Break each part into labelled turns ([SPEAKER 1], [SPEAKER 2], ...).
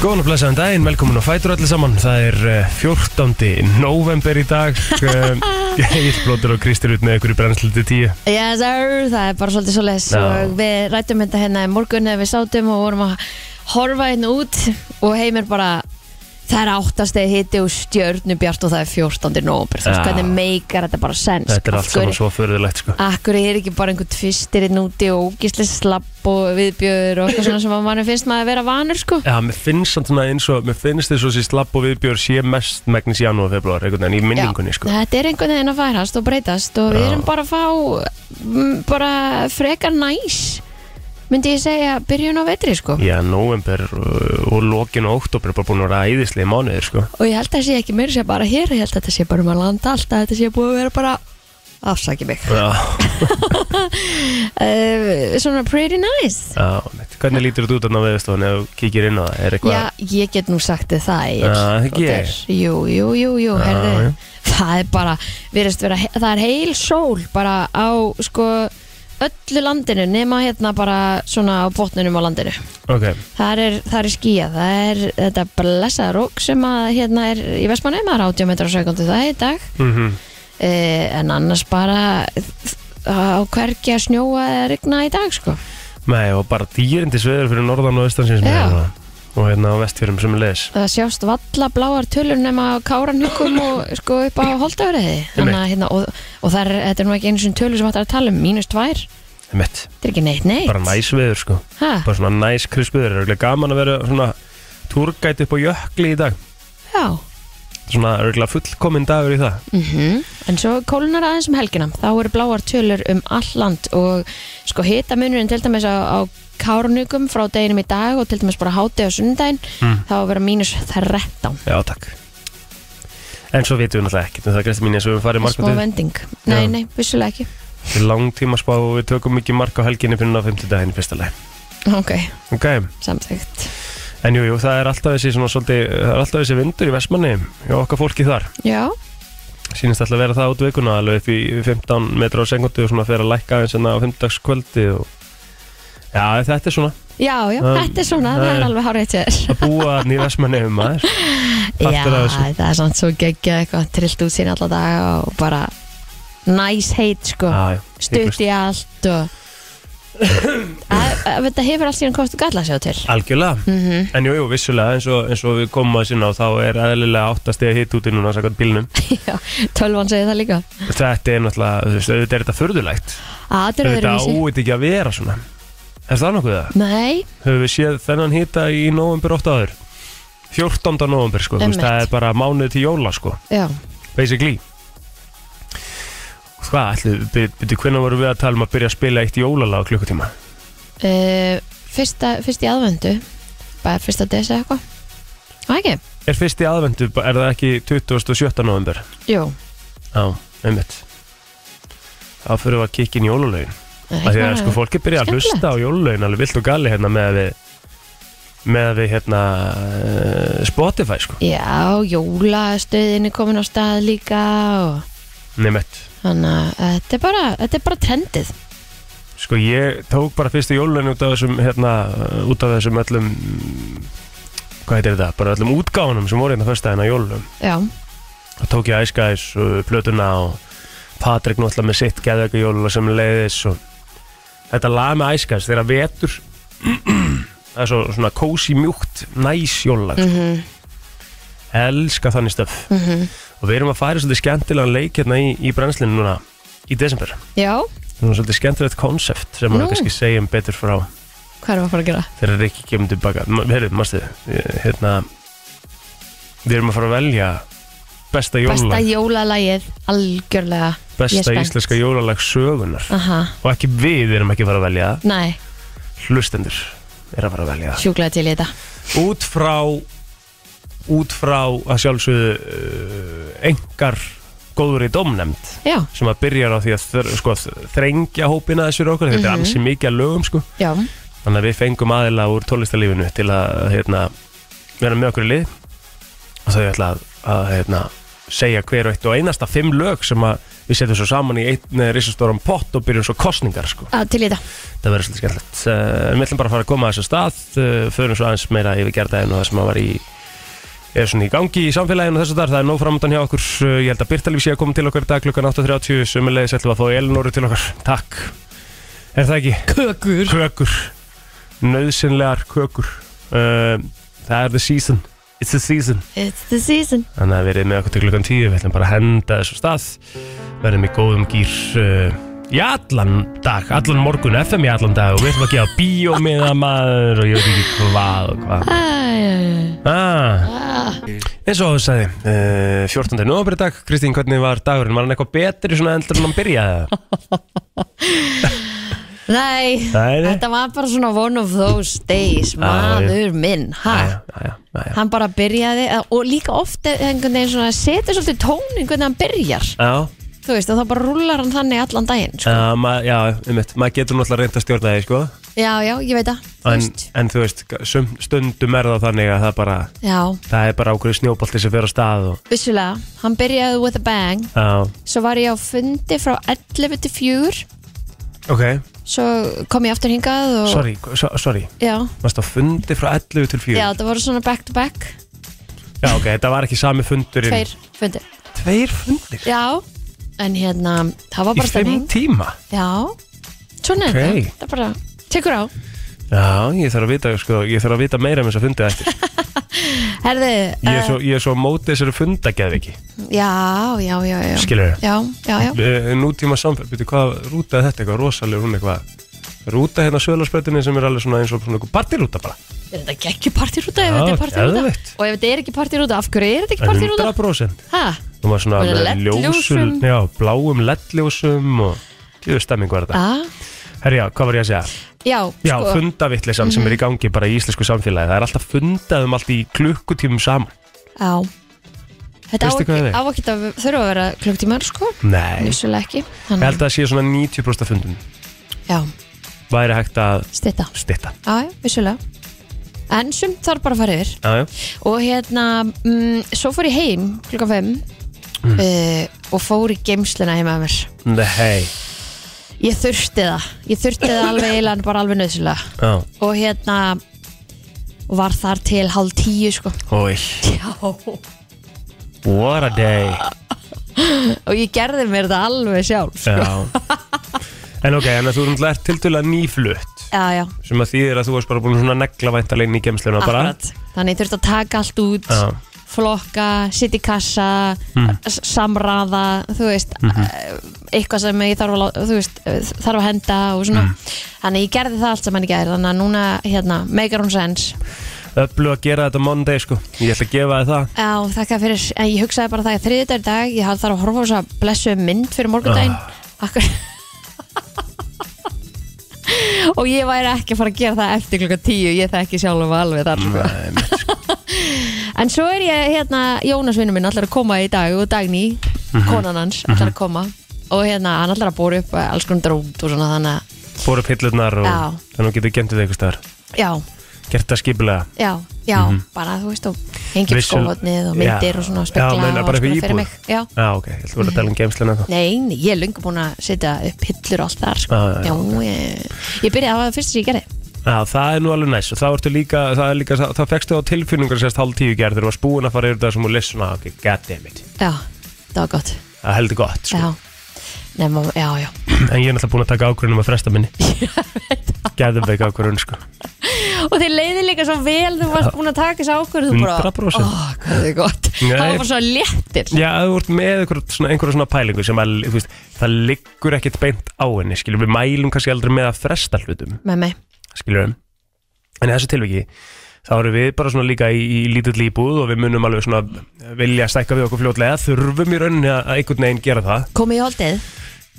[SPEAKER 1] Góðan og blessaðan daginn, velkomin á Fætur allir saman Það er eh, 14. november í dag Egil Blóttur og Kristi Rut með ykkur í brennsliti 10
[SPEAKER 2] Yes sir, það er bara svolítið svo les
[SPEAKER 1] Já.
[SPEAKER 2] og við rættum þetta hérna í morgun eða við sátum og vorum að horfa hérna út og heimir bara það er áttastegi hiti og stjörnubjart og það er 14. nómur þú veist
[SPEAKER 1] Já.
[SPEAKER 2] hvernig meikar þetta bara sens
[SPEAKER 1] Þetta er allt saman svo förðulegt sko
[SPEAKER 2] Akkur er ekki bara einhver tvistir inn úti og ógislega slapp og viðbjöður og eitthvað svona sem að mann finnst maður að vera vanur sko
[SPEAKER 1] Já, mér finnst samt svona eins og Mér finnst þess að þessi slapp og viðbjör sé mest megnis í janúar og februar, einhvern veginn í minningunni sko
[SPEAKER 2] Þetta er einhvern veginn að færast og breytast og við
[SPEAKER 1] Já.
[SPEAKER 2] erum bara að fá mm, bara frekar næs myndi ég segja byrjun á vetri sko
[SPEAKER 1] Já, november og, og lokin og oktober er bara búin að vera æðislega mánuðir sko
[SPEAKER 2] og ég held að það sé ekki meira sé bara hér ég held að þetta sé bara um að landa allt að þetta sé búið að vera bara afsaki mig
[SPEAKER 1] Já,
[SPEAKER 2] uh, svona pretty nice
[SPEAKER 1] já, mitt. hvernig lítur þetta út þarna á veðurstofan ef þú kíkir inn á það, er eitthvað
[SPEAKER 2] Já, ég get nú sagt þið það ég,
[SPEAKER 1] Já, ekki ég.
[SPEAKER 2] Jú, jú, jú,
[SPEAKER 1] Já,
[SPEAKER 2] jú,
[SPEAKER 1] já.
[SPEAKER 2] herðu Það er bara, virðist vera Það er heil sól bara á sko öllu landinu nema hérna bara svona á botnunum á landinu
[SPEAKER 1] Ok,
[SPEAKER 2] Það er, það er skýja, það er þetta blessaða rók sem að hérna er í Vestmanum, það er 80 metrar á sekundu það er í dag
[SPEAKER 1] mm
[SPEAKER 2] uh, en annars bara á hvergi að snjóa eða rigna í dag sko.
[SPEAKER 1] nei og bara dýrindis veður fyrir norðan og austansins
[SPEAKER 2] Já.
[SPEAKER 1] og hérna á vestfjörum sem er leis
[SPEAKER 2] það sjást valla bláar tölur nema á káranhukum og sko upp á holdafriði
[SPEAKER 1] Einmitt.
[SPEAKER 2] hérna, og, og það er, þetta er nú ekki einu sinni tölur sem hægt er að tala um, mínus tvær
[SPEAKER 1] Mitt,
[SPEAKER 2] þetta er ekki neitt neitt
[SPEAKER 1] bara næs veður sko
[SPEAKER 2] ha,
[SPEAKER 1] bara svona næs krisp veður, er örgulega gaman að vera svona túrgæti upp á jökli í dag
[SPEAKER 2] já,
[SPEAKER 1] svona örgulega fullkominn dagur í það
[SPEAKER 2] mhm en svo kólunar aðeins um helgina þá eru bláar tölur um all land og sko hita munurinn til dæmis á, á káranhukum frá deginum í dag og til dæmis bara háti á sunnudaginn
[SPEAKER 1] Mm.
[SPEAKER 2] þá vera mínus 13
[SPEAKER 1] Já, takk En svo vitum við náttúrulega ekkert en það er gæst mín eins og við farið
[SPEAKER 2] smá
[SPEAKER 1] markvættu
[SPEAKER 2] vending, nei,
[SPEAKER 1] Já.
[SPEAKER 2] nei, vissulega ekki
[SPEAKER 1] Við langtíma spá og við tökum mikið mark á helginni fyrir ná 50 daginn í fyrsta leið
[SPEAKER 2] Ok,
[SPEAKER 1] Ok,
[SPEAKER 2] samþygt
[SPEAKER 1] en jú, jú, það er alltaf þessi svona svolítið, það er alltaf þessi vindur í Vestmanni hjá okkar fólki þar
[SPEAKER 2] Já,
[SPEAKER 1] Sýnist alltaf að vera það út vikuna alveg upp í 15 metra á sekundu og svona fer að lækka aðeins enna á 5 dags kvöldi og Já, þetta er svona
[SPEAKER 2] já, já,
[SPEAKER 1] Um,
[SPEAKER 2] þetta er svona, það
[SPEAKER 1] nei.
[SPEAKER 2] er alveg hárið til þér
[SPEAKER 1] að búa hann í Vestmanni um maður
[SPEAKER 2] Já,
[SPEAKER 1] Partur af þessu.
[SPEAKER 2] það er samt svo geggjað eitthvað trillt út sín alla daga og bara næs nice heit sko,
[SPEAKER 1] Já, já,
[SPEAKER 2] stutt í allt og að, að, þetta hefur allt síðan kostu galla að sjá til
[SPEAKER 1] Algjörlega
[SPEAKER 2] mm
[SPEAKER 1] En jú, jú, vissulega, eins og, eins og við komum að sinna og þá er eðlilega áttastega hitt úti núna sakað bílnum.
[SPEAKER 2] Já, tölvan segir það líka
[SPEAKER 1] Þetta er náttúrulega, þú veist, auðvitað er þetta förðulegt.
[SPEAKER 2] Að þetta er
[SPEAKER 1] Þetta
[SPEAKER 2] öðruvísi
[SPEAKER 1] áið ekki að vera svona. Er það nokkuð það?
[SPEAKER 2] Nei,
[SPEAKER 1] Höfum við séð þennan hitta í november 8 áður? 14. november, sko. Þú veist,
[SPEAKER 2] Einmitt.
[SPEAKER 1] það er bara mánuð til jóla, sko.
[SPEAKER 2] já,
[SPEAKER 1] Basically. Hvað, ætlum, byrju, hvernig vorum við að tala um að byrja að spila eitt jólalag á klukkutíma?
[SPEAKER 2] uh, fyrsta, fyrst í aðvendu bara fyrsta desi eitthvað Það ekki?
[SPEAKER 1] Er fyrst í aðvendu, er það ekki 27. november?
[SPEAKER 2] Jú,
[SPEAKER 1] Já, einmitt. Þá fyrir við að kikka inn jólalögin.
[SPEAKER 2] það
[SPEAKER 1] Af
[SPEAKER 2] er
[SPEAKER 1] því að
[SPEAKER 2] bara-
[SPEAKER 1] sko fólki byrja að
[SPEAKER 2] skemmtilegt.
[SPEAKER 1] hlusta á jólulögin alveg vilt og gali hérna með að við með að við hérna eh, Spotify sko,
[SPEAKER 2] Já, jólastöðin er komin á stað líka og
[SPEAKER 1] nemett
[SPEAKER 2] þannig að þetta er bara, þetta er bara trendið.
[SPEAKER 1] sko ég tók bara fyrstu jólulögin út af þessum hérna, eh, út af þessum öllum hvað heitir þetta, bara öllum útgáfunum sem voru hérna fyrstaðina jólulögin
[SPEAKER 2] Já,
[SPEAKER 1] þá tók ég æskæðis og plötuna og Patrik náttúrulega með sitt geðveiku jólulög sem leiðis og þetta lag með æskæðis þegar vetur það er svo, svona kósi mjúkt næs jólulag,
[SPEAKER 2] mm -hmm,
[SPEAKER 1] elska þannig stöf
[SPEAKER 2] Mhm.
[SPEAKER 1] og við erum að færa svolítið skemmtilegan leik hérna í, í brennslinu núna í desember.
[SPEAKER 2] já,
[SPEAKER 1] Það er svolítið skemmtilegt konsept sem
[SPEAKER 2] Nú.
[SPEAKER 1] maður kannski segjum betur frá
[SPEAKER 2] hvað erum við að fara að gera?
[SPEAKER 1] þegar Rikki kemur tilbaka. Ma- Heyrðu, mástu, hérna, við erum að fara að velja besta
[SPEAKER 2] Besta
[SPEAKER 1] jólalag,
[SPEAKER 2] jólalagið, algjörlega. ég er
[SPEAKER 1] besta
[SPEAKER 2] spennt. Ah.
[SPEAKER 1] íslenska jólalag sögunar
[SPEAKER 2] Aha,
[SPEAKER 1] og ekki við erum ekki að fara að velja það,
[SPEAKER 2] næ,
[SPEAKER 1] hlustendur er að fara að velja það.
[SPEAKER 2] sjúklaði til í þetta.
[SPEAKER 1] út frá út frá að sjálfsögðu uh, engar góður í domnemnd
[SPEAKER 2] Já,
[SPEAKER 1] sem að byrjar á því að þr, sko, þrengja hópina þessu okkur, þetta er
[SPEAKER 2] Mhm.
[SPEAKER 1] ansi mikið að lögum sko.
[SPEAKER 2] já,
[SPEAKER 1] þannig að við fengum aðila úr tónlistarlífinu til að hérna, vera með okkur í lið og þau ætla að, að hérna, segja hver og eitt og einasta fimm lög sem að við setjum svo saman í einn eh, risastóran pott og byrjum svo kostningar sko.
[SPEAKER 2] Á, til í þetta
[SPEAKER 1] það verður svolítið skemmtilegt uh, við ætlum bara að fara að koma að þessu stað uh, förum svo aðeins meira yfir gerðaðin og það sem að var í er svona í gangi í samfélaginu og þessu þar, það er nóg framöndan hjá okkur Uh, ég held að Byrtalíf sé að koma til okkur í dag klukkan 8.30 sömulegis ætlum við að fá Elinóru til okkar takk, er það ekki?
[SPEAKER 2] Kökur
[SPEAKER 1] kökur nöðsynlegar kökur uh, það er the season it's the season
[SPEAKER 2] It's the season
[SPEAKER 1] þannig að verið með okkur til klukkan 10 við ætlum bara að henda þessu af stað verðum í góðum gýr uh, í allan dag, allan morgun FM í allan dag og við ætlum að gefa bíómiða maður og ég veit ekki hvað og hvað
[SPEAKER 2] Æ,
[SPEAKER 1] ah,
[SPEAKER 2] ah,
[SPEAKER 1] eins og þú sagði uh, 14. november í dag, Kristín hvernig var dagurinn, var hann eitthvað betri svona endur en hann byrjaði
[SPEAKER 2] Nei,
[SPEAKER 1] Nei, Ah, nei.
[SPEAKER 2] þetta var bara svona one of those days Maður minn,
[SPEAKER 1] Jæja,
[SPEAKER 2] ha
[SPEAKER 1] jæja, jæja.
[SPEAKER 2] Hann bara byrjaði eh, og líka oft er einhvern veginn svona setur svolítið tónin hvernig hann byrjar
[SPEAKER 1] Já,
[SPEAKER 2] þú veist, og þá bara rúlar hann þannig allan daginn sko.
[SPEAKER 1] já, ma- já, um maður getur náttúrulega reynd að stjórna því, sko
[SPEAKER 2] Já, já, ég veit að þú
[SPEAKER 1] en,
[SPEAKER 2] veist,
[SPEAKER 1] en þú veist, sum- stundum er það þannig að það bara
[SPEAKER 2] Já,
[SPEAKER 1] það er bara ákveður snjóbolti sem fer á stað og,
[SPEAKER 2] vissulega, hann byrjaði with a bang
[SPEAKER 1] á,
[SPEAKER 2] Svo var ég á fundi frá 11 til 4
[SPEAKER 1] ok,
[SPEAKER 2] Svo kom ég aftur hingað og,
[SPEAKER 1] sorry, so, sorry
[SPEAKER 2] Já,
[SPEAKER 1] varst á fundi frá 11 til 4
[SPEAKER 2] já það voru svona back to back
[SPEAKER 1] Já, ok, þetta var ekki sami fundurinn
[SPEAKER 2] Tveir fundir
[SPEAKER 1] Tveir fundir?
[SPEAKER 2] Já, en hérna, það var
[SPEAKER 1] Í fimm
[SPEAKER 2] bara stemming
[SPEAKER 1] tíma?
[SPEAKER 2] Já, svona er
[SPEAKER 1] Ok.
[SPEAKER 2] þetta Það bara tekur á
[SPEAKER 1] Já, ég þarf að vita, sko, ég þarf að vita meira um þess að fundi eftir
[SPEAKER 2] Herðu,
[SPEAKER 1] Ég er
[SPEAKER 2] eh,
[SPEAKER 1] svo, ég er svo á móti þessari fundageð ekki
[SPEAKER 2] já, já, já, já
[SPEAKER 1] Skilur
[SPEAKER 2] Já, já, já
[SPEAKER 1] eh, Nútíma samfélag, byrju, hvað rúta er þetta eitthvað rosalega, hún eitthvað Rúta hérna á söðlarsprautinni sem er alveg svona eins og svona einhver partirúta bara
[SPEAKER 2] Er þetta ekki partyrúta ef
[SPEAKER 1] Já,
[SPEAKER 2] þetta er partyrúta?
[SPEAKER 1] geðveikt.
[SPEAKER 2] Og ef þetta er ekki partyrúta, af hverju er þetta ekki partyrúta?
[SPEAKER 1] 100%
[SPEAKER 2] Hæ?
[SPEAKER 1] Hún var svona
[SPEAKER 2] Voru
[SPEAKER 1] með ljósul,
[SPEAKER 2] LED-ljósum?
[SPEAKER 1] já, bláum LED-ljósum og tjóðu stemming var þetta.
[SPEAKER 2] Ah,
[SPEAKER 1] Herja, hvað var ég að segja?
[SPEAKER 2] já,
[SPEAKER 1] Já,
[SPEAKER 2] sko Mhm.
[SPEAKER 1] sko, fundavittlisan sem er í gangi bara í íslensku samfélagi. Það er alltaf fundað um allt í klukkutímum saman.
[SPEAKER 2] Já Þetta á
[SPEAKER 1] Veistu hvað
[SPEAKER 2] ekki,
[SPEAKER 1] er?
[SPEAKER 2] á ekki að þurfa að vera klukktímar, sko
[SPEAKER 1] Nei,
[SPEAKER 2] Nýsulega ekki
[SPEAKER 1] ég held
[SPEAKER 2] Þannig,
[SPEAKER 1] að það sé svona 90% af fundum.
[SPEAKER 2] já,
[SPEAKER 1] Væri hægt að
[SPEAKER 2] stitta
[SPEAKER 1] stitta.
[SPEAKER 2] Já, já, vissulega En sumt þarf bara að fara yfir
[SPEAKER 1] Já, já.
[SPEAKER 2] Og hérna, mm, svo fór ég heim klukkan 5
[SPEAKER 1] Mm.
[SPEAKER 2] uh, Og fór í geimsluna heima að mér
[SPEAKER 1] Nei,
[SPEAKER 2] Ég þurfti það Ég þurfti það alveg eilan, bara alveg nöðsulega
[SPEAKER 1] já.
[SPEAKER 2] Og hérna Var þar til hálf tíu, sko
[SPEAKER 1] Ói,
[SPEAKER 2] Já
[SPEAKER 1] what a day.
[SPEAKER 2] Og ég gerði mér þetta alveg sjálf sko.
[SPEAKER 1] Já. En ok, en að þú erum lært til til að nýflutt
[SPEAKER 2] Já, já,
[SPEAKER 1] sem að þýðir að þú varst bara búin svona neglavænt alveg inn í gemsluna bara.
[SPEAKER 2] akkurat Þannig ég þurfti að taka allt út
[SPEAKER 1] Já. Mhm.
[SPEAKER 2] flokka, sitt í kassa s- samræða, þú veist eh, eitthvað sem ég þarf að lá- þú veist, eh, þarf að henda og
[SPEAKER 1] Mhm.
[SPEAKER 2] svona þannig að ég gerði það allt sem hann gerði þannig að núna, hérna, megar hún sens
[SPEAKER 1] Öflu að gera þetta monday sko. Ég ætla að gefa þið það.
[SPEAKER 2] Já, þakka fyrir, en ég hugsaði bara það að þriðið er dag, ég þarf að horfa á þess að blessu mynd fyrir morgundaginn
[SPEAKER 1] Ah.
[SPEAKER 2] Akkur... og ég væri ekki að fara að gera það eftir klukka tíu, ég þekki sjálfum alveg þar sko.
[SPEAKER 1] Nei, mitt, sko.
[SPEAKER 2] En svo er ég hérna, Jónas vinnur minn allar að koma í dag og Dagný,
[SPEAKER 1] Mhm.
[SPEAKER 2] konan hans, allar að koma og hérna hann allar að bóra upp eh, alls konar drót og svona þannig að
[SPEAKER 1] Fór upp hillurnar og
[SPEAKER 2] Já.
[SPEAKER 1] þannig að getur gendur það einhvers staðar.
[SPEAKER 2] já,
[SPEAKER 1] Gert það skipulega.
[SPEAKER 2] já, já, bara þú veist og hengi upp
[SPEAKER 1] Vissul-
[SPEAKER 2] skóhotnið og myndir og
[SPEAKER 1] Mhm.
[SPEAKER 2] svona
[SPEAKER 1] Já,
[SPEAKER 2] spekla
[SPEAKER 1] meinar
[SPEAKER 2] og
[SPEAKER 1] bara upp í
[SPEAKER 2] svona fyrir
[SPEAKER 1] íbúð?
[SPEAKER 2] mig Já,
[SPEAKER 1] Já, ok, ég ætla að vera að tala um geimsluna þá.
[SPEAKER 2] nei, nei, ég er lungu búin að setja upp hillur og allt þar sko.
[SPEAKER 1] Já, já, já,
[SPEAKER 2] ég, ég byrjaði að hafa það fyrst sem ég gerði
[SPEAKER 1] Já, það er nú alveg næst og það ertu líka, það er líka, það, það fegstu á tilfinningar sérst hálf tíu gerð þegar þú varst búin að fara yfir það sem hún lesna, ok, goddammit.
[SPEAKER 2] Já, það var gott
[SPEAKER 1] Það heldur gott, sko.
[SPEAKER 2] Já, Nefna, já, já
[SPEAKER 1] En ég er náttúrulega búin að taka ákvörðunum að fresta minni. Gæðum veik ákvörðun, sko.
[SPEAKER 2] og þeir leiði líka svo vel þú varst búin að taka þessu ákvörðu þú bara,
[SPEAKER 1] 100%.
[SPEAKER 2] "Ó, hvað þið er gott
[SPEAKER 1] Nei.
[SPEAKER 2] það var bara svo léttir
[SPEAKER 1] Já, ef þú ert með einhver, svona, einhverja svona pælingu sem að, þú veist, það liggur ekkert beint á henni, skiljum við mælum kannski aldrei með að fresta hlutum.
[SPEAKER 2] með mig,
[SPEAKER 1] skilur við en í þessu tilviki þá erum við bara svona líka í, í lítill íbúð og við munum alveg svona vilja stækka við okkur fljótlega þurfum í rauninni að að einhvern veginn gera það
[SPEAKER 2] komið í holdið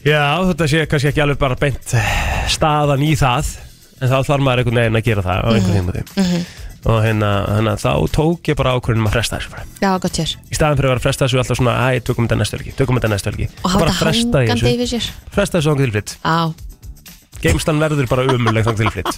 [SPEAKER 1] já þetta sé kannski ekki alveg bara beint eh, staðan í það en þá þarf maður einhvern veginn að gera það á einhvern
[SPEAKER 2] Mhm,
[SPEAKER 1] veginn og hérna, hérna þá tók ég bara ákvörðunum að fresta þessu bara.
[SPEAKER 2] já, gott sér,
[SPEAKER 1] í staðan fyrir að vera að fresta þessu alltaf svona æ, tökum þetta næstu helgi, tökum þetta næstu helgi Bara
[SPEAKER 2] og hafa þetta
[SPEAKER 1] fresta þessu,
[SPEAKER 2] hangandi yfir sér
[SPEAKER 1] fresta þessu ángur tilflitt
[SPEAKER 2] á,
[SPEAKER 1] geimstan verður bara umuleg þangur tilflitt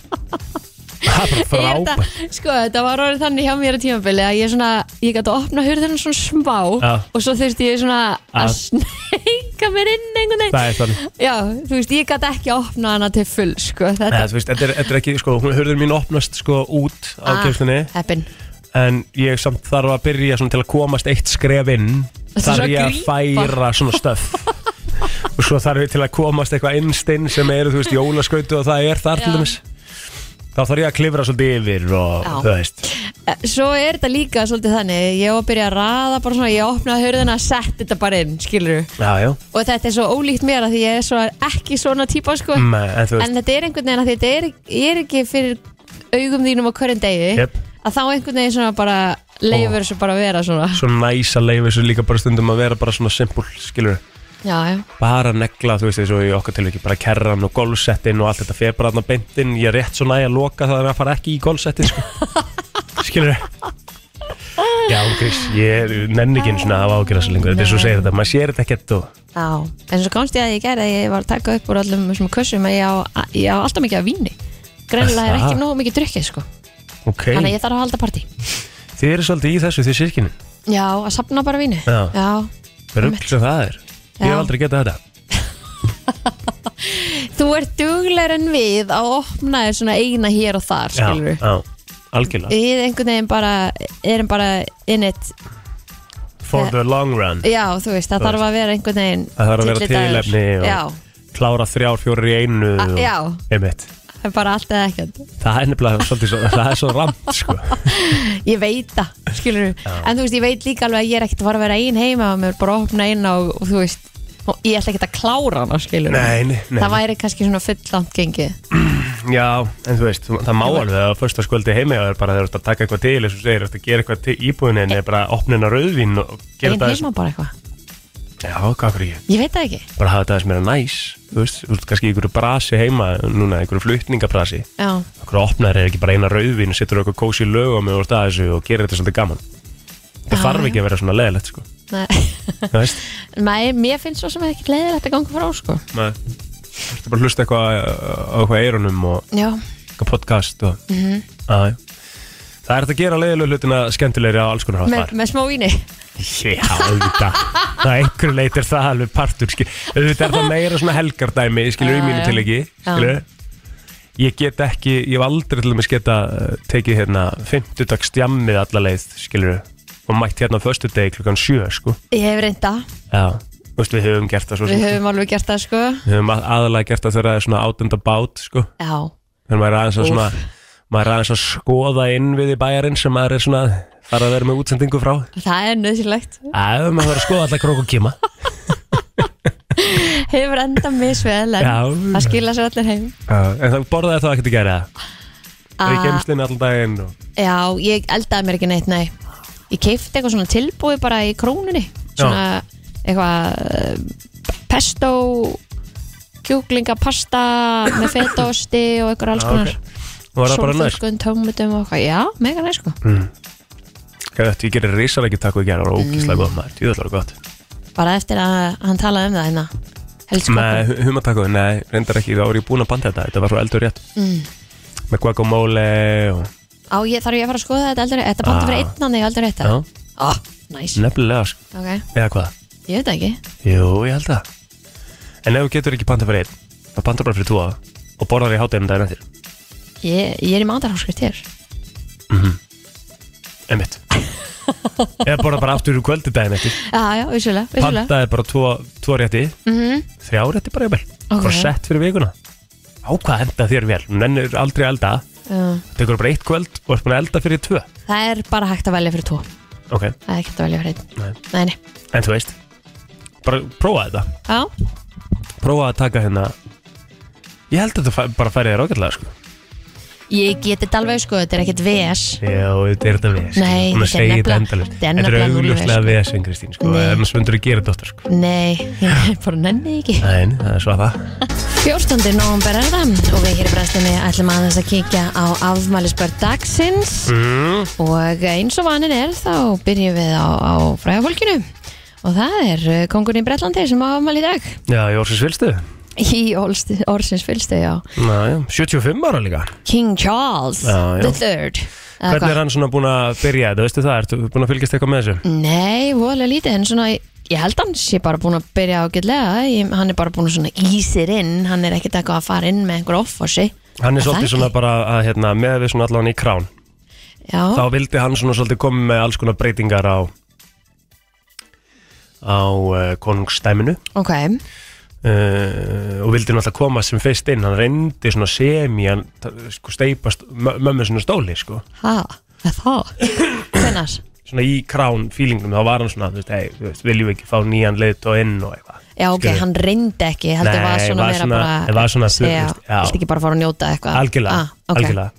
[SPEAKER 1] það er bara
[SPEAKER 2] þetta,
[SPEAKER 1] frábært
[SPEAKER 2] sko, þetta var orðið þannig hjá mér á tímabili að ég svona, ég gæti að opna hurðina svona smá
[SPEAKER 1] Já.
[SPEAKER 2] og svo þurfti ég svona
[SPEAKER 1] Já.
[SPEAKER 2] að sneika loka mér inn einhvern veginn
[SPEAKER 1] það er þannig
[SPEAKER 2] Já, þú veist, ég gæti ekki opnað hana til full sko,
[SPEAKER 1] Nei,
[SPEAKER 2] þetta
[SPEAKER 1] þú veist, þetta er, þetta er ekki, sko, hún hörður mín opnast sko út á
[SPEAKER 2] Ah.
[SPEAKER 1] kemstunni
[SPEAKER 2] heppin
[SPEAKER 1] en ég samt þarf að byrja svona til að komast eitt skref inn
[SPEAKER 2] Þetta er svo
[SPEAKER 1] þarf ég að
[SPEAKER 2] grípa.
[SPEAKER 1] færa svona stöf og svo þarf ég til að komast eitthvað innstinn sem eru, þú veist, jólaskautu og það er þar til
[SPEAKER 2] Já.
[SPEAKER 1] dæmis þá þarf ég að klifra svolítið yfir og
[SPEAKER 2] Já.
[SPEAKER 1] þú veist
[SPEAKER 2] Eh, Svo er þetta líka svolítið þannig Ég var að byrja að raða bara svona Ég opnaði hörðina að setja þetta bara inn, skilur
[SPEAKER 1] já, já,
[SPEAKER 2] Og þetta er svo ólíkt mér að því ég er svo ekki svona típa sko
[SPEAKER 1] mm, en þú veist
[SPEAKER 2] En þetta er einhvern veginn að því þetta er, er ekki fyrir augum þínum á hverjum degi
[SPEAKER 1] Jep.
[SPEAKER 2] Að þá einhvern veginn svona bara leifur þessu bara að vera svona
[SPEAKER 1] svo næs að leifa þessu líka bara stundum að vera bara svona simpul, skilur
[SPEAKER 2] Já, já,
[SPEAKER 1] bara negla, þú veist, eins og í okkar tilviki bara kerran og golfsettin og allt þetta fer bara þarna beintin, ég er rétt svo næg að loka það að það fara ekki í golfsettin, sko skilur Já, Chris, ég er- nenni ekki eins og að hafa ágjörða svo lengur, þetta er svo segir þetta, maður sér þetta ekkert og
[SPEAKER 2] já En svo komst ég að ég gerði að ég var að taka upp úr allum þessum kössum að ég á, að- ég á alltaf mikið af víni Greinlega er
[SPEAKER 1] Aha.
[SPEAKER 2] ekki nógu mikið drukkið sko
[SPEAKER 1] ok,
[SPEAKER 2] Þannig að ég þarf að halda partí
[SPEAKER 1] þið eru svolítið í þessu, þið sirkinu
[SPEAKER 2] Já, að safna bara víni
[SPEAKER 1] Já. rugg sem það er, ég
[SPEAKER 2] Já.
[SPEAKER 1] hef aldrei getað þetta
[SPEAKER 2] Þú ert duglegar en við að opna þér svona eina hér og þar, skilur
[SPEAKER 1] Já, já, algjörlega
[SPEAKER 2] Við einhvern veginn bara, erum bara in it
[SPEAKER 1] for the long run,
[SPEAKER 2] Já, þú veist, það
[SPEAKER 1] Þú
[SPEAKER 2] þarf að vera einhvern veginn
[SPEAKER 1] Það þarf að vera
[SPEAKER 2] tyllidagur.
[SPEAKER 1] tilefni og-
[SPEAKER 2] Já,
[SPEAKER 1] klára þrjár, fjórir í einu
[SPEAKER 2] A-
[SPEAKER 1] og,
[SPEAKER 2] já.
[SPEAKER 1] einmitt,
[SPEAKER 2] það er bara allt eða ekkert
[SPEAKER 1] það er nefnilega svolítið svo, það er svo ramt, sko
[SPEAKER 2] Ég veit það, skilur En þú veist, ég veit líka alveg að ég er ekkert að fara að vera ein heima og mér er bara að opna eina og, og þú veist og ég ætla ekkert að klára hana, skilur
[SPEAKER 1] Nei, nei, nei.
[SPEAKER 2] Það væri kannski svona fulllant gengið
[SPEAKER 1] Já, en þú veist, þú- það má alveg að fyrsta skvöldi heimi og er bara þegar þú ert að taka eitthvað til eins og þú segir, þú ert að gera eitthvað til íbúðinni en er bara að opna hennar rauðvín og gera
[SPEAKER 2] Ein
[SPEAKER 1] þetta aðeins-
[SPEAKER 2] heima bara eitthvað
[SPEAKER 1] Já, hvað fyrir ég?
[SPEAKER 2] Ég veit það ekki
[SPEAKER 1] Bara hafa þetta aðeins meira næs, þú veist, þú veist, kannski í einhverju brasi heima núna, í einhverju flutningabrasi
[SPEAKER 2] Já,
[SPEAKER 1] Okkur opnar er ekki bara eina rauðvín og setur okkur kósi lög á mig og það þessu og gera þetta svolítið gaman Það
[SPEAKER 2] Já,
[SPEAKER 1] þarf
[SPEAKER 2] já.
[SPEAKER 1] ekki að vera svona leðilegt, sko
[SPEAKER 2] nei
[SPEAKER 1] Þú veist,
[SPEAKER 2] Nei, mér finnst svo sem ekki leiðilegt að ganga frá, sko
[SPEAKER 1] maður Þú ert bara að hlusta eitthvað á eitthvað eirunum og
[SPEAKER 2] Já,
[SPEAKER 1] eitthvað podcast og mm
[SPEAKER 2] Mhm.
[SPEAKER 1] Það er þetta að gera leiðilegu hlutina skemmtilegri á alls konar hátt þar.
[SPEAKER 2] með, með smá víni
[SPEAKER 1] Já, auðvitað Það einhverju leit er það alveg partur skil. Auðvitað er það meira svona helgardæmi Skilur
[SPEAKER 2] Já,
[SPEAKER 1] í mínu
[SPEAKER 2] já.
[SPEAKER 1] til ekki skilurðu. Ég get ekki, ég hef aldrei til dæmis geta uh, tekið hérna 50 dags djammið alla leið skilur og mætt hérna á föstu degi klukkan 7 sko.
[SPEAKER 2] Ég hef reynda,
[SPEAKER 1] Já, þú veist við höfum gert það svo sem.
[SPEAKER 2] við höfum alveg gert það, sko
[SPEAKER 1] Við höfum að- aðalega gert það þegar það er svona átenda bát sko.
[SPEAKER 2] Já,
[SPEAKER 1] þegar maður er aðeins að
[SPEAKER 2] Úff.
[SPEAKER 1] svona maður er aðeins að skoða inn við í bæjarinn sem maður er svona að fara að vera með útsendingu frá
[SPEAKER 2] það er nöðsilegt
[SPEAKER 1] að maður verður að skoða alla krók og kima
[SPEAKER 2] Hefur enda misvel en
[SPEAKER 1] Já.
[SPEAKER 2] það skila sér allir heim
[SPEAKER 1] en það borðaði það ekkert í gæri það Það er í
[SPEAKER 2] Ah,
[SPEAKER 1] geimslinn allan daginn og...
[SPEAKER 2] Já, ég eldaði mér ekki neitt, nei Ég keipti eitthvað svona tilbúið bara í krónunni Svona eitthvað eh, pesto kjúklingapasta með fetaosti og eitthvað alls
[SPEAKER 1] Já,
[SPEAKER 2] konar
[SPEAKER 1] ok. Nú er það bara næst
[SPEAKER 2] Sólþurrkuðum tómutum og eitthvað Já, mega næst sko
[SPEAKER 1] Gæti, Ég gerir risarækju takku í gæri og ógíslega gott maður Tjóðlega gott
[SPEAKER 2] Bara eftir að hann talaði um það hérna Helst
[SPEAKER 1] Nei, hu- humatakku, nei, reyndar ekki Þá er ég búin að banda þetta, þetta var svo eldur rétt Með guacamole og...
[SPEAKER 2] Mm. Á, ég þarf ég að fara að skoða þetta aldrei Þetta bátti
[SPEAKER 1] Ah.
[SPEAKER 2] fyrir einn annað, ég aldrei rétt það
[SPEAKER 1] Já,
[SPEAKER 2] Ó, næs,
[SPEAKER 1] nefnilega sko.
[SPEAKER 2] ok
[SPEAKER 1] Eða hvað?
[SPEAKER 2] Ég veit það ekki
[SPEAKER 1] Jú, ég held það En ef þú getur ekki panta fyrir einn þá panta bara fyrir tvo og borðar í hátæðinu daginn eftir
[SPEAKER 2] Ég, ég er í mandarháskrift hér
[SPEAKER 1] Mhm. Einmitt Eða borðar bara aftur úr kvöldi daginn eftir
[SPEAKER 2] Ah, Já, já, vissulega, vissulega
[SPEAKER 1] Pantaði bara tvo, tvo rétti
[SPEAKER 2] mm
[SPEAKER 1] þrjá rétti bara jafnvel
[SPEAKER 2] Ok.
[SPEAKER 1] bara sett fyrir vikuna á hvað henda þér vel, hún ennur aldrei að elda
[SPEAKER 2] já.
[SPEAKER 1] tekur bara eitt kvöld og er búin að elda fyrir tvö
[SPEAKER 2] Það er bara hægt að velja fyrir tvo
[SPEAKER 1] ok,
[SPEAKER 2] Það er ekki hægt að velja fyrir einn
[SPEAKER 1] Nei.
[SPEAKER 2] Nei, nei
[SPEAKER 1] en þú veist bara prófa þetta,
[SPEAKER 2] Já,
[SPEAKER 1] prófa að taka hérna ég held að þetta fæ, bara færi þér ágætlega sko
[SPEAKER 2] ég geti þetta alveg sko, þetta er ekkert VS
[SPEAKER 1] já, þetta er þetta ves
[SPEAKER 2] Nei,
[SPEAKER 1] hún
[SPEAKER 2] þetta er
[SPEAKER 1] að segja
[SPEAKER 2] nefnilega-
[SPEAKER 1] þetta endalist
[SPEAKER 2] þetta er
[SPEAKER 1] þetta er
[SPEAKER 2] nefnilega núll
[SPEAKER 1] augljóslega
[SPEAKER 2] ves.
[SPEAKER 1] ves en Kristín sko,
[SPEAKER 2] Nei.
[SPEAKER 1] en svöndur að gera þetta sko
[SPEAKER 2] Nei, ég bara nenni því ekki
[SPEAKER 1] Nein, það er svo að það
[SPEAKER 2] 14. november er það og við hér í brennstunni ætlum aðeins að kíkja á afmælisbörn dagsins
[SPEAKER 1] mm.
[SPEAKER 2] og eins og vanin er þá byrjum við á, á fræðafólkinu og það er eh, kóngurinn í Bretlandi sem á afmæli í dag
[SPEAKER 1] já, Jórsins Vilstu
[SPEAKER 2] í orðsins, orðsins fylgstu, já
[SPEAKER 1] Ná, já, 75 ára líka
[SPEAKER 2] King Charles
[SPEAKER 1] Já, já.
[SPEAKER 2] the third
[SPEAKER 1] Hvernig er hann svona búin að byrja þetta, veistu það, ertu búin að fylgjast eitthvað með þessu?
[SPEAKER 2] Nei, voðalega lítið en svona ég held hann sé bara búin að byrja ágætlega Ég- hann er bara búin að svona ísir inn hann er ekkert eitthvað að fara inn með einhver offorsi
[SPEAKER 1] Hann er
[SPEAKER 2] Er það
[SPEAKER 1] svolítið
[SPEAKER 2] ekki?
[SPEAKER 1] svona bara að hérna, með við svona allan í krán
[SPEAKER 2] já,
[SPEAKER 1] þá vildi hann svona svolítið komið með alls konar breytingar á á uh, konungstæminu
[SPEAKER 2] ok
[SPEAKER 1] uh, og vildi náttúrulega koma sem fyrst inn hann reyndi svona semi hann t- sko, steipast mömmu svona stóli sko.
[SPEAKER 2] ha, er það hvenar,
[SPEAKER 1] svona í krán fílingnum þá var hann svona, þú veist, hey, þú veist, viljum við ekki fá nýjan leitt og inn og eitthvað
[SPEAKER 2] já ok,
[SPEAKER 1] Skilur.
[SPEAKER 2] hann reyndi ekki heldur
[SPEAKER 1] Nei,
[SPEAKER 2] var svona
[SPEAKER 1] var
[SPEAKER 2] meira
[SPEAKER 1] svona-
[SPEAKER 2] bara
[SPEAKER 1] var svona, þú
[SPEAKER 2] segja,
[SPEAKER 1] veist, já.
[SPEAKER 2] viltu ekki bara fara að njóta eitthvað
[SPEAKER 1] algjörlega,
[SPEAKER 2] ah, ok.
[SPEAKER 1] algjörlega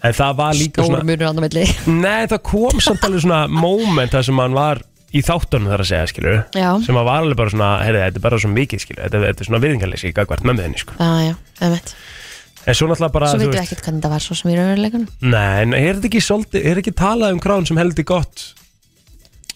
[SPEAKER 1] en það var líka
[SPEAKER 2] stór
[SPEAKER 1] svona
[SPEAKER 2] munur andan milli
[SPEAKER 1] nei, það kom samt alveg svona moment þar sem hann var í þáttunum þar að segja, skilur
[SPEAKER 2] já,
[SPEAKER 1] sem að var alveg bara svona, heyrðu, þetta er bara svo mikið skilur, þetta, þetta er svona viðingarleysi í gagvart mömmu þinni, sko.
[SPEAKER 2] já, já, emitt
[SPEAKER 1] En svo náttúrulega bara,
[SPEAKER 2] svo
[SPEAKER 1] Ah, þú
[SPEAKER 2] veitum við
[SPEAKER 1] veist,
[SPEAKER 2] ekkert hvernig það var svo sem í raunveruleikunum
[SPEAKER 1] nei, en er þetta ekki svolítið, er ekki talað um krán sem heldur gott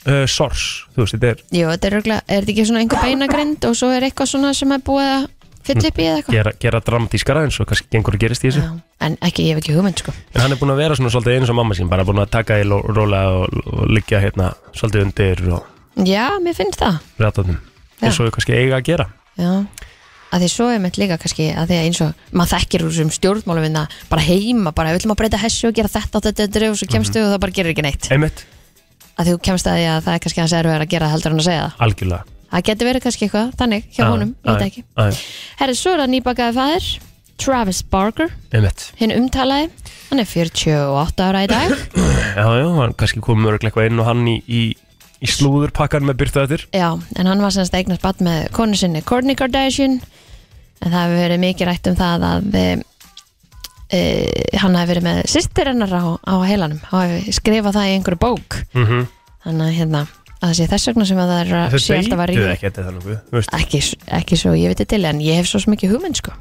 [SPEAKER 1] uh, sors, þú veist, þetta er
[SPEAKER 2] jú, þetta er örgulega, er þetta ekki svona einhver beinagrind og svo er eitthvað svona sem er búið að fylla upp í eða eitthvað
[SPEAKER 1] gera, gera dramatískara eins og kannski gengur að gerist í þessu.
[SPEAKER 2] Já, en ekki, ég hef ekki hugmynd sko
[SPEAKER 1] En hann er búin að vera svona svolítið eins og mamma sín, bara búin að taka í ló- róla og, og liggja hérna svolítið undir og
[SPEAKER 2] Já, mér finnst það
[SPEAKER 1] rættanum,
[SPEAKER 2] Já.
[SPEAKER 1] eins og við kannski eiga að gera.
[SPEAKER 2] Já að því svo er mitt líka kannski að því að eins og maður þekkir úr þessum stjórnmálum vinna bara heima, bara við ætlum að breyta hessu og gera þetta og þetta, þetta og svo kemstu og það bara gerir ekki neitt
[SPEAKER 1] Einmitt,
[SPEAKER 2] að þú kemst að því að það er kannski hans erfiðar að gera það heldur en að segja það
[SPEAKER 1] algjörlega.
[SPEAKER 2] það getur verið kannski eitthvað, þannig, hjá
[SPEAKER 1] Já,
[SPEAKER 2] honum, ég veit
[SPEAKER 1] já,
[SPEAKER 2] ekki
[SPEAKER 1] já,
[SPEAKER 2] Herri, svo er það nýbakaði fæðir Travis Barker,
[SPEAKER 1] Einmitt,
[SPEAKER 2] hinn umtalaði hann er 48 ára í dag
[SPEAKER 1] já, já, hann kannski kom mörglega eitthvað inn og hann í, í, í slúðurpakkan með byrtu þetta
[SPEAKER 2] Já, en hann var semst eignast badd með konu sinni Kourtney Kardashian en það hefur verið mikið rætt um það að e, e, hann hefur verið með sýstir hennar á, á heilanum hann hefur skrifað það í einhverju bók
[SPEAKER 1] mm -hmm.
[SPEAKER 2] þannig að hérna að það sé þess vegna sem að það er að
[SPEAKER 1] Þau
[SPEAKER 2] sé alltaf að
[SPEAKER 1] deytu
[SPEAKER 2] ríða
[SPEAKER 1] ekki þetta þannig Þú veist,
[SPEAKER 2] ekki, s- ekki svo ég veit til en ég hef svo sem ekki hugmynd sko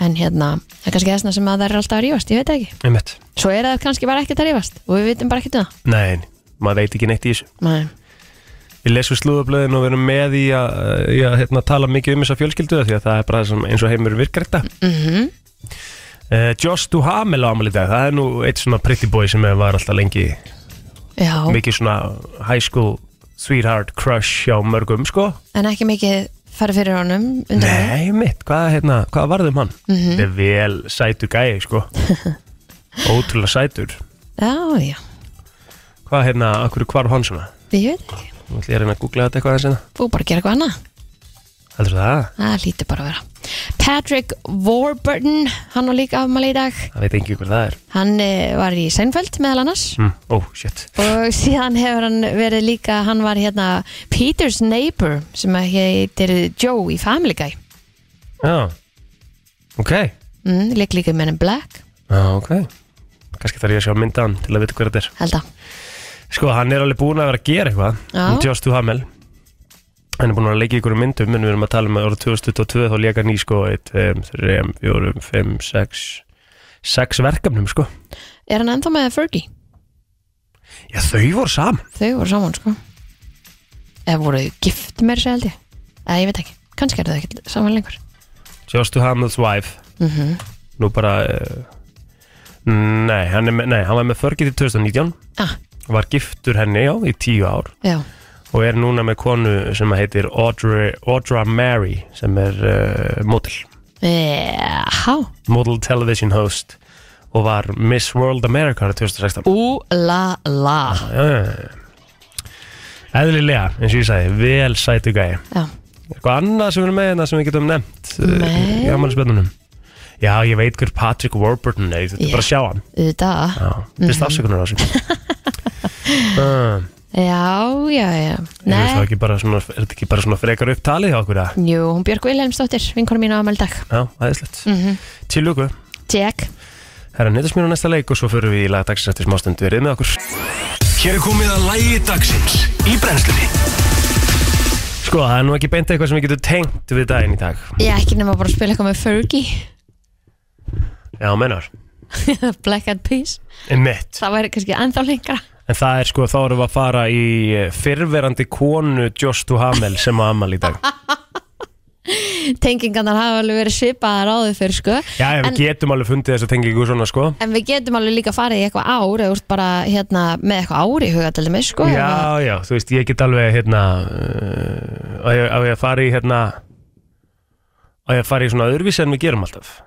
[SPEAKER 2] en hérna, það er kannski þessna sem að það er alltaf að rífast, ég veit það ekki
[SPEAKER 1] einmitt
[SPEAKER 2] svo er það kannski bara ekkert að rífast og við vitum bara ekkert um það
[SPEAKER 1] Nei, nei, maður veit ekki neitt í þessu
[SPEAKER 2] Nei.
[SPEAKER 1] Við lesum slúðablöðin og verum með í að, í að hérna, tala mikið um þessa fjölskyldu því að það er bara það sem eins og heimur virkar þetta
[SPEAKER 2] Mm -hmm.
[SPEAKER 1] uh, Josh Duhamel á amal í dag það er nú eitt svona pretty boy sem var alltaf lengi
[SPEAKER 2] Já,
[SPEAKER 1] mikið svona high school sweetheart crush hjá mörgum sko
[SPEAKER 2] en ekki mikið farið fyrir honum undanfarið.
[SPEAKER 1] Nei mitt, hvað, hérna, hvað varðum hann?
[SPEAKER 2] Mhm.
[SPEAKER 1] Þetta er vel sætur gæi sko Ótrúlega sætur
[SPEAKER 2] Já, já,
[SPEAKER 1] Hvað hérna, akkur hvarf hann svona?
[SPEAKER 2] við veit ekki
[SPEAKER 1] Nú ætlum ég að reyna að googla þetta eitthvað aðeins hérna
[SPEAKER 2] Þú bara að gera eitthvað annað,
[SPEAKER 1] Heldur það?
[SPEAKER 2] það lítur bara að vera Patrick Warburton, hann var líka afmæli í dag
[SPEAKER 1] Það veit ekki hver það er
[SPEAKER 2] Hann eh, var í Seinfeld meðal annars
[SPEAKER 1] mm. Ó, shit
[SPEAKER 2] Og síðan hefur hann verið líka, hann var hérna Peter's Neighbor sem að heitir Joe í Family Guy
[SPEAKER 1] Já, ok
[SPEAKER 2] mm, Lík líka með hann Black,
[SPEAKER 1] Já, ok Kannski þarf ég að sjá myndan til að vita hver þetta er
[SPEAKER 2] held að
[SPEAKER 1] Sko, hann er alveg búinn að vera að gera eitthvað
[SPEAKER 2] Já.
[SPEAKER 1] um Josh Duhamel Hann er búinn að vera að leika í ykkur myndum en við erum að tala um að ára 2022 þá leika hann í sko 1, 2, 3, 4, 5, 6 6 verkefnum sko
[SPEAKER 2] Er hann ennþá með Fergie?
[SPEAKER 1] Já, þau voru saman
[SPEAKER 2] Þau voru saman, sko Eða voru þau gift meir sér held ég Eða ég veit ekki, kannski eru þau ekki saman lengur
[SPEAKER 1] Josh Duhamel's wife
[SPEAKER 2] mm -hmm.
[SPEAKER 1] Nú bara uh, nei, hann er, með- nei, hann var með Fergie til 2019
[SPEAKER 2] Ah,
[SPEAKER 1] Var giftur henni, já, í 10 ár
[SPEAKER 2] já,
[SPEAKER 1] og er núna með konu sem að heitir Audrey, Audra Mary sem er uh, model,
[SPEAKER 2] Eh, Há,
[SPEAKER 1] model television host og var Miss World America árið 2016
[SPEAKER 2] ú la la
[SPEAKER 1] Já, já, já. Eðlilega, eins og ég sagði, vel sætu gæi
[SPEAKER 2] Já,
[SPEAKER 1] Eitthvað annað sem við erum með hérna sem við getum nefnt
[SPEAKER 2] Nei.
[SPEAKER 1] uh, í afmælisbjörnunum Já, ég veit hver Patrick Warburton er, þetta er
[SPEAKER 2] Já.
[SPEAKER 1] bara að sjá hann
[SPEAKER 2] auðvitað
[SPEAKER 1] Já, fyrst
[SPEAKER 2] Mhm.
[SPEAKER 1] afsökunar á sig uh,
[SPEAKER 2] Já, já, já
[SPEAKER 1] Nei Er
[SPEAKER 2] Nei,
[SPEAKER 1] þetta ekki bara svona, er þetta ekki bara svona frekar upptalið hjá okkur að
[SPEAKER 2] jú, hún Björg Vilhelmsdóttir vinkonu mín á amaldag
[SPEAKER 1] Já, aðeinslegt
[SPEAKER 2] mm -hmm.
[SPEAKER 1] Til lugu
[SPEAKER 2] Jack
[SPEAKER 1] Herra, nýttast mér á næsta leik og svo förum við í lagdagsins eftir smástund verið með okkur.
[SPEAKER 3] Hér er komið að lægi dagsins í brennslunni
[SPEAKER 1] Sko, það er nú ekki beint eitthvað sem við getum tengt við daginn í dag.
[SPEAKER 2] Ég ekki nema bara að spila eitthvað með Fergie
[SPEAKER 1] Já, mennar.
[SPEAKER 2] Black Eyed Peas
[SPEAKER 1] Mitt.
[SPEAKER 2] Það væri kannski ennþá lengra
[SPEAKER 1] En það er sko, þá erum við að fara í eh, fyrrverandi konu Josh Duhamel sem á amal í dag.
[SPEAKER 2] tengingarnar hafa alveg verið svipaðar áður fyrir sko
[SPEAKER 1] Já, já, við
[SPEAKER 2] En-
[SPEAKER 1] getum alveg fundið þessa tengingu svona, sko
[SPEAKER 2] En við getum alveg líka farið í eitthvað ár eða úrst bara hérna, með eitthvað ár í huga til þeim sko, eða-
[SPEAKER 1] Já, já, þú veist, ég get alveg, hérna uh, Á ég- á ég að fara í, hérna Á ég að fara í svona öðruvísi en við gerum alltaf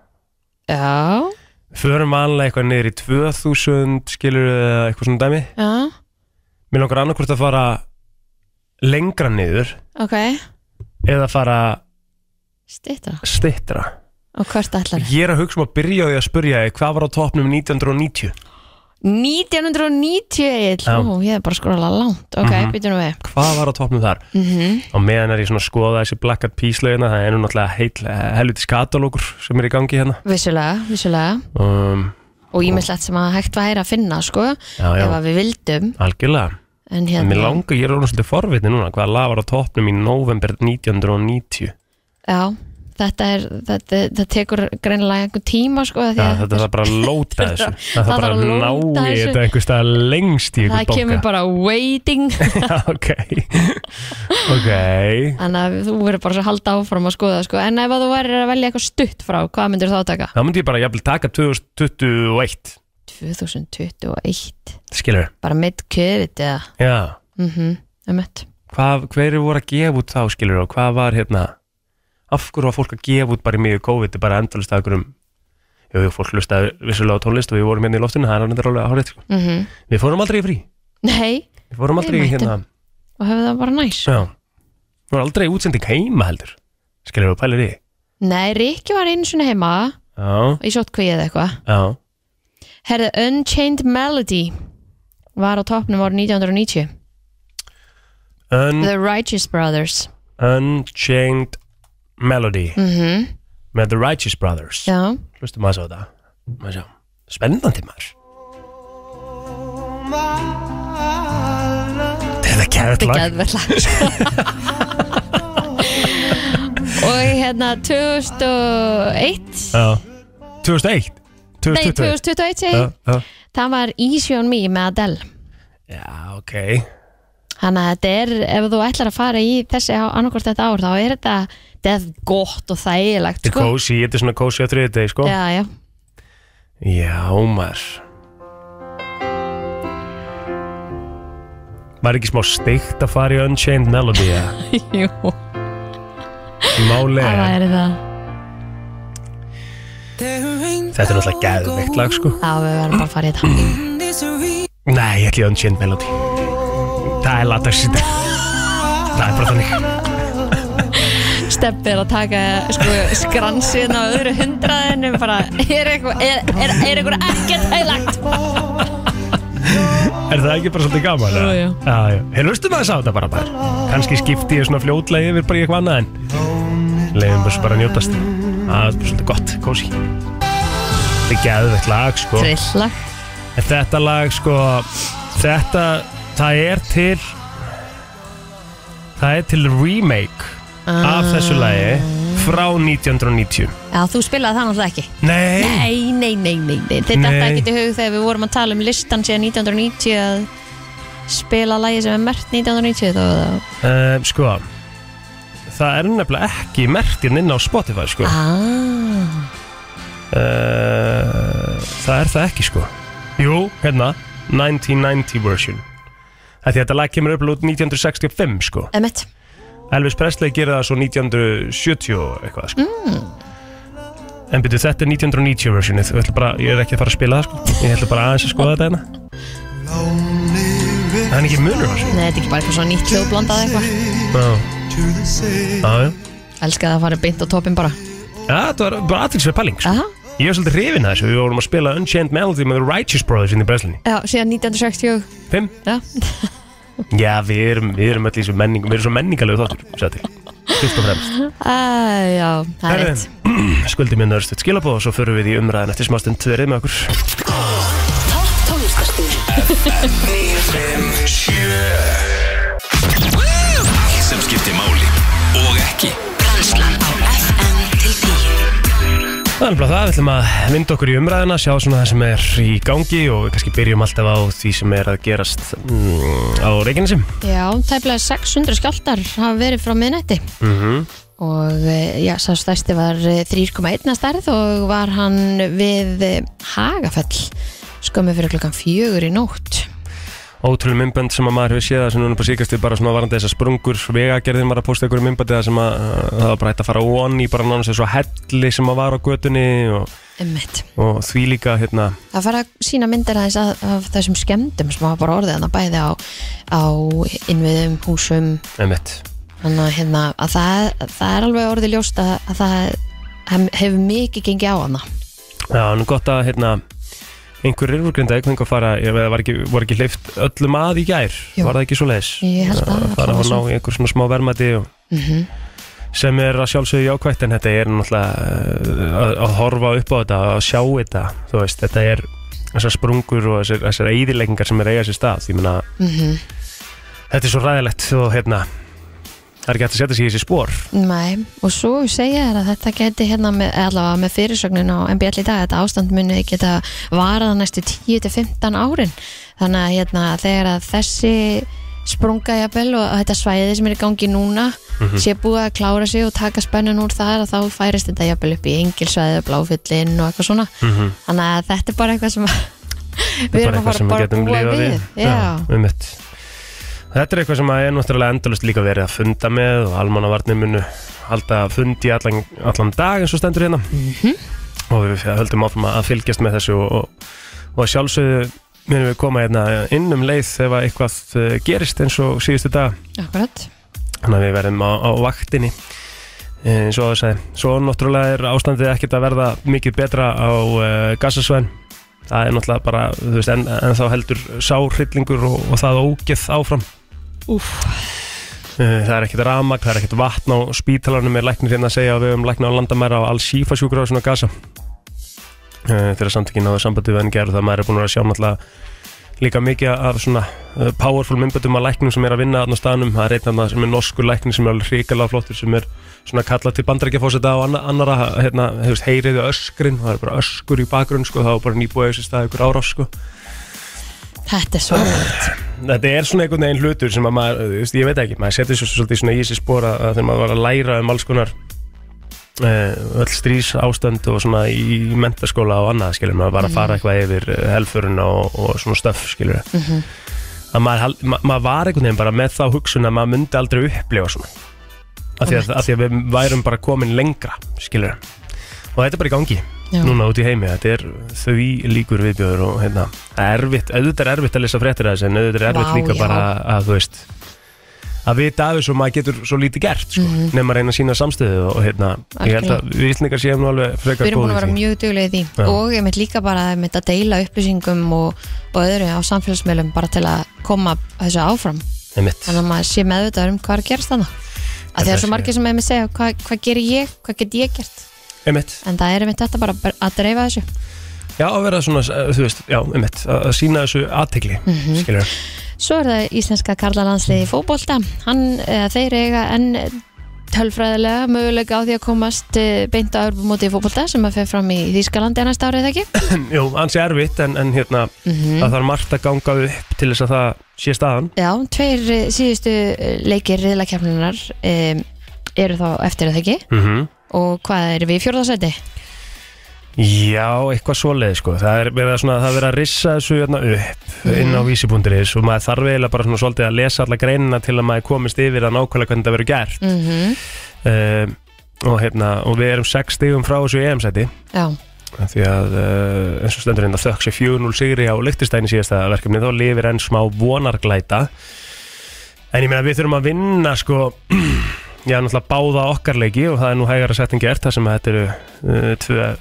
[SPEAKER 2] já,
[SPEAKER 1] Við Förum vanlega eitthvað niður í 2000 skilur eða eitthvað svona dæmi
[SPEAKER 2] já,
[SPEAKER 1] Mér langar annarkvort að fara lengra niður
[SPEAKER 2] ok
[SPEAKER 1] eða fara
[SPEAKER 2] Stittra,
[SPEAKER 1] stittra
[SPEAKER 2] og hvert ætlar
[SPEAKER 1] Ég er að hugsa um að byrja á því að spurja þig hvað var á topnum 1990
[SPEAKER 2] 1990 Egill.
[SPEAKER 1] Já.
[SPEAKER 2] Ó, ég er bara að skrolla langt ok, mm
[SPEAKER 1] Mhm.
[SPEAKER 2] -hmm. býtum við
[SPEAKER 1] Hvað var á topnum þar?
[SPEAKER 2] mm
[SPEAKER 1] Á meðan er ég svona að skoða þessi Black Eyed Peas lögina það er nú náttúrulega heil, helvitis katalókur sem er í gangi hérna
[SPEAKER 2] vissulega, vissulega
[SPEAKER 1] um,
[SPEAKER 2] og ímislegt sem að hægt væri að finna sko,
[SPEAKER 1] Já, já,
[SPEAKER 2] ef að við vildum
[SPEAKER 1] algjörlega
[SPEAKER 2] en
[SPEAKER 1] En mér
[SPEAKER 2] hérna,
[SPEAKER 1] langar, ég er orðin svolítið forvitni núna hvaða lag var á topnum í november 1990
[SPEAKER 2] já þetta er, þetta, þetta tekur greinilega einhver tíma sko, af því
[SPEAKER 1] Já,
[SPEAKER 2] að
[SPEAKER 1] þetta þarf bara að lóta þessu Það
[SPEAKER 2] það
[SPEAKER 1] þarf bara
[SPEAKER 2] þarf
[SPEAKER 1] að
[SPEAKER 2] að lóta
[SPEAKER 1] ná í
[SPEAKER 2] þessu.
[SPEAKER 1] þetta einhvers staðar lengst í
[SPEAKER 2] það
[SPEAKER 1] ykkur
[SPEAKER 2] kemur bara waiting
[SPEAKER 1] Já, ok Ok
[SPEAKER 2] þannig að þú verður bara svo að halda áfram að skoða sko. en ef að þú værir að velja eitthvað stutt frá hvað myndir þá taka?
[SPEAKER 1] Þá myndi ég bara jafnvel taka 2021
[SPEAKER 2] 2021
[SPEAKER 1] Skilur
[SPEAKER 2] bara mid-covid eða
[SPEAKER 1] Já
[SPEAKER 2] mm -hmm.
[SPEAKER 1] Hvað, hverju voru að gefa út þá skilur og hvað var hérna Af hverju var fólk að gefa út bara í miðju COVID er bara endalist að einhverjum Jú, jú, fólk hlustaði vissulega á tónlist og við vorum hérna í loftinu, það er alveg alveg hárið sko.
[SPEAKER 2] Mm -hmm.
[SPEAKER 1] Við fórum aldrei í frí,
[SPEAKER 2] nei,
[SPEAKER 1] við fórum
[SPEAKER 2] Við
[SPEAKER 1] aldrei í
[SPEAKER 2] mættum.
[SPEAKER 1] hérna
[SPEAKER 2] og hefur það bara næs
[SPEAKER 1] Já, við vorum aldrei í útsending heima heldur Skilur og pælir í því?
[SPEAKER 2] nei, Rikki var einu svona heima
[SPEAKER 1] Já,
[SPEAKER 2] í sótkvíið eða eitthvað
[SPEAKER 1] já,
[SPEAKER 2] herðu, Unchained Melody var á toppnum árið 1990
[SPEAKER 1] Un
[SPEAKER 2] The Righteous Brothers
[SPEAKER 1] Unchained Melody
[SPEAKER 2] mm
[SPEAKER 1] með The Righteous Brothers
[SPEAKER 2] já,
[SPEAKER 1] hlustum að þessu á þetta Maður sjá. spennandi maður þetta er
[SPEAKER 2] þetta
[SPEAKER 1] kært
[SPEAKER 2] er
[SPEAKER 1] lag
[SPEAKER 2] geðvert lag sko. og hérna 2001
[SPEAKER 1] Já. 2001
[SPEAKER 2] Nei,
[SPEAKER 1] 2020
[SPEAKER 2] 2021 segi
[SPEAKER 1] Já,
[SPEAKER 2] ég.
[SPEAKER 1] já.
[SPEAKER 2] Það var Easy on Me með Adele
[SPEAKER 1] já, ok
[SPEAKER 2] Þannig að þetta er, ef þú ætlar að fara í þessi annarkort þetta ár, þá er þetta þetta er gott og þægilegt
[SPEAKER 1] þetta er
[SPEAKER 2] sko.
[SPEAKER 1] kósi, þetta er svona kósi á þriðið deg sko.
[SPEAKER 2] Já, já,
[SPEAKER 1] já, maður var ekki smá steikt að fara í Unchained Melody ja?
[SPEAKER 2] jú,
[SPEAKER 1] máli
[SPEAKER 2] það
[SPEAKER 1] er-
[SPEAKER 2] er það
[SPEAKER 1] þetta er náttúrulega geðveikt lag sko
[SPEAKER 2] Já, við verðum bara að fara í þetta
[SPEAKER 1] Nei, ég ætli að Unchained Melody Það er latast í dag Það er bara þannig
[SPEAKER 2] Steppi er að taka sko, skransin á öðru hundraðinu bara, er eitthvað er, er, er eitthvað ekkert þægilegt
[SPEAKER 1] Er það ekki bara svolítið gaman? eða?
[SPEAKER 2] Jú, jú.
[SPEAKER 1] Já, já Hefur hlustum að þess að þetta bara bara Kanski skipti ég svona fljótlega yfir bara í eitthvað annað en Leifum þessu bara að njótast Það er bara svolítið gott, kósi Þetta er geðveikt lag, sko
[SPEAKER 2] Trilla
[SPEAKER 1] En þetta lag, sko Þetta, það er til Það er til remake af þessu lagi frá 1990
[SPEAKER 2] Já, þú spilaði það náttúrulega ekki
[SPEAKER 1] Nei
[SPEAKER 2] Nei, nei, nei, nei, nei. Þetta
[SPEAKER 1] Nei.
[SPEAKER 2] er ekkert í hug þegar við vorum að tala um listan síðan 1990 að spila lagi sem er mert 1990 þá
[SPEAKER 1] Eh, sko það er nefnilega ekki mertinn inn á Spotify sko uh,
[SPEAKER 2] ah,
[SPEAKER 1] Ehm, það er það ekki sko jú, hérna 1990 version Af því að þetta lag kemur upp út 1965 sko
[SPEAKER 2] Emmett
[SPEAKER 1] Elvis Presley gera það svo 1970 og eitthvað sko en byrju þetta er 1990 versionið ég, ætla bara, ég er ekki að fara að spila það sko ég ætla bara aðeins að skoða þetta hérna það er ekki munur á þessu
[SPEAKER 2] Nei, þetta er ekki bara eitthvað svona nýtt hljóðblandað eitthvað
[SPEAKER 1] Já. Já, já.
[SPEAKER 2] Elskar það að fara beint á toppin bara
[SPEAKER 1] Já, þetta var bara aðtilsverð pæling sko.
[SPEAKER 2] Aha.
[SPEAKER 1] Ég var svolítið hrifin að þessu, við vorum að spila Unchained Melody með The Righteous Brothers inn í Breslinni
[SPEAKER 2] Já, síðan 1960
[SPEAKER 1] Fimm?
[SPEAKER 2] Já,
[SPEAKER 1] Já, við erum, við erum öll í þessu menning, við erum svo menningalegu þáttur, sér til Fyrst og fremst
[SPEAKER 2] uh, já það er rétt
[SPEAKER 1] Skuldið mér nörstuð skilabóð og svo förum við í umræðin eftir smástund Tverið með okkur
[SPEAKER 3] Allt sem skiptir máli og ekki
[SPEAKER 4] Brennslan á FM til
[SPEAKER 1] Á,
[SPEAKER 4] 10
[SPEAKER 1] Það er nefnilega það, við ætlum að vinda okkur í umræðina, sjá svona það sem er í gangi og við kannski byrjum alltaf á því sem er að gerast mm, á Reykjanesim.
[SPEAKER 2] Já, tæplega 600 skjáltar hafa verið frá miðnætti
[SPEAKER 1] Mm
[SPEAKER 2] og eh, já, sá stærsti var eh, 3,1 að stærð og var hann við eh, Hagafell skömmu fyrir klukkan fjögur í nótt
[SPEAKER 1] Ótrúlega myndbönd sem að maður hefur séð það sem núna på síkastið bara svona varandi þessar sprungur, vegagerðin var að posta ykkur myndböndi það sem að uh, það var bara hægt að fara on í bara nánast þessu helli sem að var á götunni og,
[SPEAKER 2] Einmitt.
[SPEAKER 1] og því líka hérna,
[SPEAKER 2] Það fara að sína myndir aðeins af, af þessum skemmdum sem hafa bara orðið hann að bæði á, á innviðum, húsum
[SPEAKER 1] emitt.
[SPEAKER 2] þannig að, hérna, að það, það er alveg orðið ljóst að, að það hann hefur mikið gengið á hana
[SPEAKER 1] Já, nú gott að hérna einhverjir eru grinda eitthvað að fara, ég veit að var ekki, voru ekki hleyft öllum að í gær,
[SPEAKER 2] Jú.
[SPEAKER 1] var það ekki svo leiðis?
[SPEAKER 2] Ég held að,
[SPEAKER 1] Það er að ná
[SPEAKER 2] allavega
[SPEAKER 1] í einhver svona smá vermaði og
[SPEAKER 2] Mhm.
[SPEAKER 1] sem er að sjálfsögðu jákvætt en þetta er náttúrulega uh, að, að horfa upp á þetta að sjá þetta þú veist, þetta er þessar sprungur og þessar, þessar eðileggingar sem er að eiga sér stað ég meina,
[SPEAKER 2] Mhm.
[SPEAKER 1] þetta er svo ræðilegt og hérna það er ekki hægt að setja sig í þessi spór
[SPEAKER 2] Nei, og svo segja þér að þetta geti hérna með, allavega með fyrirsögnin á MBL í dag, þetta ástand muni geta varað næstu 10-15 árin þannig að hérna þegar að þessi sprunga jafnvel og þetta svæði sem er í gangi núna
[SPEAKER 1] Mhm.
[SPEAKER 2] sé búið að klára sig og taka spennun úr þar að þá færist þetta jafnvel upp í engilsvæði, bláfyllin og eitthvað svona
[SPEAKER 1] Mhm.
[SPEAKER 2] þannig að þetta er bara eitthvað sem
[SPEAKER 1] Þetta
[SPEAKER 2] við
[SPEAKER 1] er
[SPEAKER 2] erum að
[SPEAKER 1] eitthvað
[SPEAKER 2] fara
[SPEAKER 1] sem
[SPEAKER 2] bara
[SPEAKER 1] við
[SPEAKER 2] að
[SPEAKER 1] getum
[SPEAKER 2] búa
[SPEAKER 1] lifað
[SPEAKER 2] við
[SPEAKER 1] Já,
[SPEAKER 2] Já,
[SPEAKER 1] einmitt. Þetta er eitthvað sem að er náttúrulega endalust líka verið að funda með og almannavarnir munu halda fundi allan, allan dag eins og stendur hérna og við höldum áfram að fylgjast með þessu og, og, og að sjálfsögðu munum við koma hérna inn um leið ef að eitthvað eh, gerist eins og síðustu dag
[SPEAKER 2] akkurat
[SPEAKER 1] þannig að við verðum á, á vaktinni Eh, eins og það sagði svo náttúrulega er ástandið ekkert að verða mikið betra á uh, gassasvæðin það er náttúrulega bara þú veist, en, en þá heldur sárhyllingur og, og það ógeð áfram
[SPEAKER 2] Úf,
[SPEAKER 1] Eh, Það er ekkert ramag, það er ekkert vatn á spítalarnum er læknir hérna að segja að við höfum læknir á landamæra á Al-Shifa sjúkrafsuna Gaza Eh, þegar samtökin náðu sambandi við NGR og það maður er búin að vera að sjá náttúrulega líka mikið af svona eh, powerful myndböndum að læknum sem er að vinna þarna á staðnum það er einn þarna sem er norskur læknir sem er alveg hrikalega flottur sem er svona kallað til bandarækjafóseta og anna- annara hérna, hefur heyriði öskrin það er bara öskur í bakgrunn sko, það var bara nýbúið þessi stað ykkur árás sko.
[SPEAKER 2] þetta er svo
[SPEAKER 1] Þetta er svona einhvern veginn hlutur sem að maður, þú veist, ég veit ekki, maður setur svo svolítið svona í þessi spora að þegar maður var að læra um alls konar uh, öll strís ástand og svona í mentaskóla og annað, skilur, maður var að fara eitthvað yfir eh, helföruna og, og svona stöf, skilur,
[SPEAKER 2] Mhm.
[SPEAKER 1] að maður, hal- ma maður var einhvern veginn bara með þá hugsun að maður myndi aldrei upplifa svona, af því að,
[SPEAKER 2] Einmitt.
[SPEAKER 1] af því að við værum bara komin lengra, skilur, og þetta er bara í gangi
[SPEAKER 2] Já.
[SPEAKER 1] núna út í heimi, þetta er þau líkur viðbjöður og hérna, það er erfitt auðvitað er erfitt að lesa fréttir af þessu en auðvitað er erfitt
[SPEAKER 2] Vá,
[SPEAKER 1] líka
[SPEAKER 2] já.
[SPEAKER 1] bara að þú veist að vita af þessu og maður getur svo lítið gert sko,
[SPEAKER 2] Mhm.
[SPEAKER 1] mm nema að reyna að sína samstöðu og hérna, ég held að við íslendingar séum nú alveg
[SPEAKER 2] við
[SPEAKER 1] frekar
[SPEAKER 2] erum búin að
[SPEAKER 1] góðið
[SPEAKER 2] vera
[SPEAKER 1] því
[SPEAKER 2] mjög duglega í því
[SPEAKER 1] Já.
[SPEAKER 2] og ég mitt líka bara einmitt að deila upplýsingum og, og öðru á samfélagsmiðlum bara til að koma þessu áfram
[SPEAKER 1] Einmitt.
[SPEAKER 2] þannig að maður sé meðvitað um hvað er að gerast þannig að því að svo margir sem er með segja hvað, hvað gerir ég, hvað get ég gert
[SPEAKER 1] Einmitt.
[SPEAKER 2] en það er einmitt þetta bara að dreifa þessu
[SPEAKER 1] Já, að vera svona, eh, þú veist, já, einmitt að að sína þessu aðtegli, mm
[SPEAKER 2] Mhm.
[SPEAKER 1] -hmm. skilur
[SPEAKER 2] Svo er það íslenska karlalandsliði í fótbolta. Hann, eða þeir eiga enn tölfræðilega möguleika á því að komast eh, beint á örbumóti í fótbolta sem að fer fram í Þýskalandi annars árið ekki.
[SPEAKER 1] Jú, ansi erfitt en, en hérna
[SPEAKER 2] Mhm.
[SPEAKER 1] að það er margt að ganga upp til þess að það sé staðan
[SPEAKER 2] Já, tveir eh, síðustu eh, leikir riðlakefnunar um, eru þá eftir að það ekki
[SPEAKER 1] mm
[SPEAKER 2] og hvað erum við í fjórðarsæti?
[SPEAKER 1] Já, eitthvað svoleið sko Það er verið að, svona, það er verið að rissa þessu hérna upp inn á vísi.is og maður þarf eiginlega bara svona svolítið að lesa alla greinina til að maður komist yfir að nákvæmlega hvernig þetta verður gert
[SPEAKER 2] Mm -hmm.
[SPEAKER 1] um, og, hérna, og við erum sex stigum frá þessu EM-sæti
[SPEAKER 2] Já,
[SPEAKER 1] því að uh, eins og stendur hérna þökk sér 4-0 sigri á Lichtenstein í síðasta verkefni þá lifir enn smá vonarglæta en ég meina við þurfum að vinna sko já náttúrulega báða okkar leiki og það er nú hægara setting gert þar sem að þetta eru uh, tvö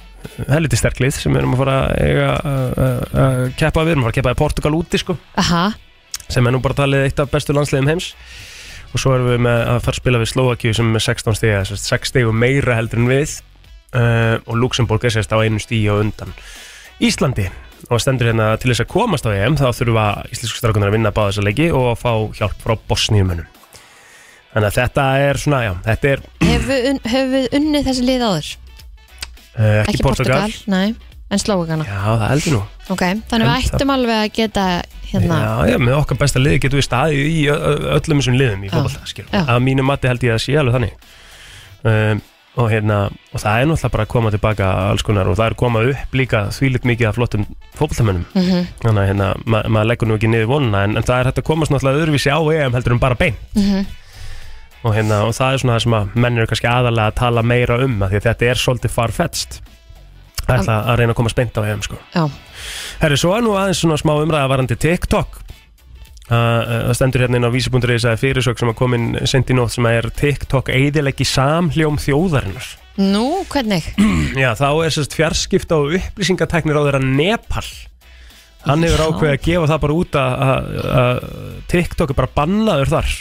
[SPEAKER 1] helviti sterklið sem við erum að fara að eiga, uh, uh, keppa við, við erum að fara að keppa í Portugal úti sko
[SPEAKER 2] aha,
[SPEAKER 1] sem er nú bara talið eitt af bestu landsliðum heims og svo erum við með að fara að spila við Slovakíu sem er með 16 stiga, þess að 6 stigum meira heldur en við uh, og Luxemburg er sérst á einu stíu og undan Íslandi og stendur hérna til þess að komast á EM þá þurfa íslensku strákunar að vinna báða þessa leiki og að fá hjálp frá Bosníumönnum þannig að þetta er svona, já, þetta er
[SPEAKER 2] hefur við, un hef við unnið þessi lið áður?
[SPEAKER 1] Eh, ekki, Portugal.
[SPEAKER 2] Nei, en Slóvakana
[SPEAKER 1] Já, það heldur nú
[SPEAKER 2] Ok, þannig við
[SPEAKER 1] Held það.
[SPEAKER 2] ættum alveg að geta hérna
[SPEAKER 1] Já, já, með okkar besta liði getum við staðið í ö- ö- öllum þessum liðum í
[SPEAKER 2] Já.
[SPEAKER 1] fólkvallta, skilum.
[SPEAKER 2] Já.
[SPEAKER 1] Að mínu mati held ég að sé alveg þannig. Um, og hérna, og það er náttúrulega bara að koma tilbaka alls konar og það er komað upp líka þvílitt mikið af flottum fólkvalltamönnum.
[SPEAKER 2] mm -hmm,
[SPEAKER 1] Þannig að hérna, ma maður leggur nú ekki niður vonuna en, en það er hægt að komast náttúrulega öðruvísi á EM heldur en bara bein.
[SPEAKER 2] mhm.
[SPEAKER 1] Og hérna, og það er svona það sem að menn eru kannski aðalega að tala meira um að því að þetta er svolítið farfetst. Það er að reyna að komast beint á EM, sko.
[SPEAKER 2] Já,
[SPEAKER 1] Herri, svo er nú aðeins svona smá umræða varandi TikTok Uh, uh, Það stendur hérna inn á vísi.is að fyrirsök sem að komin sendi nótt sem að er TikTok eiðilegi samhljóm þjóðarinnar
[SPEAKER 2] nú, hvernig?
[SPEAKER 1] Já, þá er sérst fjarskipta og upplýsingateknir á þeirra Nepal Hann hefur
[SPEAKER 2] Já.
[SPEAKER 1] ákveðið að gefa það bara út að- að að TikTok er bara bannaður þar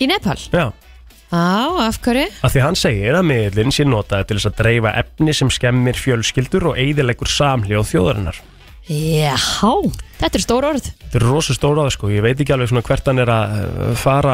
[SPEAKER 2] Í Nepal?
[SPEAKER 1] Já,
[SPEAKER 2] Á, af hverju?
[SPEAKER 1] af því hann segir að miðlinn sé notaði til þess að dreifa efni sem skemmir fjölskyldur og eiðilegur samhljóð þjóðarinnar
[SPEAKER 2] Já, þetta er stór orð
[SPEAKER 1] Þetta er rosa stór á það sko, ég veit ekki alveg svona hvert hann er að eh, fara,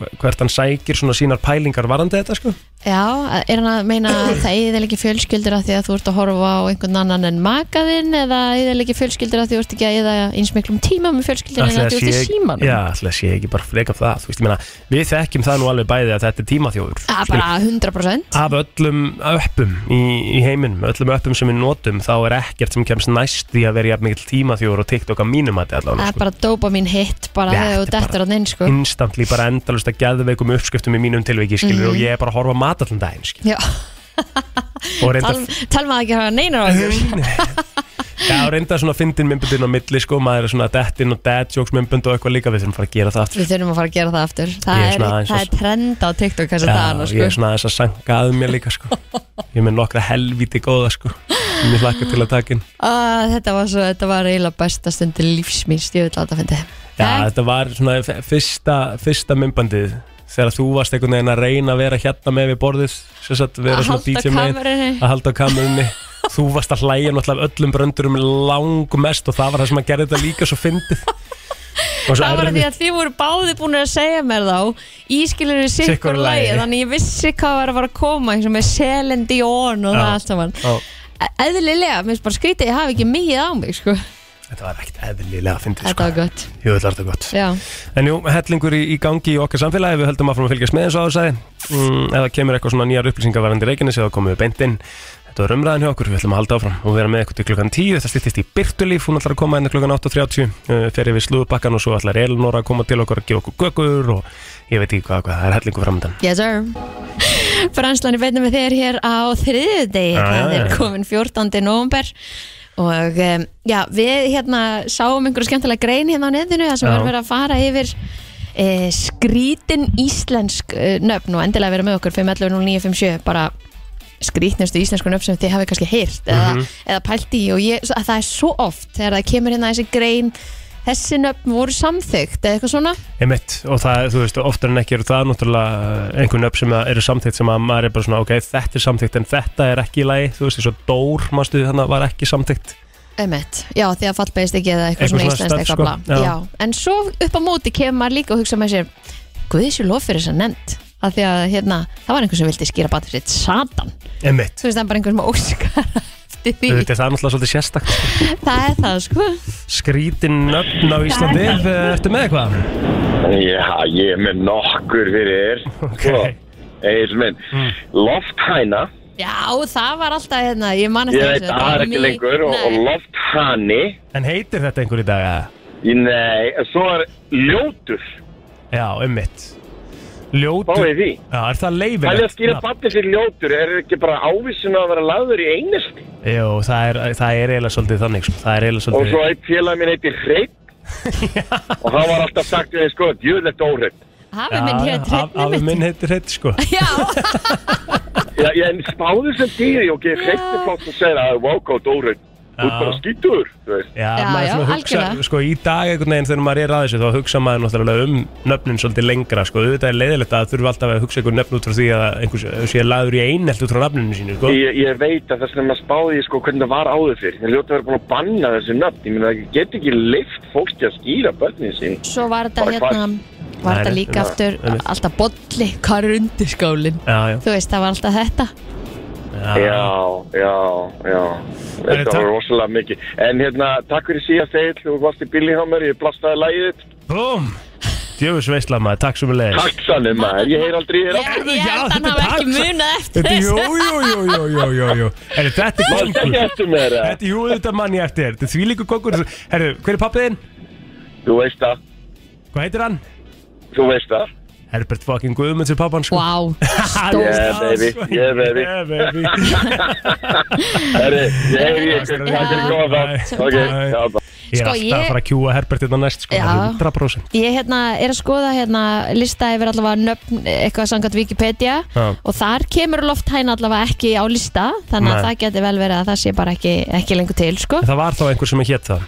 [SPEAKER 1] hver- hvert hann sækir svona sínar pælingar varandi þetta sko.
[SPEAKER 2] Já, er hann að meina að það eðil ekki fjölskyldur að því að þú ert að horfa á einhvern annan en makaðinn eða eðil ekki fjölskyldur að því þú ert ekki að eða eins miklum tíma með fjölskyldur en
[SPEAKER 1] Ætli
[SPEAKER 2] að
[SPEAKER 1] það
[SPEAKER 2] þú ert í
[SPEAKER 1] sé-
[SPEAKER 2] símanum
[SPEAKER 1] Já, ætla að sé ekki bara freka það, þú veist, ég meina, við þekkjum það nú alveg bæði að þetta er tímaþjóður.
[SPEAKER 2] Ah,
[SPEAKER 1] skilur.
[SPEAKER 2] bara 100%
[SPEAKER 1] Af öllum öppum í, í heiminum, öllum öppum sem við notum, þá er ekkert sem kemst næst því að vera jafn mikill tímaþjóður og TikTok að mínum að þetta
[SPEAKER 2] Það
[SPEAKER 1] allavega. sko.
[SPEAKER 2] er bara dopamín hit bara
[SPEAKER 1] Já,
[SPEAKER 2] þegar þú
[SPEAKER 1] þetta er Mm.
[SPEAKER 2] dettur á neins sko
[SPEAKER 1] Instantly bara endalust að geðveikum uppskriftum í mínum tilviki, skilur,
[SPEAKER 2] Mm.
[SPEAKER 1] og ég er bara að horfa á mat allan daginn, skilur.
[SPEAKER 2] Já,
[SPEAKER 1] Og reynda
[SPEAKER 2] tal, talma ekki að hafa neinar á okkur
[SPEAKER 1] Já, reynda svona fyndin myndbundin á milli sko, maður er svona dettinn og dad jokes myndbund og eitthvað líka, við þurfum að fara að gera það aftur
[SPEAKER 2] Við þurfum að fara að gera það aftur Það,
[SPEAKER 1] Ég er
[SPEAKER 2] er,
[SPEAKER 1] svona aðeins
[SPEAKER 2] það
[SPEAKER 1] að-
[SPEAKER 2] er trend á TikTok þess að það
[SPEAKER 1] Já,
[SPEAKER 2] annars
[SPEAKER 1] ég
[SPEAKER 2] sko
[SPEAKER 1] er svona aðeins að sanga að mér líka sko Ég er með nokkra helvíti góða sko sem ég hlakka til að taka inn
[SPEAKER 2] ah, Þetta var svo, þetta var eiginlega besta stundi lífsmýst, ég vil að þetta fyndi
[SPEAKER 1] Já, þetta var svona f- fyrsta, fyrsta myndbandið þegar þú varst einhvern veginn að reyna að vera hérna með við borðið sem sagt vera
[SPEAKER 2] Að
[SPEAKER 1] svona
[SPEAKER 2] halda
[SPEAKER 1] DJ megin
[SPEAKER 2] kamerunni
[SPEAKER 1] að halda á kamerunni þú varst að hlæja náttúrulega af öllum bröndurum langmest og það var það sem að gera þetta líka svo fyndið Og svo
[SPEAKER 2] Það var
[SPEAKER 1] erfitt.
[SPEAKER 2] því að þið voru báði búin að segja mér þá Ískilur við sikkur
[SPEAKER 1] Sitthvoru
[SPEAKER 2] lagi
[SPEAKER 1] lagi.
[SPEAKER 2] Þannig ég vissi hvað var að fara að koma eins og með Selin Dion og
[SPEAKER 1] Já.
[SPEAKER 2] það allt saman E-,
[SPEAKER 1] Já.
[SPEAKER 2] Eðlilega, mér finnst bara skrítið Ég hafi ekki mikið á mig sko.
[SPEAKER 1] Þetta var ekkert eðlilega fyndið
[SPEAKER 2] Þetta
[SPEAKER 1] sko.
[SPEAKER 2] var gott
[SPEAKER 1] Jú, þetta var þetta gott.
[SPEAKER 2] Já,
[SPEAKER 1] En jú, hellingur í, í gangi í okkar samfélagi, við höldum áfram að fylgjast með eins og áðursæði. Mm, ef það kemur eitthvað svona nýjar upplýsingar varandi reikinu, þá komum við beint inn. Þetta var umræðin hjá okkur, við ætlum að halda áfram og vera með eitthvað til klukkan 10. Þetta stýttist í Byrtulíf, hún ætlar að koma inn klukkan 8.30, uh, fer yfir slúðbakkan og svo ætlar Elinóra að koma til okkar að gefa okkur gökur og ég veit ekki hvað, hvað það er hellingur framöndan.
[SPEAKER 2] yes sir Franslan er beinna með þér hér á þriðjudegi
[SPEAKER 1] Já, já,
[SPEAKER 2] Það
[SPEAKER 1] já.
[SPEAKER 2] er komin 14. november Og um, já, við hérna sáum einhverju skemmtilega grein hérna á netinu Það sem
[SPEAKER 1] Já.
[SPEAKER 2] var verið að fara yfir e, skrítin íslensk e, nöfn og endilega vera með okkur 5.11.09.57 bara skrítnustu íslensku nöfn sem þið hafið kannski heyrt eða,
[SPEAKER 1] Mhm.
[SPEAKER 2] eða pælt í og ég, að það er svo oft þegar það kemur hérna þessi grein þessi nöfn voru samþygt eða eitthvað svona
[SPEAKER 1] Einmitt, og það, þú veist, oftar en ekki eru það náttúrulega einhvern upp sem að eru samþýtt sem að maður er bara svona, ok, þetta er samþýtt en þetta er ekki í lagi, þú veist, eins og Dór, mástu, þannig að var ekki samþýtt
[SPEAKER 2] Emmett, já því að fallbeist ekki eða eitthvað
[SPEAKER 1] Eitthvað
[SPEAKER 2] svona
[SPEAKER 1] svona
[SPEAKER 2] íslenskt
[SPEAKER 1] stöff,
[SPEAKER 2] eitthvað bla
[SPEAKER 1] sko. Já.
[SPEAKER 2] já. En svo upp á móti kemur maður líka og hugsa með sér Guðsjó lof fyrir þess að nefnd að því að hérna, það var einhver sem vildi skýra bátur sitt satan,
[SPEAKER 1] Einmitt,
[SPEAKER 2] þú veist það er bara einhver sem óskar eftir því,
[SPEAKER 1] þú veist, það er náttúrulega svolítið sérstakt
[SPEAKER 2] það er það sko
[SPEAKER 1] Skrítin nöfn á Íslandi, eh, ertu með eitthvað?
[SPEAKER 4] Já, ég er með nokkur fyrir þér
[SPEAKER 1] Ok. Mm.
[SPEAKER 4] Eils minn Lofthæna
[SPEAKER 2] Já, það var alltaf hérna, ég man eftir
[SPEAKER 4] Ég veit
[SPEAKER 2] þessu,
[SPEAKER 4] að
[SPEAKER 2] var
[SPEAKER 4] það er ekki
[SPEAKER 2] mikið-
[SPEAKER 4] lengur Og, og
[SPEAKER 2] Nei.
[SPEAKER 4] lofthani
[SPEAKER 1] En heitir þetta einhver í dag, eða?
[SPEAKER 4] Í- Nei, en svo er ljótur
[SPEAKER 1] Já, einmitt Ljótur
[SPEAKER 4] Fáið því
[SPEAKER 1] Já, er það
[SPEAKER 4] Það er að
[SPEAKER 1] leifilegt?
[SPEAKER 4] skýra batni sér ljótur Er ekki bara ávísun að vera lagður í einist
[SPEAKER 1] Jú, það er, það er eiginlega svolítið þannig, sko. það er eiginlega
[SPEAKER 4] Og
[SPEAKER 1] svolítið
[SPEAKER 4] svo eitt félag minn heitir hreitt Og það var alltaf sagt við þeim, sko Djöðlegt óhreitt
[SPEAKER 2] Afi minn hér,
[SPEAKER 1] af, af
[SPEAKER 2] trefnum mitt
[SPEAKER 1] minn heitir heitt, sko
[SPEAKER 2] Já,
[SPEAKER 4] Já, ég en spáðu sem dýri Og ég hreitt er flott að segja það Það er vákátt óhreitt Þú ert
[SPEAKER 1] Já.
[SPEAKER 4] bara skítur Þú veist
[SPEAKER 1] Já,
[SPEAKER 2] Já,
[SPEAKER 1] maður
[SPEAKER 2] já,
[SPEAKER 1] svona hugsa,
[SPEAKER 2] algjörlega.
[SPEAKER 1] sko í dag einhvern veginn þegar maður er að þessu þá hugsa maður náttúrulega um nöfnin svolítið lengra sko, auðvitað er leiðilegt að þurfa alltaf að hugsa einhver nöfn út frá því að einhvers sé lagður í einelt út frá nafninu sínu sko.
[SPEAKER 4] Ég, ég veit að þess vegna spáði ég sko hvernig það var áður fyrir. Þeir ljóta að vera búin að banna þessi nöfn. Ég meina það get ekki lift fólki að skýra börnin sín.
[SPEAKER 2] svo var þetta
[SPEAKER 4] Bara
[SPEAKER 2] hérna Var
[SPEAKER 1] Nei,
[SPEAKER 2] þetta
[SPEAKER 1] nei,
[SPEAKER 2] líka
[SPEAKER 1] nei,
[SPEAKER 2] aftur
[SPEAKER 1] nei.
[SPEAKER 2] Alltaf bolli, hvað er undir skálinn
[SPEAKER 1] Já, já,
[SPEAKER 2] Þú veist, það var alltaf þetta
[SPEAKER 4] Já, já, já
[SPEAKER 1] Herri,
[SPEAKER 4] Þetta
[SPEAKER 1] Ah. takk.
[SPEAKER 4] var rosalega mikið En hérna, takk fyrir síðast eil Þú varst í bílinn hjá mér, ég blastaði lægið þitt.
[SPEAKER 1] Búm Djöfus veistla maður, takk sem við leiðis
[SPEAKER 4] Takk sannum maður, ég heyr aldrei þér aftur
[SPEAKER 2] Ég ég held að hann
[SPEAKER 1] þetta er
[SPEAKER 2] hafa ekki
[SPEAKER 1] taksa-
[SPEAKER 2] munað eftir
[SPEAKER 1] Þetta er,
[SPEAKER 2] þessu
[SPEAKER 1] jú, jú, jú, jú, jú, jú, jú Herri, þetta er
[SPEAKER 4] Mást
[SPEAKER 1] kongur
[SPEAKER 4] ekki eftir mér eða?
[SPEAKER 1] Þetta er jú, þetta mann ég eftir Þetta er því líku kongur Herri, hver er pappið þinn?
[SPEAKER 4] Þú veist það,
[SPEAKER 1] Hvað heitir hann?
[SPEAKER 4] þú veist það
[SPEAKER 1] Herbert fucking Guðmunds er pappan sko
[SPEAKER 2] Wow,
[SPEAKER 4] Yeah, baby. Yeah, baby.
[SPEAKER 1] Yeah, baby
[SPEAKER 4] Herri, ég heyri ykkur,
[SPEAKER 1] Takk.
[SPEAKER 4] takk fyrir góða
[SPEAKER 1] Takk.
[SPEAKER 4] það Ok,
[SPEAKER 1] Takk.
[SPEAKER 4] já, bara
[SPEAKER 1] Ég er
[SPEAKER 2] Sko,
[SPEAKER 1] alltaf að
[SPEAKER 2] ég-
[SPEAKER 1] fara að kjúa Herbert þetta næst sko
[SPEAKER 2] Já.
[SPEAKER 1] 100%
[SPEAKER 2] Ég hérna, er að skoða hérna, lista yfir allavega nöfn eh, eitthvað samkvæmt Wikipedia
[SPEAKER 1] Já.
[SPEAKER 2] og þar kemur lofthæna allavega ekki á lista þannig
[SPEAKER 1] Nei.
[SPEAKER 2] að það geti vel verið að það sé bara ekki, ekki lengur til sko.
[SPEAKER 1] Það var þá einhver sem hétt það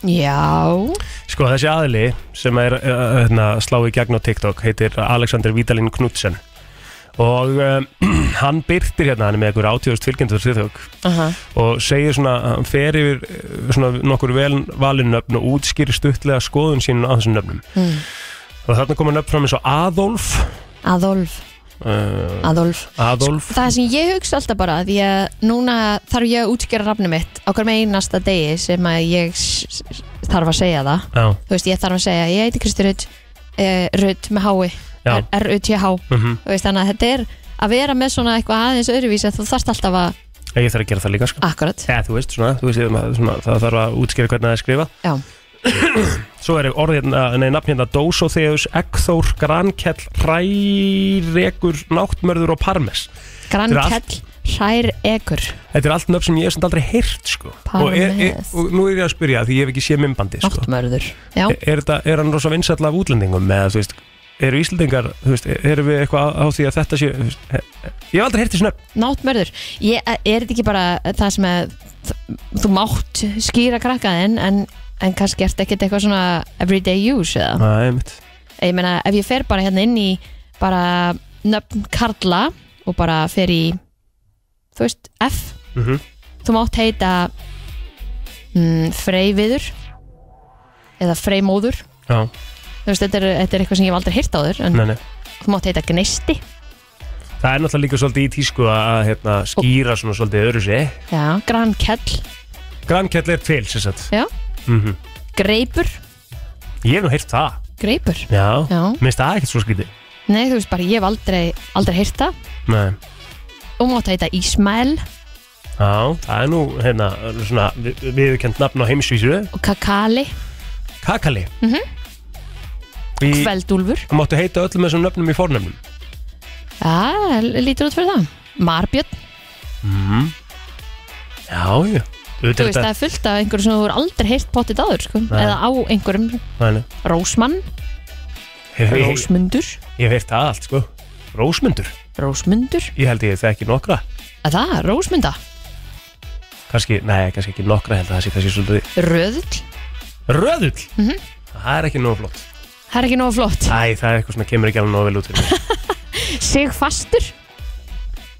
[SPEAKER 2] Já,
[SPEAKER 1] Sko þessi aðli sem er uh, uh, hérna, slá í gegn á TikTok heitir Alexander Vítalín Knudsen og um, hann byrtir hérna hann er með einhver átíðust fylgjendur TikTok
[SPEAKER 2] Aha.
[SPEAKER 1] og segir svona hann fer yfir uh, svona nokkur vel valin nöfn og útskýrir stuttlega skoðun sín á þessum nöfnum
[SPEAKER 2] Hmm.
[SPEAKER 1] og þarna koma nöfn fram eins og Adolf
[SPEAKER 2] Adolf,
[SPEAKER 1] uh,
[SPEAKER 2] Adolf
[SPEAKER 1] Adolf
[SPEAKER 2] Það sem ég hugsa alltaf bara því að núna þarf ég að útskjöra rafni mitt á hverjum einasta degi sem að ég s- s- þarf að segja það
[SPEAKER 1] Já,
[SPEAKER 2] þú veist, ég þarf að segja, ég heiti Kristi Rutt uh, Rutt með hái
[SPEAKER 1] Já.
[SPEAKER 2] R-U-T-H
[SPEAKER 1] Mhm.
[SPEAKER 2] Þú veist, þannig að þetta er að vera með svona eitthvað aðeins öðruvísi að þú þarft alltaf að,
[SPEAKER 1] ég þarf að gera það líka sko
[SPEAKER 2] akkurat
[SPEAKER 1] Eða, þú veist, svona, þú veist, svona, svona, það þarf að útskýra hvernig það er skrifað
[SPEAKER 2] já,
[SPEAKER 1] Svo er orðið, hérna- nei, nafn hérna Dósotheus, Eggþór, Grankell, Hrærekur, Náttmörður og Parmes. Þetta er
[SPEAKER 2] grannkell, hrær ekur
[SPEAKER 1] Þetta er allt nöfn sem ég hef samt aldrei heyrt, sko. Og, er, er,
[SPEAKER 2] Parmes.
[SPEAKER 1] og nú er ég að spyrja, því ég hef ekki séð mymbandi, sko.
[SPEAKER 2] náttmörður, já,
[SPEAKER 1] Er, er, þetta- er hann rosa vinsall af útlendingum, eða, þú veist, eru Íslandingar, þú veist, erum við eitthvað á, á því að þetta sé, þú veist, ég hef aldrei heyrt þessu nöfn.
[SPEAKER 2] náttmörður ég, eh, er þetta ekki bara það sem að þ- þú mátt skýra krakkaðinn en, en kannski ert ekkert eitthvað svona everyday use eða,
[SPEAKER 1] Nei, einmitt.
[SPEAKER 2] ég meina ef ég fer bara hérna inn í bara nöfn karla og bara fer í þú veist, F
[SPEAKER 1] Mhm.
[SPEAKER 2] þú mátt heita mm, Freyviður eða Freymóður
[SPEAKER 1] Já,
[SPEAKER 2] þú veist, þetta er, þetta er eitthvað sem ég hef aldrei hýrt á þur en
[SPEAKER 1] nei, nei.
[SPEAKER 2] þú mátt heita Gneisti
[SPEAKER 1] Það er náttúrulega líka svolítið í tísku að hérna, skýra svona svolítið öðru sig.
[SPEAKER 2] já, Grankell,
[SPEAKER 1] Grankell er til, sem sagt.
[SPEAKER 2] já,
[SPEAKER 1] Mm
[SPEAKER 2] Greipur
[SPEAKER 1] Ég hef nú heyrt það.
[SPEAKER 2] Greipur,
[SPEAKER 1] Já,
[SPEAKER 2] Já.
[SPEAKER 1] mér finnst það ekkert svo skrítið
[SPEAKER 2] nei þú veist bara ég hef aldrei, aldrei hýrt það
[SPEAKER 1] Nei
[SPEAKER 2] og mátt heita Ismael
[SPEAKER 1] Já, það er nú hérna svona viðkjönd nafn á heimsvísu
[SPEAKER 2] og Kakali,
[SPEAKER 1] Kakali mm
[SPEAKER 2] Mhm.
[SPEAKER 1] -hmm. Í,
[SPEAKER 2] Kveldúlfur
[SPEAKER 1] það máttu heita öllum þessum nöfnum í fornöfnum
[SPEAKER 2] já, lítur út fyrir það Marbjörn,
[SPEAKER 1] Já, já
[SPEAKER 2] þú veist það er fullt af einhverjum sem þú hefur aldrei hýrt pottið áður sko,
[SPEAKER 1] Nei.
[SPEAKER 2] eða á einhverjum
[SPEAKER 1] Næ,
[SPEAKER 2] Rósmann,
[SPEAKER 1] hef, ég,
[SPEAKER 2] Rósmundur
[SPEAKER 1] ég hef heyrt það allt, sko Rósmundur,
[SPEAKER 2] Rósmundur,
[SPEAKER 1] ég held ég þekki nokkra
[SPEAKER 2] að það, Rósmunda
[SPEAKER 1] Kanski, nei, kannski ekki nokkra held að það sé kannski svolítið
[SPEAKER 2] Röðl Mhm.
[SPEAKER 1] Röðull mm Það er ekki nóg flott
[SPEAKER 2] Það er ekki nógu flott.
[SPEAKER 1] Æ, það er eitthvað svona kemur ekki alveg nóg vel út fyrir mig.
[SPEAKER 2] Sigfastur,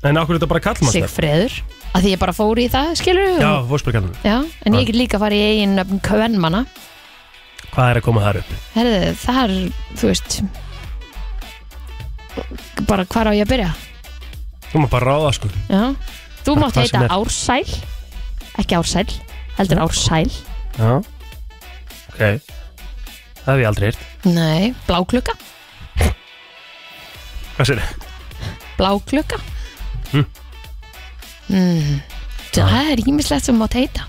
[SPEAKER 1] En okkur er þetta bara kallmannsnöfn
[SPEAKER 2] Sigfreður, að því ég bara fór í það, skilur við?
[SPEAKER 1] Já, fórspyrkjarnum
[SPEAKER 2] Já, en ég get líka farið í eigin nöfn kvennmanna.
[SPEAKER 1] Hvað er að koma þar upp?
[SPEAKER 2] Herðu, það er, þú veist, bara hvar á ég að byrja?
[SPEAKER 1] Þú maður bara ráða, sko
[SPEAKER 2] Já. Þú
[SPEAKER 1] Bara
[SPEAKER 2] mátt
[SPEAKER 1] hvað
[SPEAKER 2] heita
[SPEAKER 1] sem er. Hm.
[SPEAKER 2] Ársæl, ekki Ársæl, heldur Ársæl.
[SPEAKER 1] Já Ok Það hef ég aldrei hýrt
[SPEAKER 2] Nei, Bláklukka,
[SPEAKER 1] Hvað sér þið?
[SPEAKER 2] Bláklukka.
[SPEAKER 1] Hm.
[SPEAKER 2] Mm. Það er ímislegt sem mátt heita.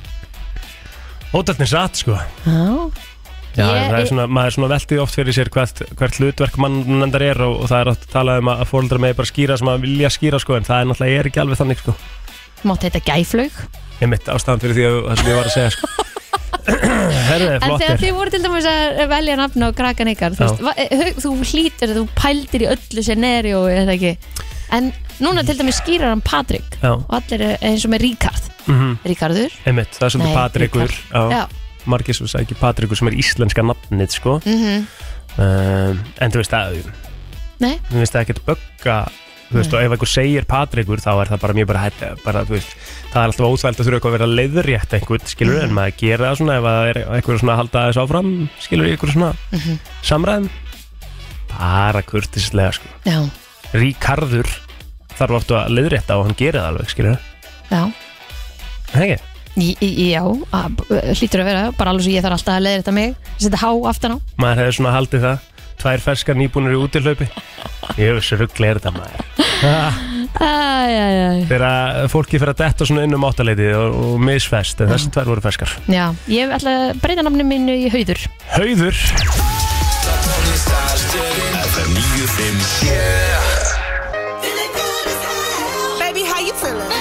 [SPEAKER 1] Hótelnir satt sko
[SPEAKER 2] Já.
[SPEAKER 1] Já,
[SPEAKER 2] Ég-
[SPEAKER 1] það er svona, maður er svona veltið oft fyrir sér hvert, hvert hlutverk mannendar er og, og það er oft talað um að fólundra með bara skýra sem að vilja skýra sko en það er náttúrulega er ekki alveg þannig sko
[SPEAKER 2] Þú mátt heita Gæflaug.
[SPEAKER 1] Ég mitt ástæðan fyrir því að það sem ég var að segja sko Herðu,
[SPEAKER 2] En
[SPEAKER 1] flott
[SPEAKER 2] þegar
[SPEAKER 1] er
[SPEAKER 2] þið voru til dæmis að velja nafn á krakkan ykkar, þú,
[SPEAKER 1] Já.
[SPEAKER 2] veist, va- eh, hau- þú hlýtur, þú pældir í öllu scenari og þetta ekki. En núna til dæmis skýrar hann Patrik
[SPEAKER 1] Já,
[SPEAKER 2] og allir er eins og með Ríkard.
[SPEAKER 1] mhm
[SPEAKER 2] Ríkardur?
[SPEAKER 1] Einmitt, það er svolítið
[SPEAKER 2] Nei,
[SPEAKER 1] Patrikur
[SPEAKER 2] Ríkard. Já.
[SPEAKER 1] Margir sem sagði ekki Patrikur sem er íslenska nafnið sko
[SPEAKER 2] Mhm.
[SPEAKER 1] um, En þú veist það,
[SPEAKER 2] Nei,
[SPEAKER 1] mér finnst það ekkert bögga þú veist, og ef einhver segir Patrikur þá er það bara mjög bara, hætt- eh, bara þú veist, það er alltaf óþvælt að þurfa eitthvað að vera leiðrétt einhvern, skilur,
[SPEAKER 2] Mm.
[SPEAKER 1] en maður gera það svona ef það er einhver svona að halda þess áfram skilur, einhver svona
[SPEAKER 2] Mhm.
[SPEAKER 1] samræðum bara kurtislega, sko
[SPEAKER 2] já,
[SPEAKER 1] Ríkarður, þarf oft að leiðrétta og hann gerir það alveg, skilur það?
[SPEAKER 2] já
[SPEAKER 1] Hegi?
[SPEAKER 2] Í- í- Já, að- hlýtur að vera, bara alveg svo ég þarf alltaf að leiðrita mig, setja há aftan á
[SPEAKER 1] Maður hefði svona haldið það Tvær ferskar nýbúnir í útilaupi Ég veist að ruggla er þetta maður Ah,
[SPEAKER 2] Æ, æ, æ, æ.
[SPEAKER 1] Þegar fólki fyrir að detta svona inn um áttaleitið og, og misfest, en þessi tvær voru ferskar
[SPEAKER 2] Já, ég ætla að breyta nafni mínu í Hauður
[SPEAKER 1] Hauður
[SPEAKER 3] FM 957
[SPEAKER 5] Baby, how you feeling?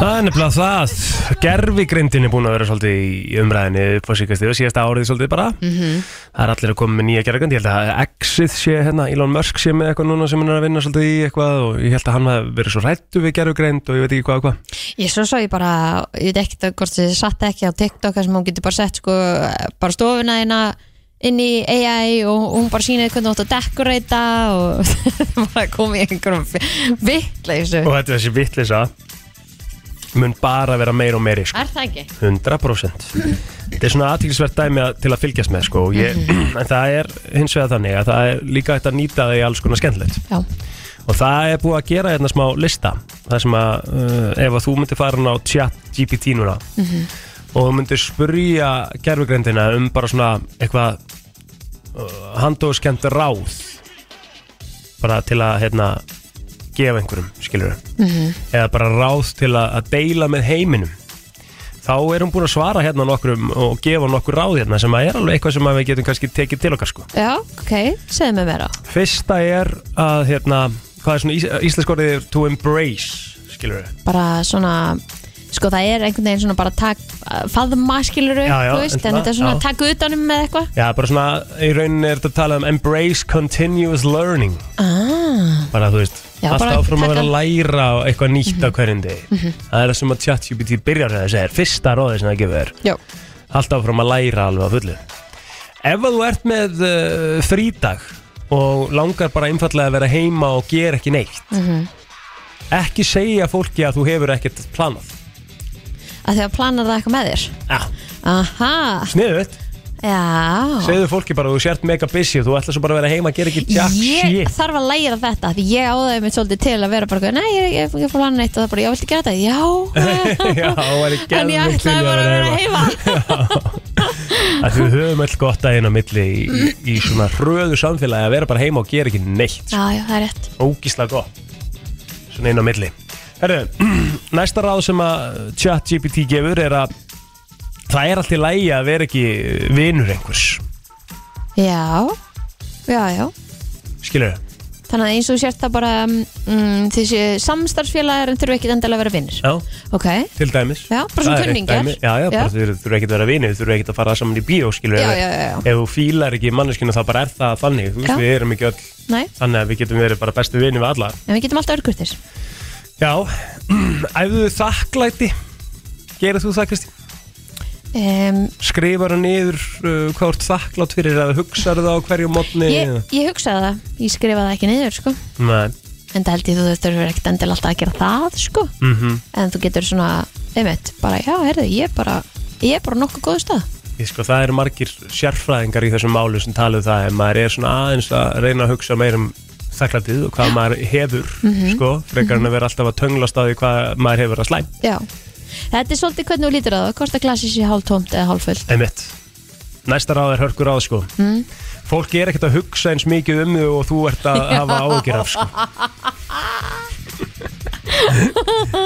[SPEAKER 1] Það er nefnilega það Gervigrindin er búin að vera svolítið í umræðinni upp á síkast yfir síðasta árið svolítið bara Það er allir að koma með nýja gervigrindi Ég held að Exit sé hérna, Elon Musk sé með eitthvað núna sem hann er að vinna svolítið í eitthvað og ég held að hann hafi verið svo hrættu við gervigrind og ég veit ekki hvað og hvað
[SPEAKER 2] Ég svo svo ég bara, ég veit ekkert að hvort þið satt ekki á TikTok þar sem hún getur bara sett sko, bara stofuna hérna inn í AI og og hún bara sýnaði hvernig þú átt að dekorata og bara komið í einhverjum vittleysu
[SPEAKER 1] Og þetta er þessi vitlisa mun bara vera meir og meiri sko.
[SPEAKER 2] Er það ekki?
[SPEAKER 1] 100% Þetta er svona aðtílisvert dæmi að- til að fylgjast með sko. og ég, en það er hins vegar þannig að það er líka hægt að nýta það í alls konar skemmtilegt
[SPEAKER 2] Já,
[SPEAKER 1] og það er búið að gera hérna smá lista það sem að uh, ef að þú myndir fara hann á chat GPT núna og þú myndir spurja gerfugrindina um bara svona eitthvað uh, handóðskemmt ráð bara til að hérna gefa einhverjum, skilur eða bara ráð til að, að deila með heiminum þá er hún búin að svara hérna nokkrum og gefa nokkur ráð hérna sem að er alveg eitthvað sem að við getum kannski tekið til okkar sko
[SPEAKER 2] já, ok, segðu mig meira
[SPEAKER 1] Fyrsta er að hérna, hvað er svona ís íslensk orðið to embrace, skilur við
[SPEAKER 2] bara svona sko það er einhvern veginn svona bara tak, faðma skiluru,
[SPEAKER 1] Já, já,
[SPEAKER 2] þú veist, en
[SPEAKER 1] svona,
[SPEAKER 2] þetta er svona
[SPEAKER 1] já.
[SPEAKER 2] takk utanum með eitthvað
[SPEAKER 1] Já, bara svona, í rauninni er þetta að tala um embrace continuous learning
[SPEAKER 2] ah,
[SPEAKER 1] bara þú veist,
[SPEAKER 2] Já,
[SPEAKER 1] alltaf
[SPEAKER 2] bara
[SPEAKER 1] áfram að vera að
[SPEAKER 2] taka- Mhm.
[SPEAKER 1] læra og eitthvað nýtt á hverjum degi það er það sem að ChatGPT byrjar að segja er fyrsta ráðið sem það gefur þér
[SPEAKER 2] já,
[SPEAKER 1] alltaf áfram að læra alveg að fullu Ef að þú ert með uh, frídag og langar bara einfallega að vera heima og gera ekki neitt
[SPEAKER 2] Mhm.
[SPEAKER 1] ekki segja fólki að þú hefur ekkert planað
[SPEAKER 2] að því að plana það eitthvað með þér
[SPEAKER 1] Já,
[SPEAKER 2] aha,
[SPEAKER 1] sniðut
[SPEAKER 2] já
[SPEAKER 1] Segðu fólki bara að þú sért mega busy og þú ætlar svo bara að vera heima að gera ekki jack
[SPEAKER 2] ég
[SPEAKER 1] shit
[SPEAKER 2] þarf að læra þetta því ég áðaði mitt svolítið til að vera bara eitthvað, nei, ég er ekki að plana neitt og það bara, já, viltu gera þetta? Já
[SPEAKER 1] Já, það er ekki
[SPEAKER 2] en ég ætlaði bara að vera heima
[SPEAKER 1] Því við höfum öll gott að hérna á milli í, í, í svona hröðu samfélagi að vera bara heima og gera ekki neitt
[SPEAKER 2] já, já, það er rétt
[SPEAKER 1] Ógíslega gott Svona inn á milli Herru, næsta ráð sem að chat GPT gefur er að það er allt í lægi að vera ekki vinur einhvers
[SPEAKER 2] já, já, já
[SPEAKER 1] Skilur
[SPEAKER 2] þannig að eins og þú sért það bara mm, þessi samstarfsfélagar en þurfa ekki endilega að vera vinnir
[SPEAKER 1] Já,
[SPEAKER 2] ok,
[SPEAKER 1] til dæmis
[SPEAKER 2] Já, bara svona
[SPEAKER 1] Það er eitt
[SPEAKER 2] kunningjar.
[SPEAKER 1] dæmi. Já, já, bara
[SPEAKER 2] Já.
[SPEAKER 1] þú þurfur ekkert að vera vinir, þú þurfur ekkert að fara saman í bíó skilur
[SPEAKER 2] Já,
[SPEAKER 1] ef-
[SPEAKER 2] já, já, já.
[SPEAKER 1] Ef þú fílar ekki manneskinu þá bara er það þannig Þú veist,
[SPEAKER 2] Já.
[SPEAKER 1] við erum ekki öll
[SPEAKER 2] nei
[SPEAKER 1] þannig að við getum verið bara bestu vinir við alla
[SPEAKER 2] En við getum alltaf örgurðir.
[SPEAKER 1] Já, æfðu þakklæti Gerir þú það, Kristi?
[SPEAKER 2] Um,
[SPEAKER 1] Skrifar hann niður uh, hvað þú ert þakklátt fyrir eða hugsaðu það á hverju mótni
[SPEAKER 2] ég, ég hugsaði það, ég skrifaði það ekki niður, sko.
[SPEAKER 1] Nei,
[SPEAKER 2] En það held ég þú þurftur ekkert endilega alltaf að gera það, sko.
[SPEAKER 1] mhm,
[SPEAKER 2] En þú getur svona, einmitt, bara, já, herðu, ég er bara, ég er bara á nokkuð góð stað.
[SPEAKER 1] ég sko, það eru margir sérfræðingar í þessum málu sem talaðu það en maður er svona aðeins að reyna að hugsa meir um þakklætið og hvað maður hefur sko, frekar en að vera alltaf að tönglast á því hvað maður hefur að slæm
[SPEAKER 2] Já. Þetta er svolítið hvernig þú lítur að það, hvort að glasið sé hálf tómt eða hálf fullt.
[SPEAKER 1] Einmitt. Næsta ráð er hörkur ráð sko. mm. Fólk er ekkert að hugsa eins mikið um þau og þú ert að hafa áhyggjur af sko.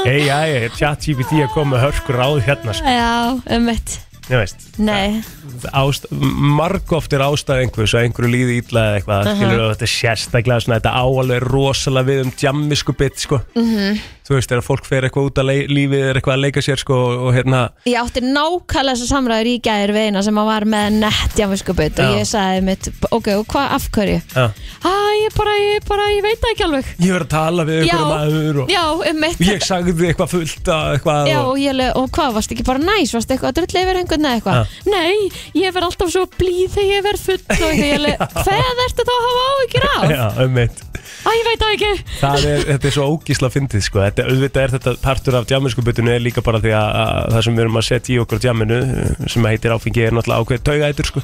[SPEAKER 1] Ei, ei, ei, tjátt GPT að koma með hörkur ráð hérna sko.
[SPEAKER 2] Já, einmitt.
[SPEAKER 1] Ég veist,
[SPEAKER 2] Nei,
[SPEAKER 1] ást, margóft er ástæð einhvers að einhverju líði ítla eða eitthvað, uh
[SPEAKER 2] Aha.
[SPEAKER 1] skilur þú, þetta er sérstaklega svona, þetta áalveg rosalega við um djammi sko bit, sko, -hmm.
[SPEAKER 2] Mhm.
[SPEAKER 1] þú veist, þegar fólk fer eitthvað út að lei- lífið er eitthvað að leika sér sko og hérna,
[SPEAKER 2] ég átti nákvæmlega þessar samræður í gæðir við eina sem að var með nett jáfnvískupið og
[SPEAKER 1] Já.
[SPEAKER 2] ég sagði mitt, ok, og hvað, af hverju?
[SPEAKER 1] já,
[SPEAKER 2] Æ, ég bara, ég bara, ég veit það ekki alveg.
[SPEAKER 1] ég verð að tala við
[SPEAKER 2] Já,
[SPEAKER 1] einhverju maður og
[SPEAKER 2] já, um mitt
[SPEAKER 1] ég sagði eitthvað fullt að eitthvað
[SPEAKER 2] Já,
[SPEAKER 1] og,
[SPEAKER 2] og, ég, le- og hvað, varst ekki bara næs, varst eitthvað að drulla yfir einhvern eða eitthvað?
[SPEAKER 1] Ah.
[SPEAKER 2] Nei, ég verð alltaf svo blíð þegar ég verð full og ég le, hvað ertu þá að hafa áhyggjur af?
[SPEAKER 1] já, um mitt
[SPEAKER 2] Æ, ég veit það ekki
[SPEAKER 1] Það er, þetta er svo ógísla fyndið sko þetta, auðvitað er þetta partur af djaminskubutunni er líka bara því að, að það sem við erum að setja í okkur á djaminu eh, sem heitir áfengi er náttúrulega ákveð taugaætur sko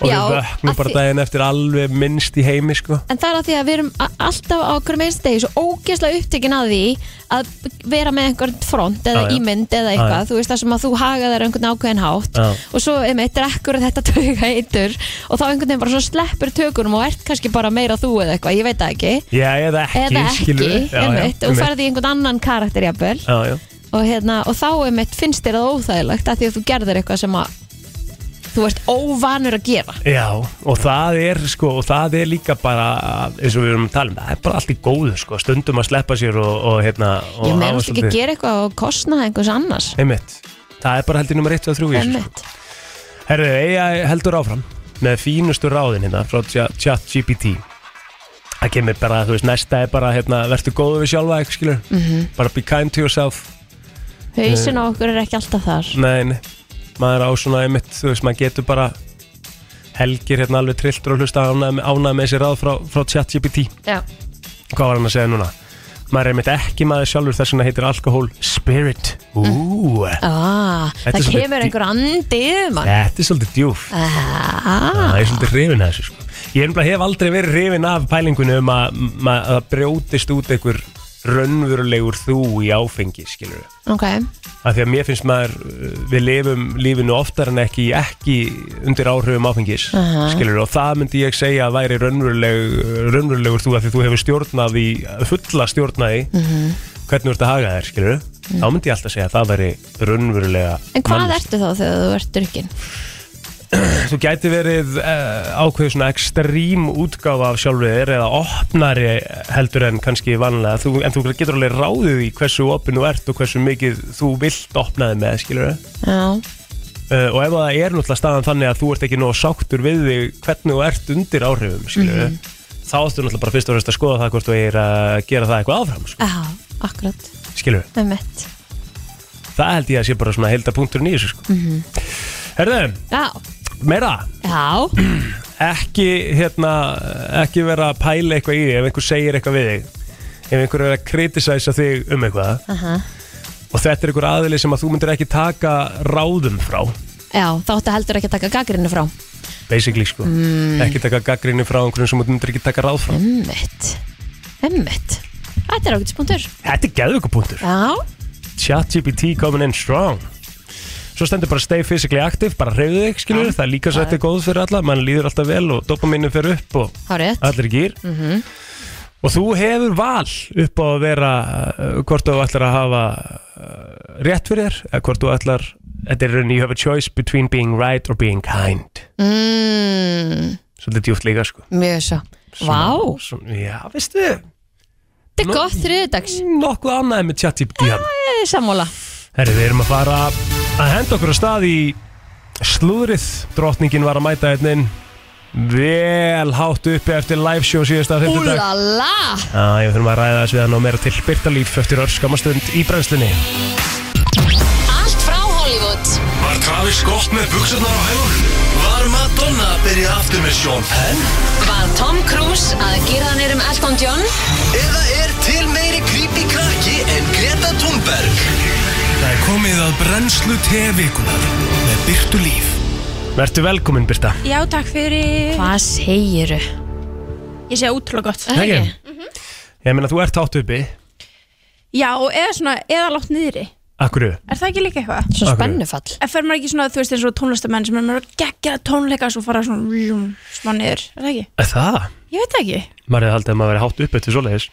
[SPEAKER 1] og
[SPEAKER 2] Já,
[SPEAKER 1] við vöknum
[SPEAKER 2] að
[SPEAKER 1] bara
[SPEAKER 2] því-
[SPEAKER 1] daginn eftir alveg minnst í heimi sko
[SPEAKER 2] En það er að því að við erum a- alltaf á okkur meins degi svo ógeðslega upptökin að því að vera með einhvern front eða
[SPEAKER 1] Ah, Já, já.
[SPEAKER 2] ímynd
[SPEAKER 1] Já,
[SPEAKER 2] eða eitthvað,
[SPEAKER 1] já.
[SPEAKER 2] þú veist það sem að þú haga þér einhvern ákveðin hátt
[SPEAKER 1] Já.
[SPEAKER 2] og svo um eitt rekkur þetta tauga eitur og þá einhvern veginn bara svona sleppur tökunum og ert kannski bara meira þú eða eitthvað, ég veit það ekki
[SPEAKER 1] Já, eða ekki,
[SPEAKER 2] eða ekki,
[SPEAKER 1] skilur við. Já, já,
[SPEAKER 2] einmitt, og
[SPEAKER 1] einmitt.
[SPEAKER 2] ferði í einhvern annan karakter jafnvel
[SPEAKER 1] Já, já,
[SPEAKER 2] og, hérna, og þá einmitt finnst þér það óþægilegt að því að þú gerðir eitthvað sem að þú ert óvanur að gera
[SPEAKER 1] já, og það er sko, og það er líka bara eins og við erum að tala um, það er bara allt í góðu sko, stundum að sleppa sér og, og hérna og
[SPEAKER 2] ég
[SPEAKER 1] hafa
[SPEAKER 2] meðast ekki
[SPEAKER 1] svolítið-
[SPEAKER 2] að gera eitthvað og kostna einhvers annars
[SPEAKER 1] Einmitt, það er bara heldur nummer 1 og 3
[SPEAKER 2] Einmitt.
[SPEAKER 1] Herðu, AI heldur áfram með fínustu ráðin hérna frá chat GPT Það kemur bara, þú veist, næsta er bara hérna, verður góðu við sjálfa, ekki skilur bara be kind to yourself
[SPEAKER 2] hausin á okkur er ekki alltaf þar
[SPEAKER 1] Nei, nei, maður á svona einmitt, þú veist, maður getur bara helgir hérna alveg trilltur og hlusta ánæð, ánæð með þessi ráð frá, frá chat GPT
[SPEAKER 2] já,
[SPEAKER 1] Hvað var hann að segja núna? Maður er einmitt ekki maður sjálfur þess vegna heitir alkohól spirit Ú,
[SPEAKER 2] ah,
[SPEAKER 1] Þetta er
[SPEAKER 2] það
[SPEAKER 1] svolítið
[SPEAKER 2] kemur
[SPEAKER 1] dý-
[SPEAKER 2] einhver andi um yfir mann
[SPEAKER 1] þetta er svolítið djúft
[SPEAKER 2] ah,
[SPEAKER 1] Það er svolítið hrifin að þessu sko. Ég er nefnilega hef aldrei verið hrifin af pælingunni um að ma- að það brjótist út einhver raunverulegur þú í áfengi, skilur við.
[SPEAKER 2] ok,
[SPEAKER 1] Af því að mér finnst maður, uh, við lifum lífinu oftar en ekki, ekki undir áhrifum áfengis, uh
[SPEAKER 2] Aha.
[SPEAKER 1] skilur við. Og það myndi ég segja að væri raunveruleg, uh, raunverulegur þú af því að þú hefur stjórnað í, fulla stjórnaði, uh
[SPEAKER 2] Mhm.
[SPEAKER 1] -huh. hvernig þú ert að haga þér, skilur við. Þá myndi ég alltaf segja að það væri raunverulega
[SPEAKER 2] en hvað
[SPEAKER 1] mannlegt.
[SPEAKER 2] ertu þá þegar þú ert drukkin
[SPEAKER 1] Þú gæti verið uh, ákveðu svona ekstrím útgáfa af sjálfur þér eða opnari heldur en kannski vanlega þú, en þú getur alveg ráðið í hversu opinn þú ert og hversu mikið þú vilt opnaði með, skilur við
[SPEAKER 2] já,
[SPEAKER 1] uh, og ef það er náttúrulega staðan þannig að þú ert ekki nóg sáttur við þig hvernig þú ert undir áhrifum, skilur við þá ertu náttúrulega bara fyrst og fremst að skoða það hvort þú er að gera það eitthvað áfram, sko,
[SPEAKER 2] ah, akkurat
[SPEAKER 1] skilur við
[SPEAKER 2] með mitt
[SPEAKER 1] það held ég að sé bara svona heilda punkturinn í þessu, sko Herðu,
[SPEAKER 2] já,
[SPEAKER 1] meira
[SPEAKER 2] já,
[SPEAKER 1] ekki, hérna, ekki vera að pæla eitthvað í því ef einhver segir eitthvað við þig ef einhver er að kritisæsa þig um eitthvað
[SPEAKER 2] aha
[SPEAKER 1] og þetta er einhver aðili sem að þú myndir ekki taka ráðum frá
[SPEAKER 2] Já, þá ættu heldur ekki að taka gaggrinu frá
[SPEAKER 1] basically sko, ekki taka gaggrinni frá einhverjum sem þú myndir ekki taka ráð frá
[SPEAKER 2] Emmitt Emmitt Þetta er ágætispunktur
[SPEAKER 1] Þetta er geðvökupunktur
[SPEAKER 2] Já
[SPEAKER 1] ChatGPT coming in strong Svo stendur bara stay physically active, bara reyðu þig skilur, það er líka svo þetta er góð fyrir alla mann líður alltaf vel og dopaminu fer upp og
[SPEAKER 2] Hárið
[SPEAKER 1] allir í gýr og þú hefur val upp á að vera uh, hvort þú ætlar að hafa uh, rétt fyrir þér eða hvort þú ætlar þetta er rauninni you have a choice between being right or being kind
[SPEAKER 2] mm,
[SPEAKER 1] svolítið djúft líka sko
[SPEAKER 2] Mjög svo Vá,
[SPEAKER 1] Svona, já, veistu,
[SPEAKER 2] þetta er gott þriðdags
[SPEAKER 1] nokkuð ánægði með tjattýpt í hann
[SPEAKER 2] Ég er Sammála
[SPEAKER 1] Herri, við erum að fara að henda okkur á stað í slúðrið. Drottningin var að mæta einnin vel hátt uppi eftir live show síðasta fymtudag.
[SPEAKER 2] Úlala
[SPEAKER 1] Já, ég þurfum að ræða þess við hann og meira til Byrtalíf eftir örskamastund í brennslunni.
[SPEAKER 6] Allt frá Hollywood
[SPEAKER 3] Var Travis gott með buksurnar á hælunum? Var Madonna að byrja aftur með Sean Penn?
[SPEAKER 6] Var Tom Cruise að gera hann um Elton John
[SPEAKER 7] Eða er til meiri creepy krakki en Greta Thunberg?
[SPEAKER 3] Það er komið að brennslu tevikunar með Byrtu Líf.
[SPEAKER 1] Vertu velkomin, Byrta.
[SPEAKER 8] Já, takk fyrir.
[SPEAKER 2] Hvað segiru?
[SPEAKER 8] Ég sé útrúlega gott.
[SPEAKER 1] Ekki? Ég meina, þú ert hátt uppi.
[SPEAKER 8] Já, eða svona, eða látt niðri.
[SPEAKER 1] Akkur eru?
[SPEAKER 8] Er það ekki líka eitthvað?
[SPEAKER 2] Svo
[SPEAKER 1] Akkur.
[SPEAKER 2] spennufall
[SPEAKER 8] En fer maður ekki svona, þú veist, eins og tónlistamenn sem er maður að gegja tónleika og svo fara svona vljum, smá niður. Er það ekki?
[SPEAKER 1] Það?
[SPEAKER 8] Ég veit það ekki.
[SPEAKER 1] Maður hefði haldið að maður verið hátt uppi til svoleiðis.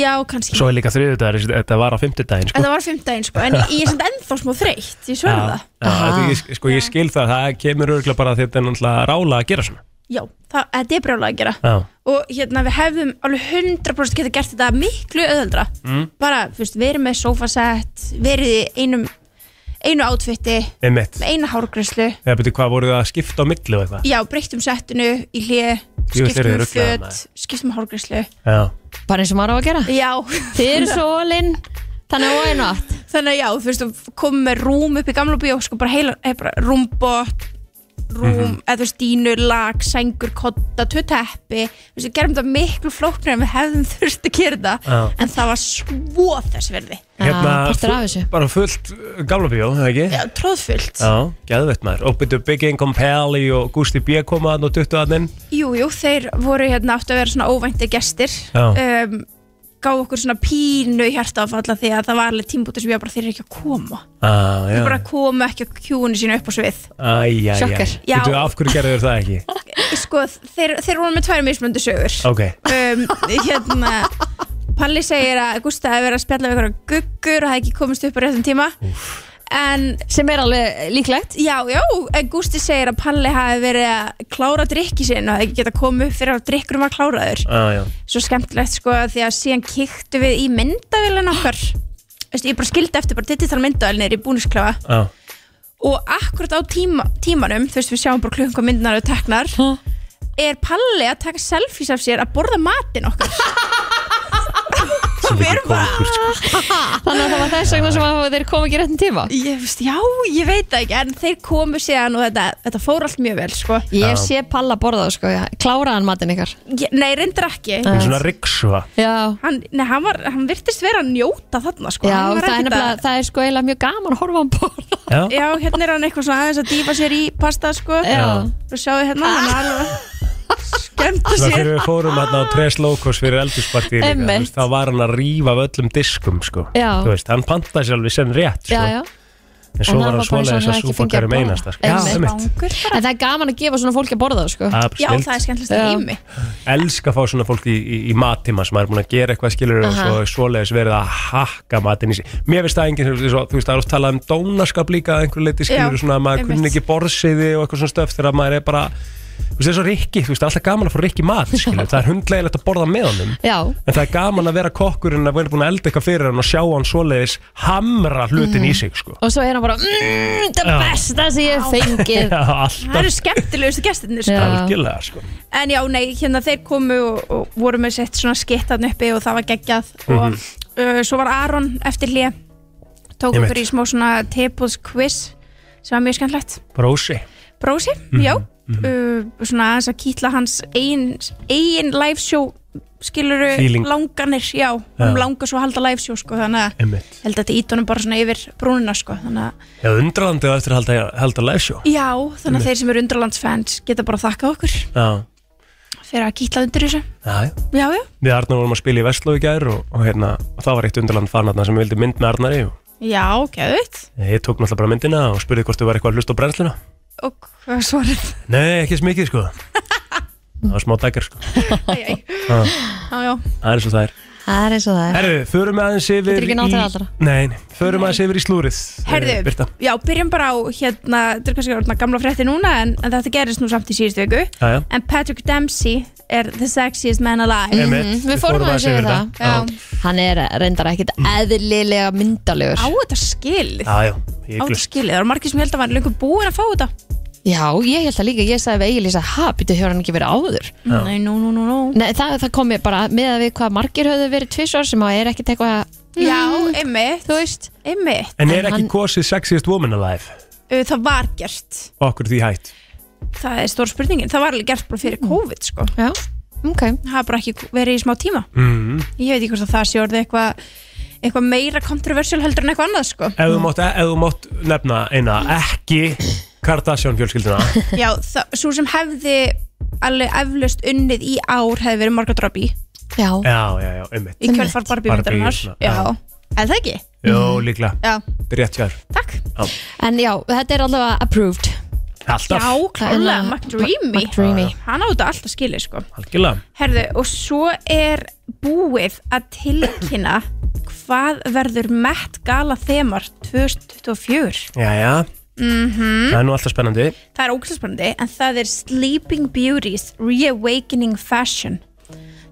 [SPEAKER 8] Já, kannski.
[SPEAKER 1] Svo er líka þriðudagur, þetta var á fymtudaginn,
[SPEAKER 8] En
[SPEAKER 1] sko.
[SPEAKER 8] það var fimmtdægin, sko. En ég er samt ennþá smá þreytt. Ég sverða
[SPEAKER 1] Já,
[SPEAKER 8] það.
[SPEAKER 1] já, þetta er ekki- sko ég skil það, það kemur örgulega bara því að þetta er náttúrulega rála að gera svona.
[SPEAKER 8] Já, það, þetta er brjálega að gera.
[SPEAKER 1] Já.
[SPEAKER 8] Og hérna, við hefðum alveg 100% geta gert þetta miklu öðuldra. Mm. Bara, þú veist, verið með sofasett, verið í einum, einu átfitti,
[SPEAKER 1] Einmitt.
[SPEAKER 8] með eina hárgræslu.
[SPEAKER 1] Eða betur hvað voru það að skipta á milli og eitthvað?
[SPEAKER 8] Já, breyttum settinu í hlið,
[SPEAKER 1] Jú, þeir
[SPEAKER 8] skiptum
[SPEAKER 1] eru
[SPEAKER 8] um
[SPEAKER 1] ruglaðir,
[SPEAKER 8] föt,
[SPEAKER 1] maður.
[SPEAKER 8] skiptum um hárgrislu.
[SPEAKER 1] Já.
[SPEAKER 2] Bara eins og maður á að gera
[SPEAKER 8] Já,
[SPEAKER 2] Þið eru svo ólinn Þannig að óin átt
[SPEAKER 8] þannig að já, þú veist, komum með rúm upp í gamla bíó, sko bara heila, eh, bara rúmbot, rúm,
[SPEAKER 1] Mhm.
[SPEAKER 8] eða þú veist, dínu, lag, sængur, kotta, tvö teppi Þú veist, við gerum þetta miklu flóknir en við hefðum þurft að gera þetta
[SPEAKER 1] Já.
[SPEAKER 8] en það var svo þess verði
[SPEAKER 2] Já, partur af þessu.
[SPEAKER 1] fu- Hérna, bara fullt uh, gamla bíó, hefði ekki?
[SPEAKER 8] Já, tróðfullt
[SPEAKER 1] Já, geðveitt maður. Og byrju Big Income Pally og Gusti B koma hann og duttu hann inn.
[SPEAKER 8] Jú, jú, þeir voru hérna áttu að vera svona óvænti gestir
[SPEAKER 1] Já.
[SPEAKER 8] um, gáðu okkur svona pínu hjartafalla því að það var alveg tímbúti sem ég var bara þeir eru ekki að koma
[SPEAKER 1] Ah, já.
[SPEAKER 8] þeir bara komu ekki að kjúinu sínu upp á svið
[SPEAKER 1] Æjæjæ.
[SPEAKER 2] Sjokker.
[SPEAKER 8] Já.
[SPEAKER 1] Byrju, af hverju gerðu þér það ekki?
[SPEAKER 8] sko, þeir, þeir voru með tvær mismöndu sögur
[SPEAKER 1] Ok.
[SPEAKER 8] um, hérna Palli segir að Gústa hefur verið að spjalla við einhverja guggur og það ekki komist upp á réttum tíma en
[SPEAKER 2] sem er alveg líklegt
[SPEAKER 8] já, já, en Gústi segir að Palli hafi verið að klára drikki sinn og það ekki geta komið upp fyrir að drikkurum að klára þur
[SPEAKER 1] Ah, já.
[SPEAKER 8] svo skemmtilegt sko því að síðan kíktu við í myndavélina okkar Veistu, ég bara skildi eftir bara digital myndavélina er í búnisklefa
[SPEAKER 1] Ah.
[SPEAKER 8] og akkurat á tíma, tímanum þú veist við sjáum bara klukkan hvað myndunar eru teknar er Palli að taka selfies af sér að borða matinn okkar og við erum bara
[SPEAKER 1] sko.
[SPEAKER 2] þannig að það var þess vegna sem að þeir kom ekki réttin tíma
[SPEAKER 8] ég, veist, já, ég veit það ekki en þeir komu síðan og þetta, þetta fór allt mjög vel sko.
[SPEAKER 2] ég sé Palla borða þá, sko, já. kláraðan matinn ykkar
[SPEAKER 8] ég, nei, reyndar ekki
[SPEAKER 1] Hún er svona riksva.
[SPEAKER 2] já,
[SPEAKER 8] hann, nei, hann, var, hann virtist vera að njóta þarna sko.
[SPEAKER 2] já
[SPEAKER 8] Hann var
[SPEAKER 2] það, er
[SPEAKER 8] ekkert
[SPEAKER 2] nefnilega,
[SPEAKER 8] að-
[SPEAKER 2] það er sko eiginlega mjög gaman að horfa á hann borða
[SPEAKER 1] Já.
[SPEAKER 8] Já, hérna er hann eitthvað svona aðeins að dýfa sér í pasta sko
[SPEAKER 2] Já.
[SPEAKER 8] Og sjáðu hérna, hann er alveg skemmta
[SPEAKER 1] Svona
[SPEAKER 8] sér
[SPEAKER 1] fyrir við fórum hérna á Tres Locos fyrir eldurpartíð líka,
[SPEAKER 2] Einmitt.
[SPEAKER 1] þú veist, þá var hann að rífa af öllum diskum, sko.
[SPEAKER 2] Já.
[SPEAKER 1] Þú veist, hann pantaði sér alveg senn rétt, sko.
[SPEAKER 2] já, já.
[SPEAKER 1] En svo
[SPEAKER 2] En
[SPEAKER 1] var
[SPEAKER 2] hann
[SPEAKER 1] hann
[SPEAKER 2] var bara eins og
[SPEAKER 1] svoleiðis
[SPEAKER 2] hann
[SPEAKER 1] að
[SPEAKER 2] hefði ekki fengið
[SPEAKER 1] súpakar
[SPEAKER 2] að
[SPEAKER 1] um
[SPEAKER 2] borða.
[SPEAKER 1] einasta, sko. Já,
[SPEAKER 2] Einmitt.
[SPEAKER 1] einmitt.
[SPEAKER 2] en það er gaman að gefa svona fólki að borða þá, sko.
[SPEAKER 1] Ah,
[SPEAKER 8] Já,
[SPEAKER 1] snilld.
[SPEAKER 8] það er skemmtilegst
[SPEAKER 2] Já.
[SPEAKER 8] í mig
[SPEAKER 1] elska að fá svona fólk í, í, í mattíma sem er búin að gera eitthvað skilur og
[SPEAKER 2] Aha.
[SPEAKER 1] svo er svoleiðis verið að hakka matin í sig mér finnst það enginn, svo, þú veist, það er oft talað um dónaskap líka að einhverju leiti skilur
[SPEAKER 8] Já,
[SPEAKER 1] svona að maður
[SPEAKER 8] einmitt.
[SPEAKER 1] kunni ekki borðsiði og eitthvað svona stöf þegar maður er bara þú veist, það er svo rikki, þú veist, það er alltaf gaman að fá rikki mat skilur, það er hundlegilegt að borða með honum
[SPEAKER 2] Já,
[SPEAKER 1] en það er gaman að vera kokkurinn að vera búin að elda eitthvað fyrir hann og sjá hann svoleiðis hamra hlutin í sig, sko
[SPEAKER 2] og svo er hann bara mmm, það
[SPEAKER 1] Já.
[SPEAKER 2] besta sem ég hef fengið
[SPEAKER 1] Já,
[SPEAKER 8] Það eru
[SPEAKER 1] alltaf
[SPEAKER 8] skemmtilegustu gestirnir sko.
[SPEAKER 2] Já.
[SPEAKER 1] algjörlega, sko
[SPEAKER 8] En já, nei, hérna þeir komu og, og voru með sett svona skittan uppi og það var geggjað
[SPEAKER 1] Mhm.
[SPEAKER 8] Og uh, svo var Aron eftir hlið Tók
[SPEAKER 1] Ég veit.
[SPEAKER 8] okkur í smá svona tepus quiz Sem var mjög skemmtilegt
[SPEAKER 1] Brósi,
[SPEAKER 8] Brósi,
[SPEAKER 1] Mhm,
[SPEAKER 8] já uh, Svona aðeins að kýtla hans eigin, eigin live show Skiluru
[SPEAKER 1] Feeling.
[SPEAKER 8] langanir, já Hún langar svo að halda live show sko Þannig að
[SPEAKER 1] einmitt
[SPEAKER 8] held að þetta ít honum bara svona yfir brúnina sko. þannig að,
[SPEAKER 1] Já, undralandið á eftir að halda, halda live show
[SPEAKER 8] já, þannig að þeir sem eru undralandsfans geta bara þakkað okkur
[SPEAKER 1] Já,
[SPEAKER 8] fyrir að kýtla undir þessu
[SPEAKER 1] já, já
[SPEAKER 8] já, já,
[SPEAKER 1] við Arnar vorum að spila í Vestló í gær og, og, hérna, og það var eitt undarland fan þarna sem vildi mynd með Arnari og
[SPEAKER 8] já, geðvitt
[SPEAKER 1] ég tók náttúrulega bara myndina og spurði hvort þú var eitthvað að hlusta á brennsluna
[SPEAKER 8] og hvað var svarið
[SPEAKER 1] Nei, ekki smikið sko Það var smá dækjar sko
[SPEAKER 8] Æ, æ. já, já,
[SPEAKER 1] Það er svo það er
[SPEAKER 2] Það er eins og það er
[SPEAKER 1] Herru, förum aðeins yfir
[SPEAKER 2] Þetta er ekki nóg til allra.
[SPEAKER 1] í Nei, nei, förum aðeins yfir í slúrið eh,
[SPEAKER 8] herðu,
[SPEAKER 1] Birta
[SPEAKER 8] já, byrjum bara á hérna, þetta er kannski orðna gamla frétti núna en, en þetta gerist nú samt í síðustu viku
[SPEAKER 1] Já,
[SPEAKER 2] Mhm,
[SPEAKER 1] já
[SPEAKER 8] en Patrick Dempsey er the sexiest man alive
[SPEAKER 1] einmitt,
[SPEAKER 2] Mhm, Við fórum aðeins yfir það
[SPEAKER 1] Já,
[SPEAKER 2] Hann er reyndar ekkit eðlilega myndalegur
[SPEAKER 8] á þetta skilið
[SPEAKER 1] já, já,
[SPEAKER 8] á
[SPEAKER 1] ég
[SPEAKER 8] þetta
[SPEAKER 1] glust
[SPEAKER 8] skilið, það var margir sem held að var lengur búin að fá þetta
[SPEAKER 2] Já, ég held það líka, ég sagði við Egilís að ha, býttu hefur hann ekki verið áður
[SPEAKER 8] nei, nú, nú, nú, nú
[SPEAKER 2] Nei, það, það kom ég bara með að við hvað margir höfðu verið tvisvar sem að Mm. er ekkit eitthvað,
[SPEAKER 8] já, einmitt,
[SPEAKER 2] þú veist
[SPEAKER 8] einmitt
[SPEAKER 1] En
[SPEAKER 2] En
[SPEAKER 1] er ekki
[SPEAKER 2] hann-
[SPEAKER 1] kosið sexiest woman alive?
[SPEAKER 8] Uh, það var gert
[SPEAKER 1] Okkur því hætt
[SPEAKER 8] Það er stór spurningin, það var alveg gert bara fyrir COVID sko.
[SPEAKER 2] Já, ok
[SPEAKER 8] Það hafa bara ekki verið í smá tíma
[SPEAKER 1] mm.
[SPEAKER 8] Ég veit ekki hvort að það sé orðið eitthvað eitthvað meira kontroversial heldur en eitthvað annað sko.
[SPEAKER 1] Ef þú
[SPEAKER 2] Mm.
[SPEAKER 1] mátt, ef þú mátt nefna eina Ekki Kardashian fjölskyldina
[SPEAKER 8] Já, það, svo sem hefði alveg eflaust unnið í ár hefði verið Margot Robbie
[SPEAKER 2] Já,
[SPEAKER 1] Já, já, já, einmitt
[SPEAKER 8] í kjölfar Barbie
[SPEAKER 1] Barbie,
[SPEAKER 8] myndarinnar
[SPEAKER 1] svona,
[SPEAKER 8] Já,
[SPEAKER 1] já.
[SPEAKER 8] en það ekki
[SPEAKER 1] Jó, líklega,
[SPEAKER 8] Já,
[SPEAKER 1] rétt hjá þér
[SPEAKER 8] takk
[SPEAKER 2] en já, þetta er allavega approved
[SPEAKER 1] Alltaf,
[SPEAKER 8] Já, klálega, McDreamy
[SPEAKER 2] McDreamy
[SPEAKER 8] Hann á þetta alltaf skilið sko.
[SPEAKER 1] algjörlega
[SPEAKER 8] Herðu, og svo er búið að tilkynna hvað verður Met Gala þemar 2024
[SPEAKER 1] Já, já Það er nú alltaf spennandi
[SPEAKER 8] Það er óglæsbærandi en það er Sleeping Beauties Reawakening Fashion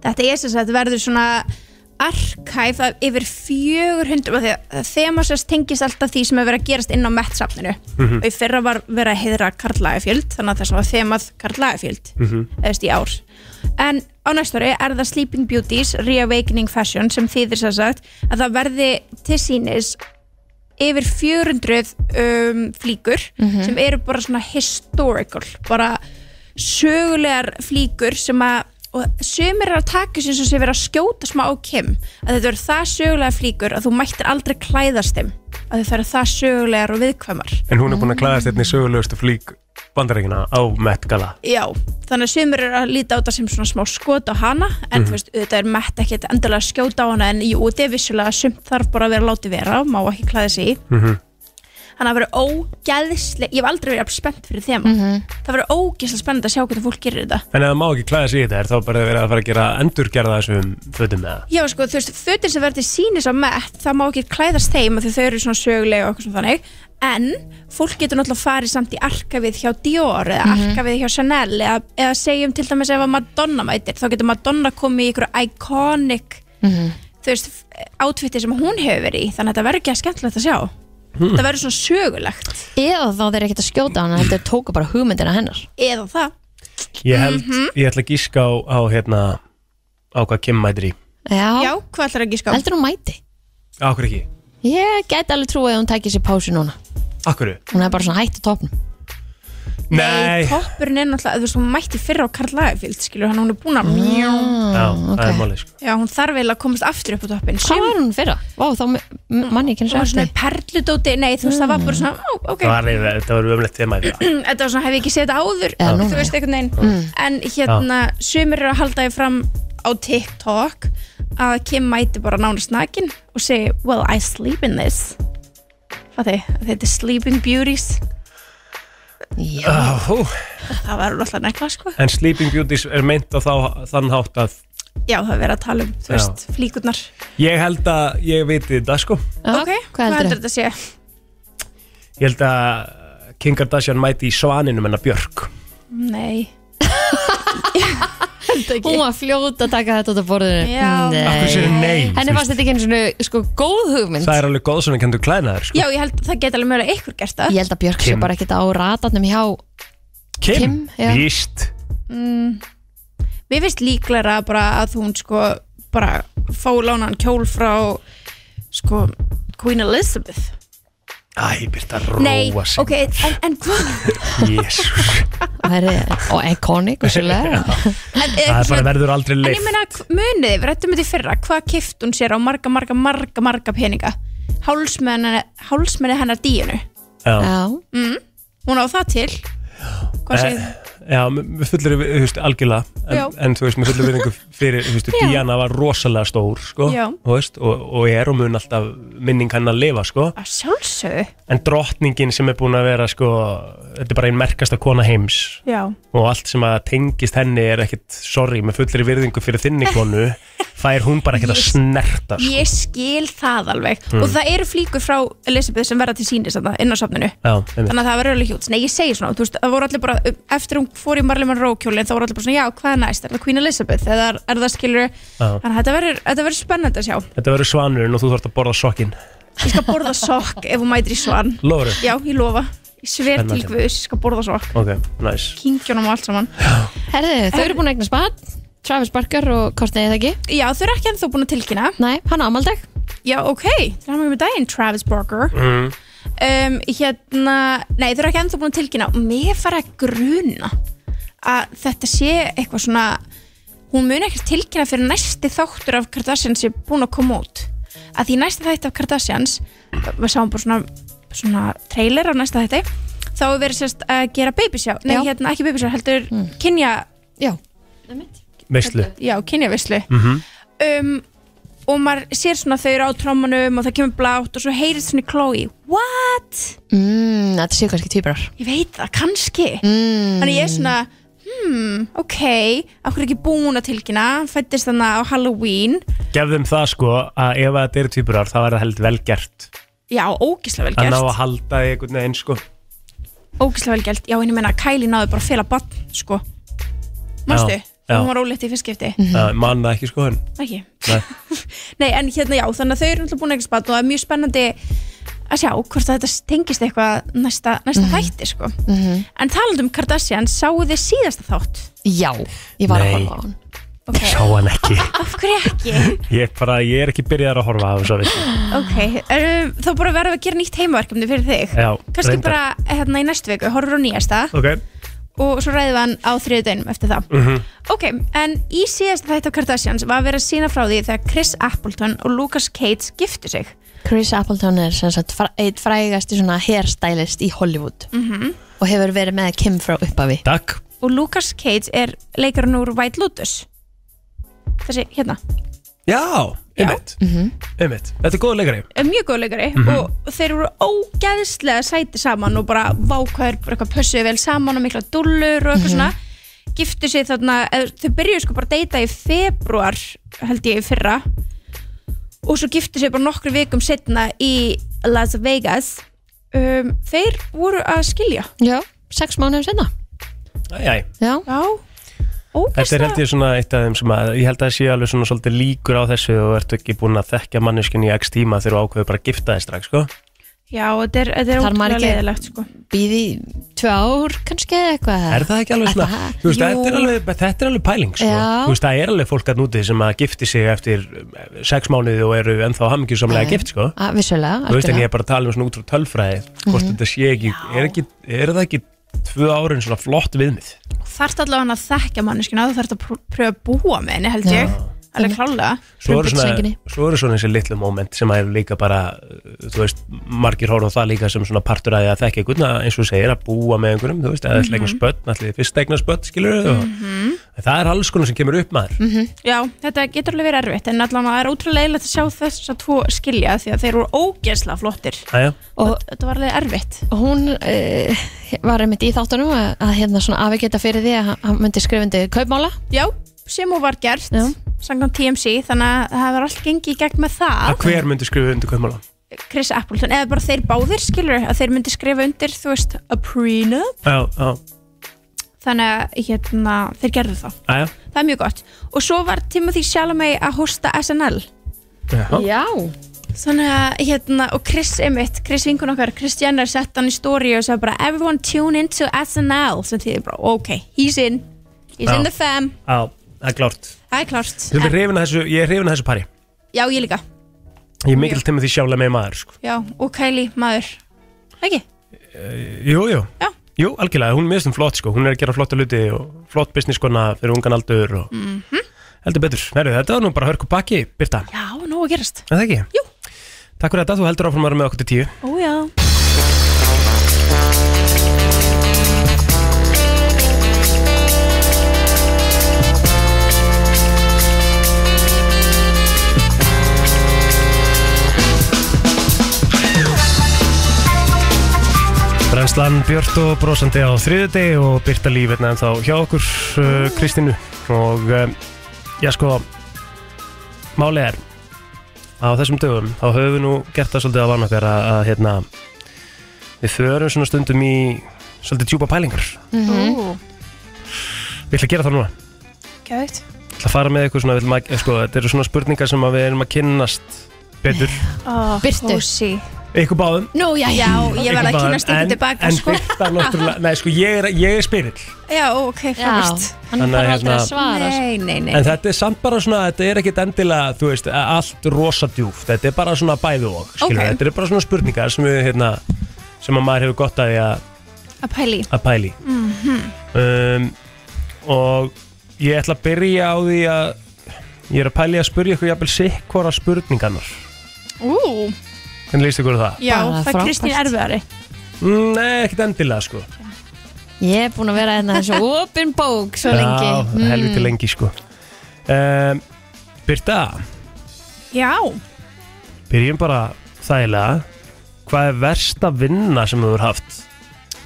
[SPEAKER 8] Þetta er sem sagt verður svona arkæf af yfir 400 af því að þema sérst tengist alltaf því sem er verið að gerast inn á Met-safninu og í fyrra var verið að heiðra Karl Lagerfjöld þannig að það sem var þemað Karl Lagerfjöld mm eðast í ár en á næstu ári er það Sleeping Beauties Reawakening Fashion sem þýðir sem sagt að það verði til sínis yfir 400 um, flíkur sem eru bara svona historical bara sögulegar flíkur sem að og sömur er að taka sem sem vera að skjóta smá á Kim að þetta eru það sögulega flíkur að þú mættir aldrei klæðast þeim að þetta eru það sögulegar og viðkvæmar
[SPEAKER 1] En hún er búin að klæðast einni sögulegustu flík bandaríkina á Met Gala
[SPEAKER 8] Já, þannig að sumir eru að líta á þetta sem svona smá skot á hana en þú veist, auðvitað er mett ekkert endilega að skjóta á hana en jú, þetta er vissulega sumt þarf bara að vera látið vera, má ekki klæða sig í Þannig að það verður ógæðslega ég hef aldrei verið jafn spennt fyrir þeim það verður ógæðslega spennt að sjá hvernig fólk gerir þetta
[SPEAKER 1] En ef það má ekki klæða sig í þetta er þá bara verið að fara að gera endurgerða þessum fötum eða
[SPEAKER 8] Já, sko, þú veist, fötin sem verður til sínis á mett það má ekki klæðast þeim af því þau eru svona sögulega og okkur svona þannig en fólk getur náttúrulega farið samt í arkavið hjá Dior eða arkavið hjá Chanel eða, eða segjum til dæmis ef að Madonna mætir þá getur Madonna komið í ykkur iconic þú veist, átfitti sem hún hefur verið í þannig að þetta verður ekki að skemmtilegt að sjá það verður svona sögulegt
[SPEAKER 2] Eða þá þeir ekkert að skjóta hana Þetta tóku bara hugmyndina hennar
[SPEAKER 8] eða það
[SPEAKER 1] Ég held, ég ætla að gíska á, á hérna á hvað Kim mætir í
[SPEAKER 2] Já,
[SPEAKER 8] Já, hvað ætlar ekki ská?
[SPEAKER 2] heldur hún mæti
[SPEAKER 1] Á hverju ekki?
[SPEAKER 2] Ég gæti alveg trúið að hún tæki sér pásu núna
[SPEAKER 1] Á hverju?
[SPEAKER 2] Hún er bara svona hætt á topnum
[SPEAKER 1] Nei,
[SPEAKER 8] toppurinn er náttúrulega, þú veist, hún mætti fyrra á Karl Lagerfield, skilur, hann hún er búin að
[SPEAKER 1] Já, það er
[SPEAKER 2] ok.
[SPEAKER 1] málið sko
[SPEAKER 8] Já, hún þarf eiginlega að komast aftur upp á toppin
[SPEAKER 2] Hvað var hún fyrra? Vá, þá m- m- manni ekki eins
[SPEAKER 8] Það
[SPEAKER 2] og
[SPEAKER 8] var svona
[SPEAKER 2] eftir
[SPEAKER 8] perludóti, nei þú veist það var bara svona, ó, ok,
[SPEAKER 1] Það var, þetta var umlegt tema í þetta
[SPEAKER 8] þetta var svona, hef ég ekki séð þetta áður,
[SPEAKER 2] Já, Mm. núna,
[SPEAKER 8] þú veist einhvern veginn, en hérna, sumir eru að halda því fram á TikTok að Kim mæti bara nánast nakin og segi, well, I sleep in this. Fatti, þetta er Sleeping Beauties,
[SPEAKER 2] Já,
[SPEAKER 1] Ó,
[SPEAKER 8] það var alltaf nekla, sko.
[SPEAKER 1] Ah, En Sleeping Beauties er meint á þá, þann hátt að
[SPEAKER 8] Já, það er verið að tala um, þú
[SPEAKER 1] Já.
[SPEAKER 8] veist, flíkurnar.
[SPEAKER 1] Ég held að ég viti þetta sko
[SPEAKER 8] ok,
[SPEAKER 2] hvað heldur
[SPEAKER 8] þetta sé?
[SPEAKER 1] Ég held að Kim Kardashian mæti í svaninum hennar Björk
[SPEAKER 8] Nei. Held ekki.
[SPEAKER 2] Hún var fljót að taka þetta út af borðinu
[SPEAKER 1] Af
[SPEAKER 8] Já.
[SPEAKER 1] hverju segirðu nei?
[SPEAKER 2] Henni fannst þetta ekki einu svona sko, góð hugmynd
[SPEAKER 1] Það er alveg góð sem kendur klæðnaður sko.
[SPEAKER 8] Já, ég held það geti alveg mögulega ykkur gert það.
[SPEAKER 2] Ég held að Björk sé
[SPEAKER 1] Kim.
[SPEAKER 2] bara ekkert á ratarnum hjá
[SPEAKER 1] Kim,
[SPEAKER 2] Kim, já.
[SPEAKER 1] víst
[SPEAKER 8] Mér finnst líklega bara að hún sko bara fá lánaðan kjól frá sko Queen Elizabeth
[SPEAKER 1] Æ, byrta
[SPEAKER 8] Nei,
[SPEAKER 1] róa sig
[SPEAKER 8] ok, en, en hvað
[SPEAKER 1] Jésús
[SPEAKER 2] Það er og iconic, vissulega
[SPEAKER 1] Það er bara verður aldrei
[SPEAKER 8] eh, En ég
[SPEAKER 1] leift
[SPEAKER 8] meina, hv- munið, við rættum þetta í fyrra hvað kift hún sér á marga, marga, marga, marga peninga hálsmenni, hálsmenni hennar díinu
[SPEAKER 1] Já,
[SPEAKER 2] Já,
[SPEAKER 8] hún á það til Hvað segir
[SPEAKER 1] Eh, já með fullir við, þú veist, algjörlega
[SPEAKER 8] Já.
[SPEAKER 1] en, en þú veist, með fullir viðingu fyrir þú veist, Diana var rosalega stór sko,
[SPEAKER 8] Já.
[SPEAKER 1] þú veist, og, og er og mun alltaf minning hann að lifa, sko
[SPEAKER 8] Að sjálfsögðu
[SPEAKER 1] en drottningin sem er búin að vera, sko þetta er bara einn merkasta kona heims
[SPEAKER 8] Já,
[SPEAKER 1] og allt sem að tengist henni er ekkit sorry, með fullir virðingu fyrir þinni konu fær hún bara ekkit að
[SPEAKER 8] Ég-
[SPEAKER 1] snerta sko.
[SPEAKER 8] ég skil það alveg
[SPEAKER 1] Hmm.
[SPEAKER 8] og það eru flíkur frá Elizabeth sem verða til sínis þarna inn á safninu
[SPEAKER 1] Já, einmitt.
[SPEAKER 8] þannig að það var alveg hjúts, nei ég segi svona þú veist, það voru allir bara, eftir hún fór í Marley Monroe kjólinn þá voru allir bara svona, já hvað er næst er það Queen Elizabeth, eða er, er það skilur þannig að þetta verður, þetta verður spennandi að sjá
[SPEAKER 1] þetta verður svanurinn og þú þarfst að borða sokkin
[SPEAKER 8] ég skal borða sokk ef hún mætir í svan
[SPEAKER 1] Lóru,
[SPEAKER 8] já, ég lofa, ég sver til
[SPEAKER 1] Spennandi.
[SPEAKER 8] guðs ég skal borða sokk,
[SPEAKER 1] ok, nice
[SPEAKER 8] kingjónum og allt saman
[SPEAKER 2] herðu, þau eru búin að egna spann Travis Barker og Courtney, eða ekki?
[SPEAKER 8] já, þau eru ekki ennþá búin að tilkynna
[SPEAKER 2] Nei, hann á amaldag
[SPEAKER 8] já, ok, það er mjög með daginn, Travis Barker um, hérna nei, þau eru ekki ennþá búin að tilkynna og mér fara að gruna að þetta sé eitthvað svona hún mun ekkert tilkynna fyrir næsti þáttur af Kardashians sé búin að koma út að því næsti þætt af Kardashians við sáum bara svona, svona trailer af næsta þætti þá er verið sérst að gera babysjá nei,
[SPEAKER 2] Já.
[SPEAKER 8] hérna ekki babysjá, heldur kynja
[SPEAKER 2] Já,
[SPEAKER 1] veistlu,
[SPEAKER 8] já, kynjavislu
[SPEAKER 1] Mhm.
[SPEAKER 8] um, og maður sér svona þau eru á trómanum og það kemur blátt og svo heyrið svona í Chloe what?
[SPEAKER 2] mm, þetta séu kannski tvíbrar
[SPEAKER 8] ég veit það, kannski mm. þannig ég er svona hmm, ok, af hverju ekki búin að tilkynna fættist þannig á Halloween
[SPEAKER 1] gef þeim það sko að ef þetta eru týpurar það verður held vel gert
[SPEAKER 8] já, ógislega vel
[SPEAKER 1] að ná að
[SPEAKER 8] gert
[SPEAKER 1] halda í einhvern veginn sko
[SPEAKER 8] ógislega vel gert, já, en ég meina að Kylie náði bara að fela bann, sko mástu,
[SPEAKER 1] Já, já.
[SPEAKER 8] hún var ólétt í fyrstskipti
[SPEAKER 1] að manna ekki sko henn
[SPEAKER 8] ekki
[SPEAKER 1] Nei.
[SPEAKER 8] Nei, en hérna já, þannig að þau eru náttúrulega búin að eitthvað spatt og það er mjög spennandi að sjá hvort að þetta tengist eitthvað næsta, næsta þætti, sko. En talandi um Kardashian, sáu þið síðasta þátt?
[SPEAKER 2] Já, ég var að
[SPEAKER 1] Nei.
[SPEAKER 2] horfa á hann
[SPEAKER 8] Ok.
[SPEAKER 1] Sá hann ekki
[SPEAKER 8] Af hverju ekki?
[SPEAKER 1] Ég, bara, ég er ekki byrjaðar að horfa á þess að vissi
[SPEAKER 8] Ok, erum, þá bara verðum við að gera nýtt heimaverkefni fyrir þig
[SPEAKER 1] Já,
[SPEAKER 8] Kannski
[SPEAKER 1] reyndar.
[SPEAKER 8] bara hérna í næstu viku, horfur á nýjasta
[SPEAKER 1] Ok
[SPEAKER 8] og svo ræðum við hann á þriðu dænum eftir það
[SPEAKER 1] Mhm.
[SPEAKER 8] Ok, en í síðast þætt á Kardashians var verið að sína frá því þegar Chris Appleton og Lucas Cates giftu sig
[SPEAKER 2] Chris Appleton er sem sagt fra- einn frægasti svona hairstylist í Hollywood og hefur verið með Kim frá uppafi
[SPEAKER 1] Takk
[SPEAKER 8] og Lucas Cates er leikarinn úr White Lotus Þessi, hérna,
[SPEAKER 1] Já, einmitt
[SPEAKER 8] Mhm.
[SPEAKER 1] Einmitt, þetta er góð leikari
[SPEAKER 8] er mjög góð leikari
[SPEAKER 1] Mhm.
[SPEAKER 8] og þeir eru ógeðslega sæti saman og bara vákvæður, bara eitthvað pössuðu vel saman og mikla dullur og eitthvað
[SPEAKER 1] Mhm.
[SPEAKER 8] svona giftu sig þarna, eða þau byrjuðu sko bara að deyta í februar held ég í fyrra og svo giftu sig bara nokkru vikum setna í Las Vegas um, þeir voru að skilja
[SPEAKER 2] Já, sex mánuðum senna
[SPEAKER 1] Æ, æ.
[SPEAKER 2] Já,
[SPEAKER 8] já,
[SPEAKER 1] Þetta er held
[SPEAKER 8] ógeðslega
[SPEAKER 1] ég svona eitt af þeim sem að ég held að það sé alveg svona svolítið líkur á þessu og ertu ekki búin að þekkja manneskinn í x tíma þegar þú ákveður bara að gifta þig strax, sko
[SPEAKER 8] já, þetta er, þetta er
[SPEAKER 2] Þarf maður
[SPEAKER 8] ótrúlega
[SPEAKER 2] ekki-
[SPEAKER 8] leiðilegt sko.
[SPEAKER 2] býði tvö ár kannski eða eitthvað
[SPEAKER 1] Er það ekki alveg svona,
[SPEAKER 2] það-
[SPEAKER 1] þú veist,
[SPEAKER 2] Jú.
[SPEAKER 1] þetta er alveg, þetta er alveg pæling, sko
[SPEAKER 2] Já.
[SPEAKER 1] Þú veist, það er alveg fólk að núti sem að gifti sig eftir eh, sex mánuði og eru ennþá hamingjusamlega gift, sko
[SPEAKER 2] Að, Vissulega,
[SPEAKER 1] Þú veist, en ég
[SPEAKER 2] algjörlega. Mhm.
[SPEAKER 1] er bara að tala um svona út frá tölfræði Hvort þetta sé ekki, er, ekki, er það ekki tvö árin svona flott viðmið?
[SPEAKER 8] þarft allavega að þekka manneskina þú þarft að pr- pröfa að búa með henni held ég alveg klálega
[SPEAKER 1] svo eru svona,
[SPEAKER 2] Prumpuxlenginni.
[SPEAKER 1] svo eru svona þessi litlu moment sem að eru líka bara uh, þú veist, margir horfum það líka sem svona partur að því að þekka einhvern að eins og þú segir að búa með einhverjum, þú veist, eða mm -hmm. eignar spött allir fyrst eignar spött, skilur við mm það er alls konar sem kemur upp maður
[SPEAKER 8] já, þetta getur alveg verið erfitt en allavega það er ótrúlega leiðilegt að sjá þess að tvo skilja því að þeir eru ógeðslega flottir
[SPEAKER 1] Æja,
[SPEAKER 2] Og
[SPEAKER 8] þetta var alveg erfitt
[SPEAKER 2] hún uh, var einmitt í þáttunum að, að hérna svona afi geta fyrir því að hann myndi skrifundi kaupmála
[SPEAKER 8] já, sem hún var gert
[SPEAKER 2] Já.
[SPEAKER 8] sangan TMC, þannig að það hefur allt gengið í gegn með
[SPEAKER 1] að
[SPEAKER 8] það
[SPEAKER 1] hver myndi skrifa undir kaupmála?
[SPEAKER 8] Chris Appleton, eða bara þeir báðir skilur að þeir myndi skrifa undir, þú veist a prenup,
[SPEAKER 1] Já, já,
[SPEAKER 8] þannig að hérna, þeir gerðu það,
[SPEAKER 1] æja
[SPEAKER 8] það er mjög gott og svo var Timothy Chalamet að hosta SNL
[SPEAKER 1] Já,
[SPEAKER 2] Já
[SPEAKER 8] Þannig að, hérna, og Chris einmitt, Chris vinkun okkar, Chris Jenner sett hann í stóri og sagði bara, everyone tune into SNL, sem þýðir bara, ok, he's in, he's
[SPEAKER 1] Já.
[SPEAKER 8] in the fam,
[SPEAKER 1] Já, það er klárt
[SPEAKER 8] það er klárt.
[SPEAKER 1] Ég er hrifin að þessu, ég er hrifin að þessu pari
[SPEAKER 8] Já, ég líka,
[SPEAKER 1] Ég er mikil timmið því sjálega með maður, sko
[SPEAKER 8] já, og Kylie, maður, ekki,
[SPEAKER 1] Jú, jú
[SPEAKER 8] Já.
[SPEAKER 1] Jú, algjörlega, hún er mjög stund flott sko, hún er að gera flotta luti og flott business kona fyrir ungan aldur og
[SPEAKER 8] Mhm.
[SPEAKER 1] heldur betur. Herru, þetta var nú bara hörku baki, Birta,
[SPEAKER 8] já, nóg að gerast,
[SPEAKER 1] er það ekki?
[SPEAKER 8] Jú.
[SPEAKER 1] Takk fyrir þetta, þú heldur áfram að vera með okkur til tíu.
[SPEAKER 8] ó já.
[SPEAKER 1] Brænslan Björn og brosandi á þriðudegi og Birta lífetna en þá hjá okkur, uh, Kristínu. Og um, já sko, málið er, á þessum dögum, þá höfum við nú gert það svolítið að vana okkar að, að hérna, við förum svona stundum í svolítið djúpa pælingar.
[SPEAKER 8] Ó,
[SPEAKER 1] Við ætlum að gera það núna.
[SPEAKER 8] gæðvægt.
[SPEAKER 1] ætla að fara með ykkur svona, við ætlum að, sko, þetta eru svona spurningar sem að við erum að kynnast betur,
[SPEAKER 8] Ó,
[SPEAKER 2] Birtu.
[SPEAKER 8] Kósi.
[SPEAKER 1] ykkur báðum
[SPEAKER 2] Nú, já,
[SPEAKER 8] Já, ég verð að kynast ykkur tilbaka,
[SPEAKER 1] en,
[SPEAKER 8] sko.
[SPEAKER 1] En byrta náttúrulega, nei sko, ég er, ég er spyrill
[SPEAKER 8] Já, ok, frábært.
[SPEAKER 1] Þannig
[SPEAKER 2] hann
[SPEAKER 1] að
[SPEAKER 2] þarf aldrei að
[SPEAKER 1] hérna-
[SPEAKER 2] svara sko.
[SPEAKER 8] Nei, nei, nei.
[SPEAKER 1] En þetta er samt bara svona, þetta er ekkit endilega, þú veist, allt rosa djúft Þetta er bara svona bæðu og, skilur
[SPEAKER 8] Ok.
[SPEAKER 1] Þetta eru bara svona spurningar sem við, hérna, sem að maður hefur gott að því að
[SPEAKER 8] Að pæli.
[SPEAKER 1] að pæli
[SPEAKER 8] Mhm.
[SPEAKER 1] um, og ég ætla að byrja á því að ég er að pæli að spyrja ykkur jafnvel sikkvara spurningarnar
[SPEAKER 8] Ú,
[SPEAKER 1] hvernig líst ykkur á það?
[SPEAKER 8] já,
[SPEAKER 2] Bara
[SPEAKER 8] það er Kristín
[SPEAKER 2] frábært.
[SPEAKER 8] erfiðari.
[SPEAKER 1] Mm, Nei, ekkit endilega sko
[SPEAKER 2] Ég er búin að vera hérna þessu opin bók svo
[SPEAKER 1] Já,
[SPEAKER 2] lengi Mm.
[SPEAKER 8] Mm.
[SPEAKER 1] helviti lengi sko um, Birta,
[SPEAKER 8] Já,
[SPEAKER 1] byrjum bara þægilega Hvað er versta vinna sem þú hefur haft?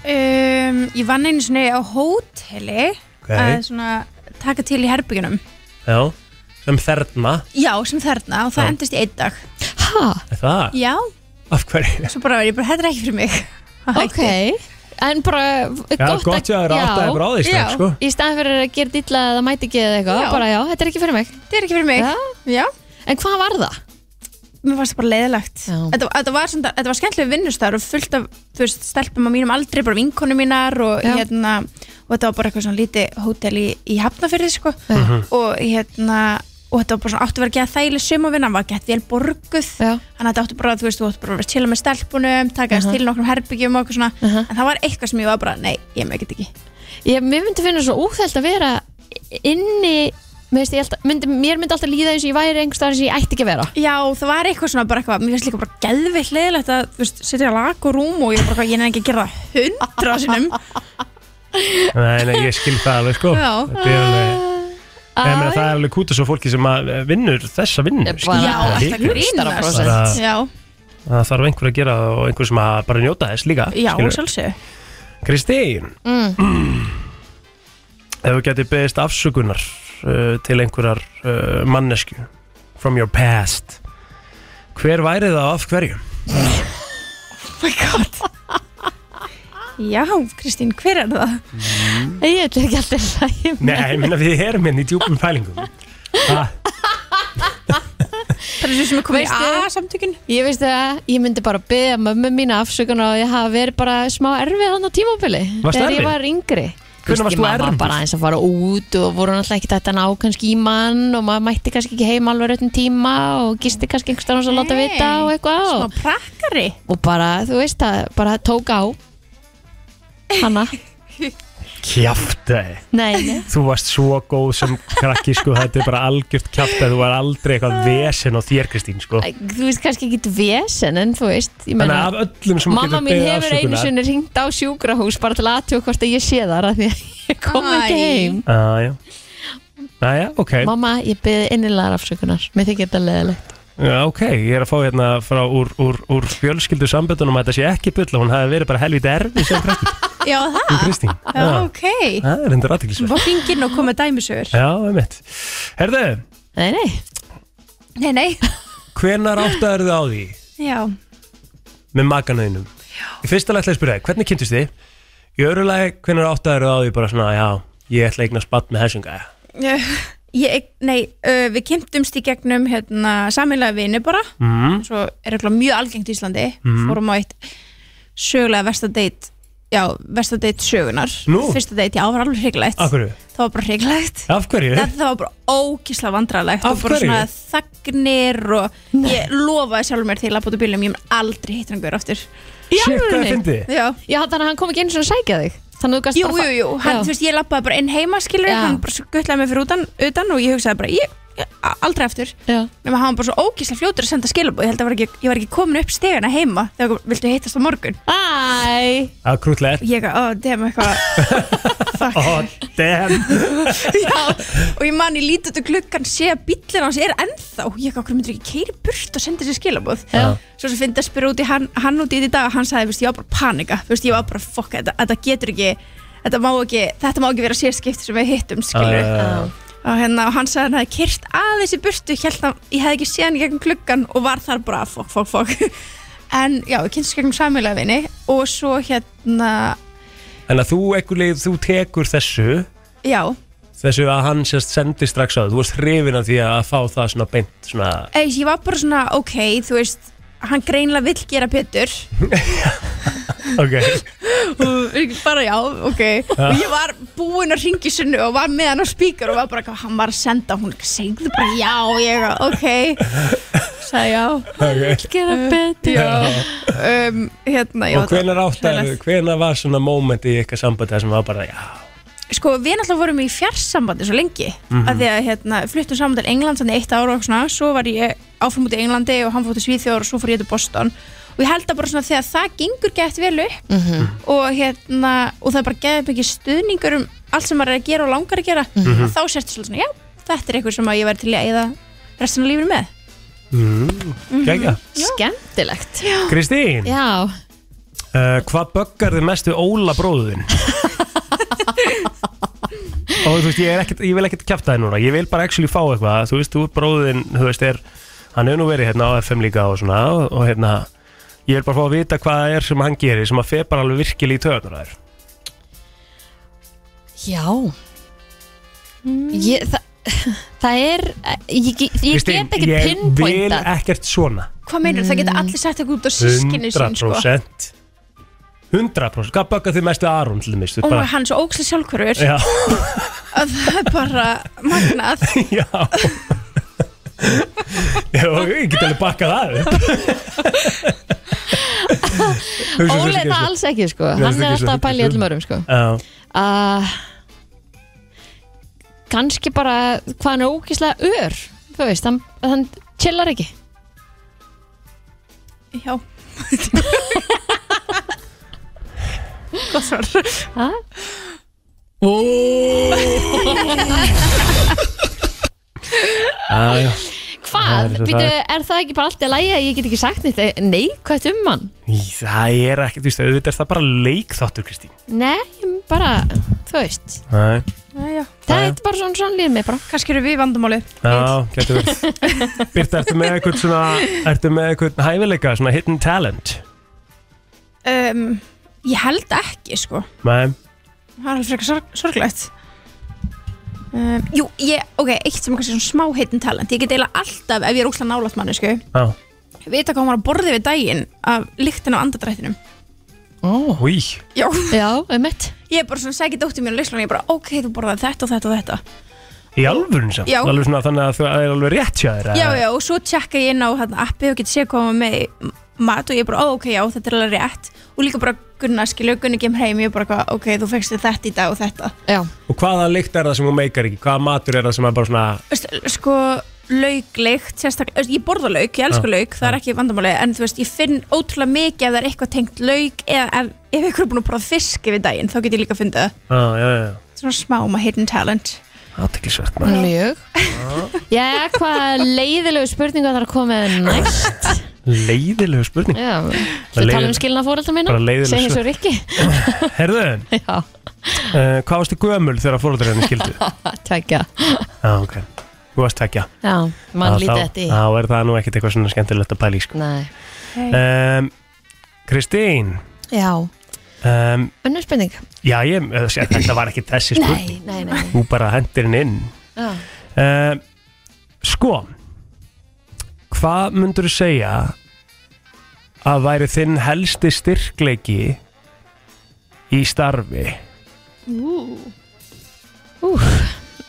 [SPEAKER 8] um, ég vann einu sinni á hóteli.
[SPEAKER 1] Ok,
[SPEAKER 8] að svona taka til í herbyggjunum
[SPEAKER 1] já Sem þerna,
[SPEAKER 8] já, sem þarna og það
[SPEAKER 1] Já.
[SPEAKER 8] endist í einn dag
[SPEAKER 2] Ha,
[SPEAKER 1] er það?
[SPEAKER 8] já,
[SPEAKER 1] Af hverju?
[SPEAKER 8] svo bara var ég bara, þetta er ekki fyrir mig
[SPEAKER 2] ok En bara gott,
[SPEAKER 1] Já, gott ég að vera átt að ég bráði
[SPEAKER 8] Já.
[SPEAKER 1] stæk sko
[SPEAKER 2] Í staðan fyrir að gera dilla eða mæti ekki eða eitthvað
[SPEAKER 8] Já.
[SPEAKER 2] Bara já, þetta er ekki fyrir mig
[SPEAKER 8] þetta er ekki fyrir mig
[SPEAKER 2] Já.
[SPEAKER 8] Já.
[SPEAKER 2] En hvað var það?
[SPEAKER 8] mér fannst það bara leiðilegt
[SPEAKER 2] Já.
[SPEAKER 8] þetta, þetta var, svona- þetta var skemmtileg vinnustar og fullt af þú veist, stelpum á mínum aldri bara vinkonu mínar og,
[SPEAKER 2] Já.
[SPEAKER 8] hérna, og þetta var bara eitthvað svona lítið hótel í, í Hafnafyrði sko. og hérna og þetta var bara svona áttu að vera að geða þægileg sumavinna hann var gett vel borguð
[SPEAKER 2] Já. Uh-huh.
[SPEAKER 8] þannig að þetta áttu bara, þú veist, þú áttu bara að vera að chilla með stelpunum taka þess til nokkrum herbyggjum og okkur svona en það var eitthvað sem ég var bara, nei, ég með ekki
[SPEAKER 2] ég, mér myndi finna svo úþælt að vera inni mér, veist, ég held, að- myndi, mér myndi alltaf líða eins og ég væri einhvers staðar eins og ég ætti ekki að vera
[SPEAKER 8] Já, það var eitthvað svona bara eitthvað, mér finnst líka bara geðvill leðilegt að, þú veist, setja lag og rúm og ég er bara eitthvað, ég nefn ekki að gera það hundra sinum.
[SPEAKER 1] Nei, nei, ég skil það alveg sko
[SPEAKER 8] Já.
[SPEAKER 1] Þetta er alveg- Nei, ég meina, Það er alveg kúta svo fólki sem að eh, vinnur þessa vinnu
[SPEAKER 2] Ég
[SPEAKER 1] skilur
[SPEAKER 2] bara-
[SPEAKER 8] Já,
[SPEAKER 1] það
[SPEAKER 8] þetta
[SPEAKER 1] ekki?
[SPEAKER 8] grínast.
[SPEAKER 1] Bara-
[SPEAKER 8] Já,
[SPEAKER 1] Það þarf einhver að gera það og einhver sem að bara njóta þess líka
[SPEAKER 8] já,
[SPEAKER 1] skilur.
[SPEAKER 8] sjálfsög.
[SPEAKER 1] Kristín
[SPEAKER 2] Mm.
[SPEAKER 1] Ef þú getur beðist afsökunar uh, til einhverjar uh, mannesku from your past hver væri það og af hverju?
[SPEAKER 8] Já, Kristín, hver er það?
[SPEAKER 2] ég ætla ekki alltaf að hlæma
[SPEAKER 1] Nei, ég minna við erum hérna í djúpum pælingum ha,
[SPEAKER 8] Það er svo sem er komið í
[SPEAKER 2] Veistu-
[SPEAKER 8] A-samtökin.
[SPEAKER 2] Ég veist það, ég myndi bara beðja mömmu mína afsökunar á að ég hafa verið bara smá erfið hann á tímabili
[SPEAKER 1] Varstu
[SPEAKER 2] þegar
[SPEAKER 1] erfið?
[SPEAKER 2] ég var yngri
[SPEAKER 1] Hvenær
[SPEAKER 2] Þú
[SPEAKER 1] varst
[SPEAKER 2] veist, ég-
[SPEAKER 1] þú
[SPEAKER 2] maður var
[SPEAKER 1] erfið?
[SPEAKER 2] bara eins að fara út og voru náttúrulega ekki þetta ná kannski í mann og maður mætti kannski ekki heim alveg réttum tíma og gisti kannski einhvers staðar hans að láta
[SPEAKER 8] Nei.
[SPEAKER 2] vita og eitthvað
[SPEAKER 8] Smá
[SPEAKER 2] og,
[SPEAKER 8] prakkari.
[SPEAKER 2] og bara, þú veist það, bara tók á hanna
[SPEAKER 1] Kjaftaði
[SPEAKER 2] Nei, nei.
[SPEAKER 1] Þú varst svo góð sem krakki sko, þetta er bara algjört kjaftaði, þú var aldrei eitthvað vesen á þér Kristín sko.
[SPEAKER 2] þú veist kannski ekki vesen en þú veist ég
[SPEAKER 1] Þannig
[SPEAKER 2] meina,
[SPEAKER 1] að af öllum sem
[SPEAKER 2] Mamma
[SPEAKER 1] getur
[SPEAKER 2] mín
[SPEAKER 1] beðið
[SPEAKER 2] hefur einu
[SPEAKER 1] afsökunar
[SPEAKER 2] sinni ringt á sjúkrahús bara til aðtjóð hvort að ég sé þar að því að ég kom ekki
[SPEAKER 8] Æ.
[SPEAKER 2] heim
[SPEAKER 1] Aðja, aðja, Ah, ok
[SPEAKER 2] Mamma, ég beði innilegar afsökunar Mér þykir þetta leðilegt
[SPEAKER 1] Já, ok, ég er að fá hérna frá úr, úr, úr fjölskyldu samböndunum að þetta sé ekki bulla, hún hafi verið bara helviti erfið sem krakki,
[SPEAKER 8] Já, það.
[SPEAKER 1] hún Kristín
[SPEAKER 8] Já,
[SPEAKER 1] Já,
[SPEAKER 8] ok.
[SPEAKER 1] það er hendur aðtiklisverð
[SPEAKER 8] Bá hringinn og komið dæmisögur.
[SPEAKER 1] Já, einmitt Herðu,
[SPEAKER 2] Nei, nei,
[SPEAKER 8] Nei, nei.
[SPEAKER 1] hvenar áttaður þið á því
[SPEAKER 8] Já.
[SPEAKER 1] með makanöðinum? Í fyrsta lega ætla ég að spyrja, þig, hvernig kynntist þið? Í öðru lega, hvenar áttaður þið á því bara svona, já, ég ætla að eignast spatt með þessum gæja
[SPEAKER 8] Ég, Eh, ég, nei, uh, við kynntumst í gegnum hérna, saminlega vini bara
[SPEAKER 1] Mhm.
[SPEAKER 8] svo er eitthvað mjög algengt í Íslandi fórum á eitt sögulega vestadeit já, vestadeit sögunar
[SPEAKER 1] Nú?
[SPEAKER 8] fyrsta deit, já, það var alveg hryggilegt
[SPEAKER 1] Af hverju?
[SPEAKER 8] það var bara hryggilegt
[SPEAKER 1] Af hverju?
[SPEAKER 8] það, það var bara ókísla vandralegt
[SPEAKER 1] Af
[SPEAKER 8] og bara
[SPEAKER 1] hverju?
[SPEAKER 8] svona þagnir og ég lofaði sjálfur mér til að búta bílum ég mun aldrei hittir hann gaur aftur
[SPEAKER 1] Shit, hvað
[SPEAKER 2] alvörunni?
[SPEAKER 1] þið fyndið?
[SPEAKER 8] já
[SPEAKER 2] já þannig að hann kom ekki einu svona að sækja þig Þannig að þú gast
[SPEAKER 8] Jú,
[SPEAKER 2] bara
[SPEAKER 8] jú, jú, hann,
[SPEAKER 2] Já.
[SPEAKER 8] þú veist, ég lappaði bara inn heima skilur,
[SPEAKER 2] Já.
[SPEAKER 8] hann bara guttlaði mig fyrir utan, utan og ég hugsaði bara, ég, ég a- aldrei aftur
[SPEAKER 2] Já.
[SPEAKER 8] nema hann var bara svo ógísla fljótur að senda skilabóð ég held að var ekki, ég var ekki komin upp stegana heima þegar ég viltu hittast á morgun
[SPEAKER 2] Æ,
[SPEAKER 1] Að krútlega
[SPEAKER 8] og ég að, oh, damn, eitthvað fuck,
[SPEAKER 1] Oh, damn
[SPEAKER 8] já og ég man, ég lítið út úr gluggan sé að bíllinn hans er ennþá og ég að, hvernig myndir ekki keiri burt og senda sér skilabóð
[SPEAKER 2] Já.
[SPEAKER 8] svo sem fyndi að spyrja út í hann, hann út í því í dag hann sagði, veist, ég var bara að panika þú veist, ég var bara, fuck, þetta, þetta getur ekki Þetta má, ekki, þetta má ekki vera sérskipti sem við hittum skilju
[SPEAKER 1] Já.
[SPEAKER 8] og, hérna, og hann sagði hann hefði kyrt aðeins í burtu held að ég hefði ekki séð hann í gegnum klukkan og var þar bara fokk, fokk, fokk en já, ég kynst gegnum samílega vini og svo hérna
[SPEAKER 1] Þannig að þú, einhver leið, þú tekur þessu
[SPEAKER 8] já,
[SPEAKER 1] þessu að hann sérst sendi strax á þig. þú varst hrifin af því að fá það svona beint svona,
[SPEAKER 8] eða ég var bara svona ok, þú veist, hann greinlega vill gera betur
[SPEAKER 1] ok,
[SPEAKER 8] og bara já, ok og ég var búin að ringi sunnu og var með hann á spíkar og var bara, hann var að senda hún segðu bara já, ég ok sagði já
[SPEAKER 1] okay.
[SPEAKER 2] gera betur
[SPEAKER 8] já, um, hérna já,
[SPEAKER 1] og hvenar áttar,
[SPEAKER 8] hreinlega.
[SPEAKER 1] hvenar var svona moment í ykkar sambandi þar sem var bara, já,
[SPEAKER 8] sko við náttúrulega vorum í fjarsambandi svo lengi af því að hérna, fluttum saman til England þannig eitt ára og eitthvað svona, svo var ég áfram út í Englandi og hann fór til Svíþjóður og svo fór ég til Boston og ég held að bara svona þegar það gengur gett vel upp og hérna og það er bara geðið mikið stuðningur um allt sem maður er að gera og langar að gera að þá sérstu svolítið svona, já, þetta er eitthvað sem að ég verði til í að eða restina af lífinu með
[SPEAKER 1] gegja
[SPEAKER 2] Skemmtilegt
[SPEAKER 1] Kristín,
[SPEAKER 2] Já,
[SPEAKER 1] uh, hvað böggar þið mest við Óla bróðin? og þú veist, ég, er ekkit, ég vil ekkert kjafta þið núna, ég vil bara actually fá eitthvað, þú veist, þú bróðin þú veist, er, hann hefur nú verið hérna á FM líka og svona, og, og hérna ég vil bara fá að vita hvað það er sem hann gerir sem að feð bara alveg virkilega í töðunar þær
[SPEAKER 2] já ég, það, það er, ég, ég, ég
[SPEAKER 1] Kristín,
[SPEAKER 2] get ekki
[SPEAKER 1] ég vil
[SPEAKER 2] pinpointað
[SPEAKER 1] ekkert svona
[SPEAKER 8] Hvað meinar það geta allir sagt eitthvað út á sískinu sín sko
[SPEAKER 1] 100% 100% Hvað bökkar þið mest við Aron til þess
[SPEAKER 8] Og maður hann er svo ókslega sjálfkvörur
[SPEAKER 1] Já,
[SPEAKER 8] að það er bara magnað
[SPEAKER 1] já Já, ég get alveg bakkað það upp Hugsa svo ekki,
[SPEAKER 2] Óli er það
[SPEAKER 1] sko.
[SPEAKER 2] alls ekki
[SPEAKER 1] Nei,
[SPEAKER 2] sko hann
[SPEAKER 1] það er
[SPEAKER 2] er
[SPEAKER 1] ekki
[SPEAKER 2] alltaf
[SPEAKER 1] svo-
[SPEAKER 2] að pæla í öllum örum sko
[SPEAKER 1] Já,
[SPEAKER 2] uh, kannski bara hvað hann er ókíslega ör þú veist, hann, hann chillar ekki
[SPEAKER 8] Já Hvað svar?
[SPEAKER 2] ha?
[SPEAKER 1] já, já
[SPEAKER 2] hvað,
[SPEAKER 1] Það er-
[SPEAKER 2] er, Býtu, er það ekki bara allt í lagi að ég get ekki sagt neitt neikvægt um hann
[SPEAKER 1] Í, Það er ekkert, þú veist, auðvitað er það bara leikþáttur, Kristín
[SPEAKER 2] nei, bara, þú veist
[SPEAKER 1] Nei,
[SPEAKER 8] Jæja
[SPEAKER 2] það
[SPEAKER 1] Já,
[SPEAKER 2] er bara svona, svona líður mig bara
[SPEAKER 8] Kannski eru við vandamáli
[SPEAKER 1] já, getur verið Birta, ertu með eitthvað svona, ertu með eitthvað hæfileika, svona hidden talent
[SPEAKER 8] um, Ég held ekki sko
[SPEAKER 1] Nei,
[SPEAKER 8] Það er alveg frekar sorg, sorglegt um, Jú, ég, ok, eitt sem er kannski svona smá heitin talent Ég get eiginlega alltaf, ef ég er ókslega nálægt manni sko
[SPEAKER 1] já,
[SPEAKER 8] Vita hvað hún var að borði við daginn Af lyktin á andadrættinum
[SPEAKER 2] oh.
[SPEAKER 1] hví
[SPEAKER 8] Já
[SPEAKER 2] já, um mitt
[SPEAKER 8] Ég er bara svona sækið dóttir mín á leikslunni Ég er bara, ok, þú borðaði þetta og þetta og þetta
[SPEAKER 1] Í alvörun samt,
[SPEAKER 8] Já.
[SPEAKER 1] alveg svona þannig að þú- það er alveg rétt hjá þér að-
[SPEAKER 8] Já, já, og svo tjekka ég inn á þarna, appi og getur séð koma með í mat og ég er bara, ó, ok, já, þetta er alveg rétt og líka bara Gunnar, skilur, Gunnar kem heim ég er bara, eitthvað, ok, þú fegst þér þetta í dag og þetta
[SPEAKER 2] já,
[SPEAKER 1] Og hvaða lykt er það sem þú meikar ekki? Hvaða matur er það sem er bara svona
[SPEAKER 8] Veist, sko, laukleikt sérstaklega, veist, ég borða lauk, ég elsku
[SPEAKER 1] Já,
[SPEAKER 8] lauk það er ekki vandamáli, en þú veist, ég finn ótrúlega mikið ef það er eitthvað tengt lauk eða ef, ef ykkur er búin að prófa fisk yfir daginn, þá get ég líka að funda það,
[SPEAKER 1] Já, ah, já, já
[SPEAKER 8] svona smáma hidden talent
[SPEAKER 1] Aðteklisvert
[SPEAKER 2] mjög
[SPEAKER 1] Ah.
[SPEAKER 2] já, hvað leiðilegu spurningu það er að koma með næst
[SPEAKER 1] Leiðilegu spurning
[SPEAKER 2] já,
[SPEAKER 1] Það
[SPEAKER 2] við
[SPEAKER 1] leiðir-
[SPEAKER 2] tala um skilna fórelda mína
[SPEAKER 1] bara leiðileg
[SPEAKER 2] segja eins og Rikki
[SPEAKER 1] Herðu,
[SPEAKER 2] já,
[SPEAKER 1] uh, hvað varstu gömul þegar fórhaldur henni skildu?
[SPEAKER 2] tækja
[SPEAKER 1] Já, ok Þú varst tvekja
[SPEAKER 2] já, mann
[SPEAKER 1] Já,
[SPEAKER 2] lítið
[SPEAKER 1] þá-
[SPEAKER 2] þetta í
[SPEAKER 1] Þá er það nú ekkert eitthvað svona skemmtilegt að pæla í sko
[SPEAKER 2] nei,
[SPEAKER 1] um, Kristín
[SPEAKER 2] já,
[SPEAKER 1] um,
[SPEAKER 2] önnur spurning
[SPEAKER 1] Já, ég, eh, sé- þetta var ekki þessi spurning
[SPEAKER 2] nei, nei, nei,
[SPEAKER 1] Þú bara hendir henni inn
[SPEAKER 2] nei. Já.
[SPEAKER 1] um, Sko Hvað myndur þú segja að væri þinn helsti styrkleiki í starfi?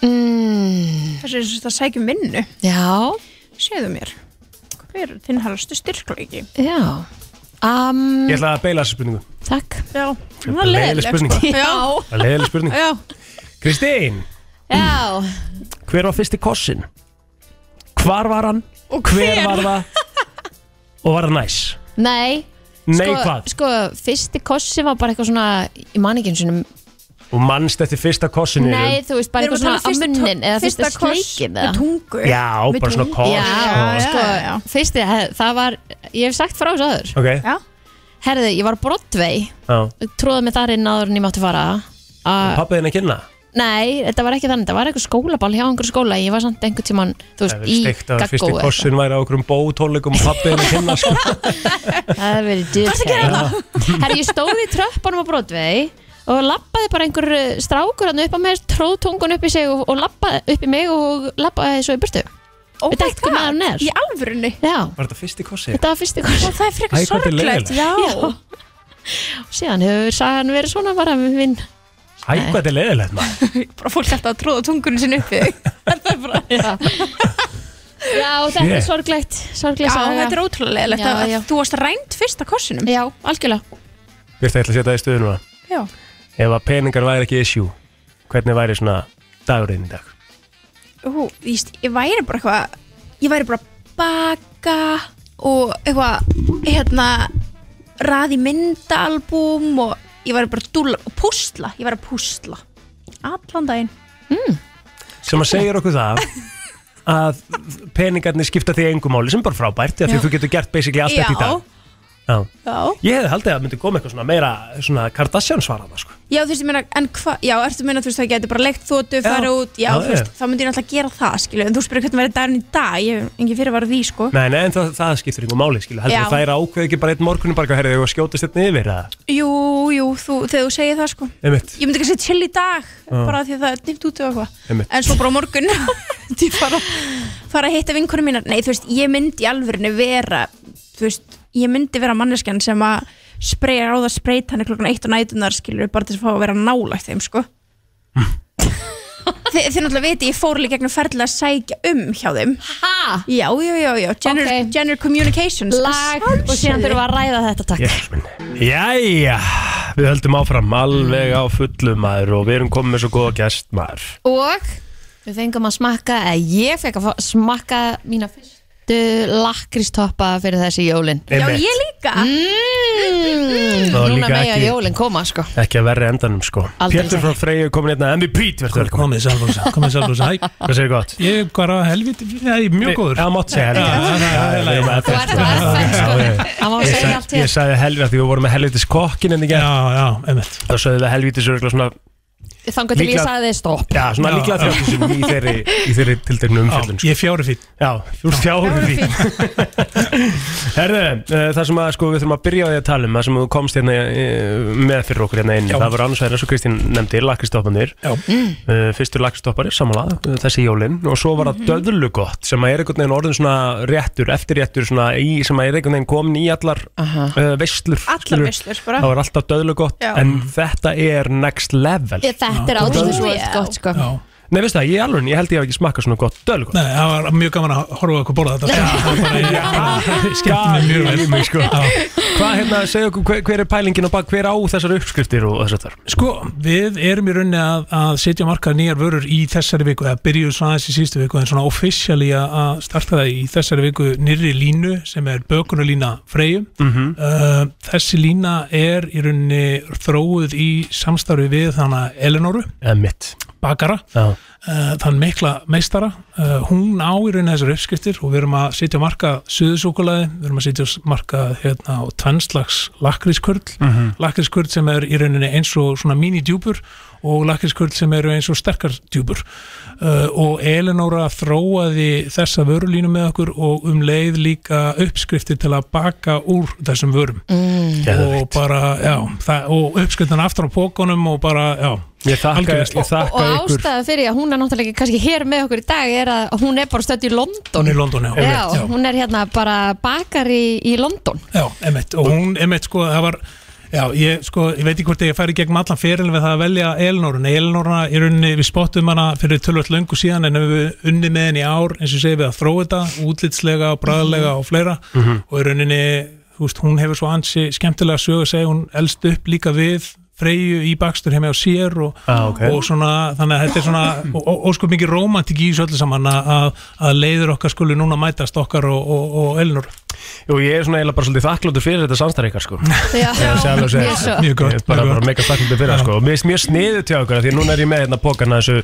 [SPEAKER 2] Mm,
[SPEAKER 8] þessu er svona að sækja minnu,
[SPEAKER 2] já,
[SPEAKER 8] segðu mér hver er þinn halastu styrkleiki?
[SPEAKER 2] já um,
[SPEAKER 1] Ég ætla að beila þessu spurningu
[SPEAKER 2] Takk
[SPEAKER 8] Já, það
[SPEAKER 1] bara
[SPEAKER 8] er
[SPEAKER 1] leiðileg
[SPEAKER 8] leiðilegt
[SPEAKER 1] spurning.
[SPEAKER 8] sko. Já,
[SPEAKER 1] Það er leiðileg spurning
[SPEAKER 8] já
[SPEAKER 1] Kristín,
[SPEAKER 2] Já,
[SPEAKER 1] hver var fyrsti kossin? Hvar var hann?
[SPEAKER 8] Og
[SPEAKER 1] Hver var það? Og var það næs?
[SPEAKER 2] nei
[SPEAKER 1] Nei,
[SPEAKER 2] sko,
[SPEAKER 1] hvað?
[SPEAKER 2] Sko, fyrsti kossi var bara eitthvað svona Í manningin sinum
[SPEAKER 1] Og mannst eftir fyrsta kossinu í raun?
[SPEAKER 2] Nei, þú veist, bara eitthvað svona á munnin Eða um fyrsta sleikin
[SPEAKER 8] með
[SPEAKER 2] eða
[SPEAKER 8] tungu
[SPEAKER 1] Já,
[SPEAKER 8] Með
[SPEAKER 1] bara svona
[SPEAKER 8] tungu.
[SPEAKER 1] koss
[SPEAKER 2] Já,
[SPEAKER 8] Já,
[SPEAKER 1] og-
[SPEAKER 2] sko,
[SPEAKER 8] já, já.
[SPEAKER 2] fyrsti, he- það var Ég hef sagt frá þessu aður
[SPEAKER 1] Ok,
[SPEAKER 8] Já,
[SPEAKER 2] Herði, ég var á Broadway
[SPEAKER 1] já
[SPEAKER 2] Tróði mig þar inn áður en ég mátti fara uh,
[SPEAKER 1] Pappið henni að kynna
[SPEAKER 2] Nei, þetta var ekki þannig Þetta var eitthvað skólaball hjá einhver skóla Ég var samt einhvern tímann, þú
[SPEAKER 1] Það er
[SPEAKER 2] veist, í sko.
[SPEAKER 1] steikt að
[SPEAKER 2] gaggó
[SPEAKER 1] fyrsti
[SPEAKER 2] eða eitthvað.
[SPEAKER 1] kossin væri á okkur um bótónleikum og pappið henni að kynna sko.
[SPEAKER 2] Það hefur verið dyrtæð Hvað er það að gera það? Herri, ég stóð í tröppunum á Broadway og lappaði bara einhver eh, strákur hann upp á mér, tróð tungun upp í sig og, og lappaði upp í mig og lappaði svo í burtu.
[SPEAKER 8] oh
[SPEAKER 2] Veit ekkert hvað maður er.
[SPEAKER 8] Í alvörunni
[SPEAKER 2] Já,
[SPEAKER 1] Var þetta fyrsti kossi?
[SPEAKER 2] þetta var fyrsti kurs.
[SPEAKER 8] Og það er
[SPEAKER 1] Æ,
[SPEAKER 8] frekar
[SPEAKER 1] hvað þetta er
[SPEAKER 8] sorglegt
[SPEAKER 1] leiðilegt.
[SPEAKER 8] Já,
[SPEAKER 2] Síðan hefur sagan verið svona bara með minn.
[SPEAKER 1] Æ, hvað þetta er leiðilegt maður
[SPEAKER 8] bara fólk alltaf að tróða tungunum sinni uppi Það er bara Já,
[SPEAKER 2] Já, þetta
[SPEAKER 1] Shit.
[SPEAKER 2] er sorglegt, sorglegt saga.
[SPEAKER 8] þetta er ótrúlega leiðilegt
[SPEAKER 2] Já,
[SPEAKER 8] að-
[SPEAKER 2] já.
[SPEAKER 8] að Þú varst rænt fyrsta kossinum
[SPEAKER 2] Já, algjörlega.
[SPEAKER 1] Fyrst að ætla að setja það í stöðuna
[SPEAKER 8] Já
[SPEAKER 1] Ef að peningar væri ekki issue Hvernig væri svona dagurinn í dag?
[SPEAKER 8] Ú, víst, Ég væri bara eitthvað Ég væri bara að baka og eitthvað hérna raði myndaalbúm og ég væri bara að dúlla og púsla, ég væri að púsla allan daginn
[SPEAKER 1] Sem að segja okkur það að peningarnir skipta því engum máli sem er bara frábært því að
[SPEAKER 2] Já.
[SPEAKER 1] þú getur gert basically allt
[SPEAKER 8] Já,
[SPEAKER 1] þetta í dag Já.
[SPEAKER 8] Já.
[SPEAKER 1] Ég hefði haldið að myndi koma eitthvað svona meira svona Kardashian svaraða sko.
[SPEAKER 8] Já, þú veist, ég meina, en hvað, já, ertu að meina, þú veist, það getur bara leikt þóttu, fara út,
[SPEAKER 1] Já,
[SPEAKER 8] já, þú veist,
[SPEAKER 1] já.
[SPEAKER 8] þá myndi ég náttúrulega gera það, skilu, en þú spyrir hvernig verður dagurinn í dag, ég hef engin fyrir því, sko.
[SPEAKER 1] Nei, nei, en það, það skiptir ykkur máli skilur. Heldur
[SPEAKER 8] Já.
[SPEAKER 1] það er ákveð ekki bara einn morgunum bara herrið og skjótast þetta yfir að,
[SPEAKER 8] Jú, jú, þú, þegar þú segir það, sko.
[SPEAKER 1] einmitt,
[SPEAKER 8] Ég myndi kannski chill í dag, bara því að það er nýmt út og eitthvað,
[SPEAKER 1] Einmitt.
[SPEAKER 8] en svo bara á morgun, því fara, fara að hitta vinkunum mínar. Nei, þú veist, ég myndi í alvörinu vera, þú veist, ég myndi vera manneskjan sem að spreja ráða spreyt hann klokkan eitt og nætunar skilur bara til að fá að vera nálægt þeim sko Þi, þið náttúrulega viti, ég fór líka gegnum ferðilega að sækja um hjá þeim
[SPEAKER 2] Ha?
[SPEAKER 8] Já, já, já, já, gender,
[SPEAKER 2] Ok.
[SPEAKER 8] gender communications
[SPEAKER 2] Lag og síðan þurfum við að ræða þetta takk
[SPEAKER 1] Jesus minn. Jæja, við höldum áfram alveg á fullu maður og við erum komið með svo góða gest maður.
[SPEAKER 2] Og við fengum að smakka eða ég fekk að fá- smakka mína fyrstu lakristoppa fyrir þessi jólin
[SPEAKER 8] Já,
[SPEAKER 1] Einmitt.
[SPEAKER 8] ég líka
[SPEAKER 2] mm,
[SPEAKER 1] Það var
[SPEAKER 2] Núna
[SPEAKER 1] líka
[SPEAKER 2] mega
[SPEAKER 1] ekki-
[SPEAKER 2] jólin koma sko
[SPEAKER 1] Ekki að verri endanum sko
[SPEAKER 2] Aldrei.
[SPEAKER 1] Pétur frá Freyju komin hérna MVP verður
[SPEAKER 9] Kom-
[SPEAKER 1] velkomin.
[SPEAKER 9] Komið Salfrúsa, komið Salfrúsa, hæ
[SPEAKER 1] Hvað segir gott?
[SPEAKER 9] Ég er bara helviti, ég er mjög góður
[SPEAKER 1] Já, mátt segja
[SPEAKER 9] Já, já, já, já, já, já.
[SPEAKER 1] helviti
[SPEAKER 2] Þú ert svo aðfætt sko Það má
[SPEAKER 1] Ég
[SPEAKER 2] segja allt
[SPEAKER 1] sagði, ég
[SPEAKER 2] hér
[SPEAKER 1] sagði helviti því við vorum með helvitis kokkin en ekki
[SPEAKER 9] Já, já, einmitt
[SPEAKER 1] þá sagði það helvitis örgulega svona
[SPEAKER 2] Þangu til ég
[SPEAKER 1] líklega-
[SPEAKER 2] sagði þið stopp
[SPEAKER 1] já, svona
[SPEAKER 9] Já,
[SPEAKER 1] líklega
[SPEAKER 9] já.
[SPEAKER 1] þrjáttu sem í þeirri, í þeirri tildegnu
[SPEAKER 9] Já,
[SPEAKER 1] umfjöldun sko.
[SPEAKER 9] Ég er fjári fín
[SPEAKER 1] Já, þú ert fjárum því Herðu, eh, það sem að sko við þurfum að byrja á því að tala um það sem þú komst hérna eh, með fyrir okkur hérna inn
[SPEAKER 9] Já.
[SPEAKER 1] það voru annars vegar eins og Kristín nefndi lakristoppanir
[SPEAKER 9] Já.
[SPEAKER 1] uh, fyrstur lakristoppari sammála uh, þessi jólin og svo var það döðlugott sem að er einhvern veginn orðin svona réttur eftirréttur svona í sem að er einhvern veginn komin í allar uh, veislur
[SPEAKER 8] Allar
[SPEAKER 1] skilurðu.
[SPEAKER 8] veislur bara
[SPEAKER 1] það var alltaf döðlugott
[SPEAKER 8] Já.
[SPEAKER 1] en þetta er next level
[SPEAKER 2] Ég- Þetta er
[SPEAKER 9] Já.
[SPEAKER 2] átrúlega
[SPEAKER 8] Já.
[SPEAKER 2] gott sko
[SPEAKER 9] Já,
[SPEAKER 1] Nei, veistu það, ég, alveg, ég held ég hef ekki smakað svona gott döðlugott
[SPEAKER 9] nei, það var mjög gaman að horfa á okkur borða þetta Það var bara, ég- ég skemmti mig mjög vel
[SPEAKER 1] mig, sko. Hvað hérna, segja okkur, hver, hver er pælingin og bara hver á þessar uppskriftir og þess að þar
[SPEAKER 9] Sko, við erum í rauninni að, að setja á markað nýjar vörur í þessari viku eða byrjuðu svona aðeins í síðustu viku en svona officially að- að starta það í þessari viku nýrri línu sem er bökunarlína freyjum
[SPEAKER 1] Mhm.
[SPEAKER 9] uh, Þessi lína er í rauninni þróuð í samstarfi við þannig að Elenoru,
[SPEAKER 1] Eða mitt
[SPEAKER 9] bakara
[SPEAKER 1] Já,
[SPEAKER 9] uh, þann mikla meistara uh, hún á í rauninni þessar uppskriftir og við erum að setja á marka suðusúkulaði við erum að setja á marka hérna á tvennslags lakrískurl mm sem er í rauninni eins og svona mini-djúpur og lakrískurl sem eru eins og sterkar djúpur uh, og Elinóra þróaði þessa vörulínu með okkur og um leið líka uppskriftir til að baka úr þessum vörum
[SPEAKER 2] Mm.
[SPEAKER 9] Mm. og
[SPEAKER 1] geðvikt
[SPEAKER 9] bara, já, það, og uppskriftin aftur á pókunum og bara, já
[SPEAKER 1] Ég þakka,
[SPEAKER 9] Algjörlega.
[SPEAKER 1] ég
[SPEAKER 2] Og
[SPEAKER 1] þakka ykkur
[SPEAKER 2] ástæða fyrir að hún er náttúrulega ekki kannski hér með okkur í dag er að hún er bara stödd í London
[SPEAKER 9] Hún í London, já,
[SPEAKER 2] Já,
[SPEAKER 9] einmitt, já.
[SPEAKER 2] hún er hérna bara bakari í London
[SPEAKER 9] Já, emitt, og hún, emitt, sko, það var Já, ég, sko, ég veit ekki hvort ég færi gegn allan fyrirlega við það að velja Elinórun Elinóruna, í rauninni, við spottum hana fyrir tölvöld löngu síðan en hefur við unni með henni í ár, eins og segir við að þróa þetta útlitslega, bræðlega og fleira
[SPEAKER 1] Mhm.
[SPEAKER 9] og í rauninni, þú veist, hún hefur svo ansi skemmtilega sögu að segja, hún elst upp líka við Freyju í bakstur heima á sér og,
[SPEAKER 1] Ah, ok.
[SPEAKER 9] og svona, þannig að þetta er svona ó- ó- óskup mikið rómantik í þessu öllu saman að- að, að leiður okkar skuli núna mætast okkar og, og, og Elinór
[SPEAKER 1] Og ég er svona eiginlega bara svolítið þakkláttur fyrir þetta samstarf ykkar sko
[SPEAKER 2] Já,
[SPEAKER 1] Sjálf og segja.
[SPEAKER 2] mjög svo
[SPEAKER 9] Mjög
[SPEAKER 1] Ég
[SPEAKER 9] gott,
[SPEAKER 1] er bara,
[SPEAKER 9] mjög
[SPEAKER 1] bara
[SPEAKER 9] gott.
[SPEAKER 1] mega þakkláttur fyrir það sko Og mér er mjög sniðu til okkar af Því að núna er ég með hérna pókana þessu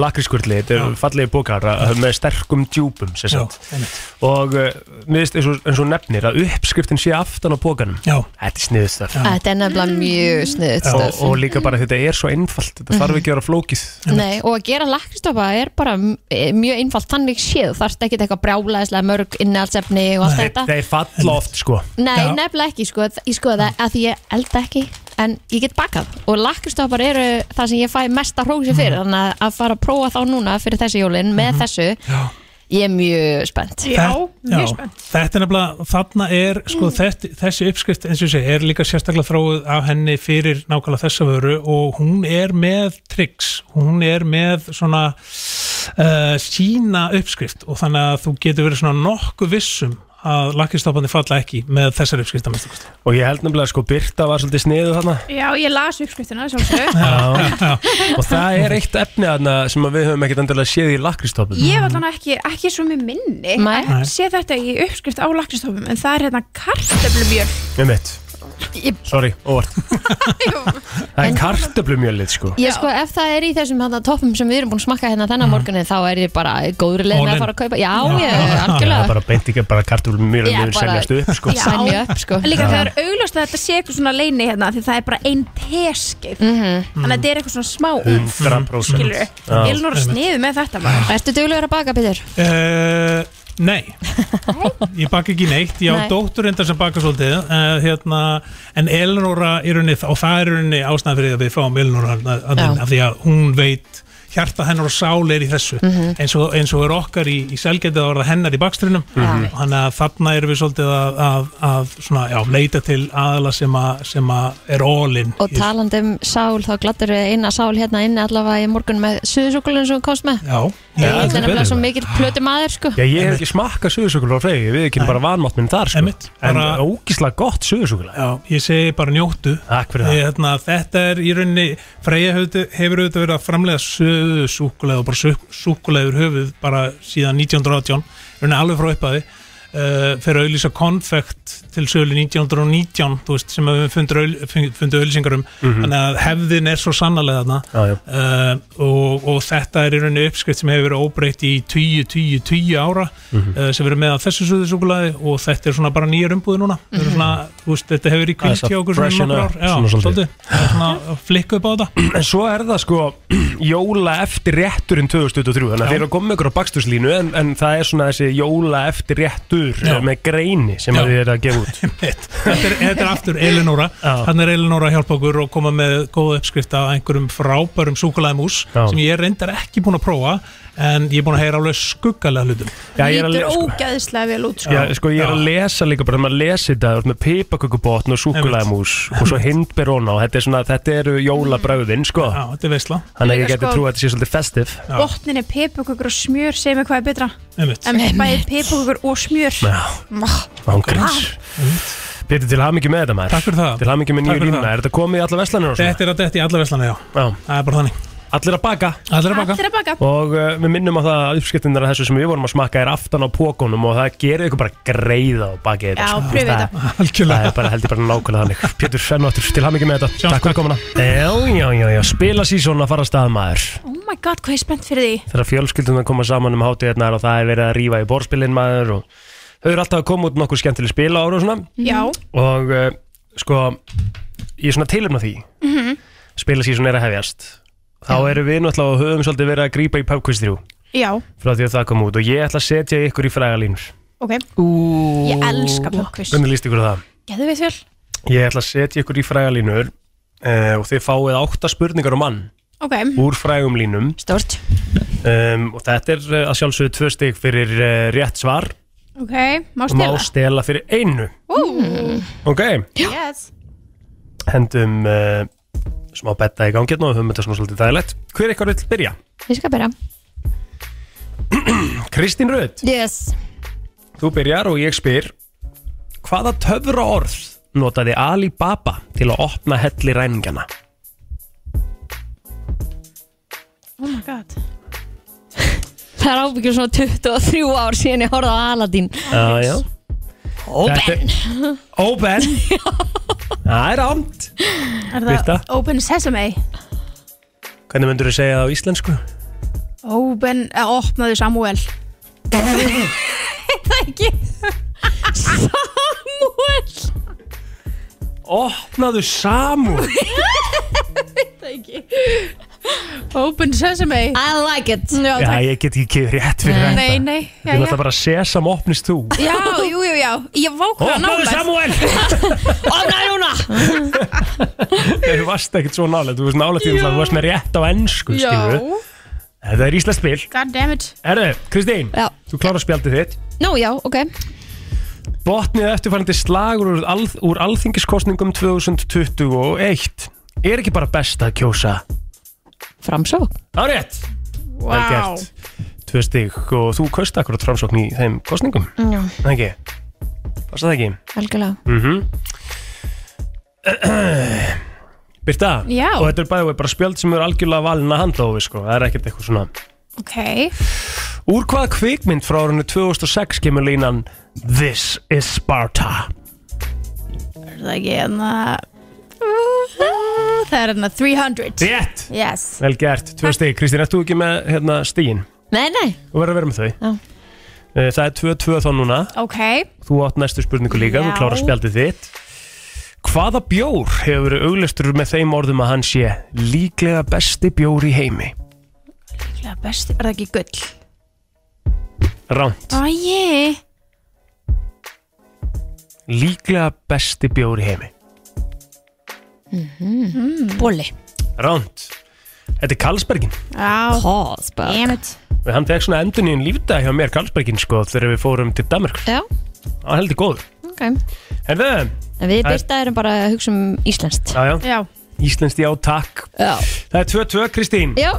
[SPEAKER 1] lakrískurli Þetta
[SPEAKER 9] Já.
[SPEAKER 1] er fallegi pókar að- með sterkum djúpum sem
[SPEAKER 9] Já,
[SPEAKER 1] sagt.
[SPEAKER 9] einmitt.
[SPEAKER 1] Og uh, mér finnst eins og- eins og hún nefnir að uppskriftin sé aftan á pókanum
[SPEAKER 9] Já,
[SPEAKER 1] Þetta er sniðust það
[SPEAKER 2] Þetta er nefnilega mjög sniðut
[SPEAKER 1] og,
[SPEAKER 2] stöð
[SPEAKER 1] og líka bara þetta er svo einfalt Þetta
[SPEAKER 2] Mhm.
[SPEAKER 1] þarf ekki að vera flókið
[SPEAKER 2] Nei, og að gera lakristoppa er bara m- eh, mjög einfalt þannig séð, þarfst ekki eitthvað brjálaðislega mörg innhaldsefni og allt þetta
[SPEAKER 1] Þeir falla oft sko
[SPEAKER 2] Nei,
[SPEAKER 9] Já.
[SPEAKER 2] nefnilega ekki, sko, ég sko það að því ég elda ekki, en ég get bakað og lakristoppar eru það sem ég fæ mesta hrósi fyrir, þannig að- að fara að prófa þá núna fyrir þessi jólin með þessu
[SPEAKER 9] Já.
[SPEAKER 2] ég er mjög spennt
[SPEAKER 9] Þetta- já, þetta er nefnilega, þarna er sko, þetta, þessi uppskrift eins og sé er líka sérstaklega þróið af henni fyrir nákvæmlega þessa vöru og hún er með triks, hún er með svona uh, sína uppskrift og þannig að þú getur verið svona nokkuð vissum að lakkistofandi falla ekki með þessari uppskrift að minnstakosti.
[SPEAKER 1] Og ég held nefnilega sko Birta var svolítið sniðu þarna
[SPEAKER 8] Já, ég las uppskriftina, sjálfsög
[SPEAKER 1] Já. Og það er eitt efni þarna sem að við höfum ekkert endilega séð í lakristofnum
[SPEAKER 8] Ég var þannig ekki, ekki svo með minni
[SPEAKER 2] Nei.
[SPEAKER 8] að sé þetta í uppskrift á lakristofum en það er hérna kartöflumjöl
[SPEAKER 1] Með mitt
[SPEAKER 8] Ég-
[SPEAKER 1] Sorry, óvart Það er kartöflumjölið sko
[SPEAKER 2] Ég sko, ef það er í þessum hana, toppum sem við erum búin að smakka hérna þennan morgunin þá er ég bara í góðri leið
[SPEAKER 9] All
[SPEAKER 2] með
[SPEAKER 9] in.
[SPEAKER 2] að fara að kaupa Já, ég,
[SPEAKER 1] Það er
[SPEAKER 2] algjörlega
[SPEAKER 1] bara beint ekki bara kartöflumjölið
[SPEAKER 2] Já,
[SPEAKER 1] Við
[SPEAKER 2] bara-
[SPEAKER 1] seljast upp sko
[SPEAKER 8] Já.
[SPEAKER 2] Sænja upp, sko
[SPEAKER 8] Líka það er augljóst að þetta sé eitthvað svona leini hérna því það er bara ein teskeið þannig að þetta er eitthvað svona smá úf
[SPEAKER 1] 100%
[SPEAKER 8] skilur ég er nú sniðu með þetta maður
[SPEAKER 2] Ertu duglegur að baka, Pítur?
[SPEAKER 9] Uh, nei Ég baka ekki neitt, ég á
[SPEAKER 2] Nei.
[SPEAKER 9] dóttur reyndar sem baka svolítið uh, hérna, En Elinora í rauninni, og það er í rauninni ástæðan fyrir því að við fáum Elinora að, að,
[SPEAKER 2] Já.
[SPEAKER 9] að því að hún veit hjarta hennar og sál er í þessu eins, og, eins og er okkar í, í selgetið að orða hennar í bakstrinum
[SPEAKER 2] Mhm.
[SPEAKER 9] Mhm.
[SPEAKER 2] Já.
[SPEAKER 9] þannig að þarna erum við svolítið að, að, að svona, já, leita til aðala sem, að, sem að er all-in
[SPEAKER 2] Og talandi um sál, þá glattur við eina sál hérna inni allavega í morgun með suðusúkulun sem þú komst með
[SPEAKER 9] Já,
[SPEAKER 2] Ég
[SPEAKER 9] já,
[SPEAKER 2] er
[SPEAKER 9] heldur
[SPEAKER 2] nefnilega
[SPEAKER 9] betur.
[SPEAKER 2] svo mikill plötu maður, sko
[SPEAKER 1] Já, ég hef ekki smakkað sögursúkula á fregi Við ekki bara vanmátt minn þar sko
[SPEAKER 9] Einmitt.
[SPEAKER 1] En
[SPEAKER 9] Bara-
[SPEAKER 1] ógíslega gott sögursúkula
[SPEAKER 9] Já, ég segi bara njóttu
[SPEAKER 1] Takk fyrir það
[SPEAKER 9] Ég, hérna, þetta er í rauninni Freyja hefur, hefur auðvitað verið að framlega söðu súkulega og bara súkulega yfir höfuð bara síðan 1918 rauninni alveg frá uppaði uh, fyrir að auðlýsa konfekt til sölu 1919 þú veist, sem við fundum fundu auðlýsingar um þannig að hefðin er svo sannarlega þarna
[SPEAKER 1] Mhm. Já, já.
[SPEAKER 9] uh, og, og þetta er í rauninni uppskrift sem hefur verið óbreytt í 10, 10, 10 ára
[SPEAKER 1] Mhm.
[SPEAKER 9] uh, sem verið með að þessu suðusúkulaði og þetta er svona bara nýjar umbúði núna mm -hmm. svona, þú veist, þetta hefur verið í
[SPEAKER 1] Mhm. Aðeins að
[SPEAKER 9] kvilt hjá okkur svona í
[SPEAKER 1] freshen up,
[SPEAKER 9] nokkur ár Já,
[SPEAKER 1] svona svolítið.
[SPEAKER 9] svolítið. Það er svona að flikka upp á þetta
[SPEAKER 1] En svo er það sko jóla eftir rétturinn 2023 Þannig að
[SPEAKER 9] Já.
[SPEAKER 1] þeir eru að koma með ykkur á bakstúrslínu en, en það er svona þessi jóla eftir réttur
[SPEAKER 9] Já.
[SPEAKER 1] með greini sem
[SPEAKER 9] Já.
[SPEAKER 1] að þið eru að gefa út
[SPEAKER 9] Einmitt. þetta, er, þetta er aftur Elinóra
[SPEAKER 1] Já.
[SPEAKER 9] hann er Elinóra að hjálpa okkur og koma með góða uppskrift af einhverjum frábærum súkulæðimús
[SPEAKER 1] Já.
[SPEAKER 9] sem ég er reyndar ekki búin að prófa en ég er búin að heyra alveg skuggalega hlutum
[SPEAKER 1] Já, ég er að
[SPEAKER 8] lítur
[SPEAKER 1] le- sko-
[SPEAKER 8] ógæðislega vel út sko.
[SPEAKER 1] Já, sko ég er að
[SPEAKER 9] Já.
[SPEAKER 1] lesa líka bara, þegar maður lesi þetta þú ert með pipakökubotn og súkulæmús og svo hindber hona og þetta er svona, þetta eru jólabræðin, sko
[SPEAKER 9] Já, þetta er veisla
[SPEAKER 1] þannig að ég
[SPEAKER 8] Líka,
[SPEAKER 1] geti
[SPEAKER 8] sko-
[SPEAKER 1] trú að þetta sé svolítið festiv
[SPEAKER 8] botnin er peipukökur og smjör segir mig hvað er betra
[SPEAKER 9] Einmitt.
[SPEAKER 8] en bæði peipukökur og smjör
[SPEAKER 1] Já,
[SPEAKER 8] Mah,
[SPEAKER 1] ángriðs Pétur, til hamingju með þetta maður
[SPEAKER 9] Takk fyrir það.
[SPEAKER 1] Til hamingju með
[SPEAKER 9] Takk
[SPEAKER 1] nýju
[SPEAKER 9] fyrir
[SPEAKER 1] línuna,
[SPEAKER 9] það.
[SPEAKER 1] er þetta komið í alla veslanir og svona?
[SPEAKER 9] þetta er að þetta í alla veslana já,
[SPEAKER 1] Já,
[SPEAKER 9] það er bara þannig
[SPEAKER 1] allir að baka
[SPEAKER 9] allir að baka
[SPEAKER 8] allir að baka
[SPEAKER 1] Og uh, við minnum á það að uppskiptinnar af þessu sem við vorum að smakka er aftan á pókunum og það gerir ykkur bara greiða og bakið þetta.
[SPEAKER 8] Já,
[SPEAKER 1] sko.
[SPEAKER 8] prufið
[SPEAKER 1] Það- Það
[SPEAKER 9] Algjörlega
[SPEAKER 1] er bara heldur bara nákvæmlega þannig. Pétur Fennóttur, til hamingju með þetta.
[SPEAKER 9] Sjáumst,
[SPEAKER 1] takk fyrir komuna. Já, já, já, já, spila sísón að fara að stað maður.
[SPEAKER 8] oh my god hvað ég er spennt fyrir því
[SPEAKER 1] Þegar fjölskyldunar koma saman um hátíðarnar og það er verið að rífa í borðspilin maður og þau eru alltaf að koma út nokkuð skemmtileg spila ára og svona
[SPEAKER 8] já
[SPEAKER 1] og uh, sko ég er svona tilöfna því mm -hmm. spila sísón er að hefjast. Þá erum við náttúrulega og höfum svolítið verið að grípa í pubquiz 3
[SPEAKER 8] já
[SPEAKER 1] frá því að það kom út og ég ætla að setja ykkur í frægalínur
[SPEAKER 8] ok ég elska pökkvist
[SPEAKER 1] hvernig líst ykkur á það?
[SPEAKER 8] geðu við þér
[SPEAKER 1] Ég ætla að setja ykkur í frægalínur uh, og þið fáið átta spurningar á mann
[SPEAKER 8] ok
[SPEAKER 1] úr frægum línum
[SPEAKER 2] Stort
[SPEAKER 1] um, og þetta er eh, að sjálfsögðu tvö stygg fyrir uh, rétt svar
[SPEAKER 8] ok má
[SPEAKER 1] og má
[SPEAKER 8] stela
[SPEAKER 1] stela fyrir einu
[SPEAKER 8] Ú,
[SPEAKER 1] ok,
[SPEAKER 8] yes
[SPEAKER 1] hendum uh, smá betta í gangi hérna og höfum þetta svona svolítið dægilegt hver ykkar vill byrja?
[SPEAKER 2] Ég skal byrja
[SPEAKER 1] Kristín Rödd,
[SPEAKER 2] Yes
[SPEAKER 1] þú byrjar og ég spyr hvaða töfra orð notaði Alibaba til að opna helli ræningana?
[SPEAKER 8] oh my god
[SPEAKER 2] Það er ábyggjum svona 23 ár síðan ég horfði á Aladdin
[SPEAKER 1] Já, Ah, já Óben Óben Það er ámt
[SPEAKER 8] er
[SPEAKER 1] Birta?
[SPEAKER 8] það open sesame
[SPEAKER 1] Hvernig myndur þú segja það á íslensku?
[SPEAKER 8] Open, eh, opnaðu Samuel Það ekki Samuel
[SPEAKER 1] Opnaðu Samúl
[SPEAKER 8] Það ekki Open sesame
[SPEAKER 2] I like it
[SPEAKER 8] Já,
[SPEAKER 1] Já,
[SPEAKER 8] takk
[SPEAKER 1] ég get ekki gefið rétt fyrir þetta
[SPEAKER 8] Nei, nei, já,
[SPEAKER 1] Ég
[SPEAKER 8] já
[SPEAKER 1] ætla bara sesam opnist þú
[SPEAKER 8] Já, jú, jú, já Ég vákna
[SPEAKER 1] Opnaðu
[SPEAKER 8] nálægt
[SPEAKER 1] Samúl
[SPEAKER 2] Opnaði núna
[SPEAKER 1] Þú varst ekkert svo nálega Þú varst nálega til það Þú varst með rétt á ennsku
[SPEAKER 8] Já
[SPEAKER 1] Það er íslenskt spil
[SPEAKER 8] God damn it
[SPEAKER 1] Erðu, Kristín
[SPEAKER 2] Já.
[SPEAKER 1] Þú klárar spjaldið þitt
[SPEAKER 2] Nú já, ok
[SPEAKER 1] Botnið eftirfærandi slagur úr, alð, úr alþingiskostningum 2021 Er ekki bara best að kjósa
[SPEAKER 2] Framsók
[SPEAKER 1] Það er rétt Vel
[SPEAKER 8] Wow
[SPEAKER 1] gert Tvö stík og þú kaust akkurat framsókn í þeim kostningum
[SPEAKER 2] Já,
[SPEAKER 1] Það ekki Passa það ekki
[SPEAKER 2] algjörlega
[SPEAKER 1] mm Birta
[SPEAKER 8] Já.
[SPEAKER 1] Og þetta er bæðið bara spjöld sem eru algjörlega valin að handa ofi sko. Það er ekkert eitthvað svona
[SPEAKER 8] Ok
[SPEAKER 1] Úr hvaða kvikmynd frá árunni 2006 kemur línan This is Sparta
[SPEAKER 8] er það ekki hérna það er hérna 300
[SPEAKER 1] Rétt,
[SPEAKER 8] yes
[SPEAKER 1] vel gert, tvö stig Kristín, ert þú ekki með hérna, stíin?
[SPEAKER 2] Nei, nei,
[SPEAKER 1] Þú verður að vera með þau
[SPEAKER 2] Já.
[SPEAKER 1] Eh, Það er 2-2 þá núna
[SPEAKER 8] ok,
[SPEAKER 1] Þú átt næstu spurningu líka, þú
[SPEAKER 8] Já.
[SPEAKER 1] klárar spjaldið þitt Hvaða bjór hefur verið auglistur með þeim orðum að hann sé líklega besti bjór í heimi?
[SPEAKER 8] Líklega besti, er það ekki gull
[SPEAKER 1] Ránt,
[SPEAKER 8] æj,
[SPEAKER 1] líklega besti bjór í heimi
[SPEAKER 2] bóli
[SPEAKER 1] Ránt, þetta er Karlsbergin
[SPEAKER 8] já,
[SPEAKER 2] Hosberg
[SPEAKER 8] dammit
[SPEAKER 1] og hann fekk svona endun í en lífdag hjá mér Karlsbergin sko þegar við fórum til Danmark
[SPEAKER 2] Já,
[SPEAKER 1] hann heldur góður
[SPEAKER 2] ok En
[SPEAKER 1] Herðu,
[SPEAKER 2] við
[SPEAKER 1] Það er-
[SPEAKER 2] byrta erum bara að hugsa um Íslenskt
[SPEAKER 1] já, já,
[SPEAKER 8] já,
[SPEAKER 1] íslenskt já takk
[SPEAKER 2] Já,
[SPEAKER 1] Það er 2-2 Kristín
[SPEAKER 2] já,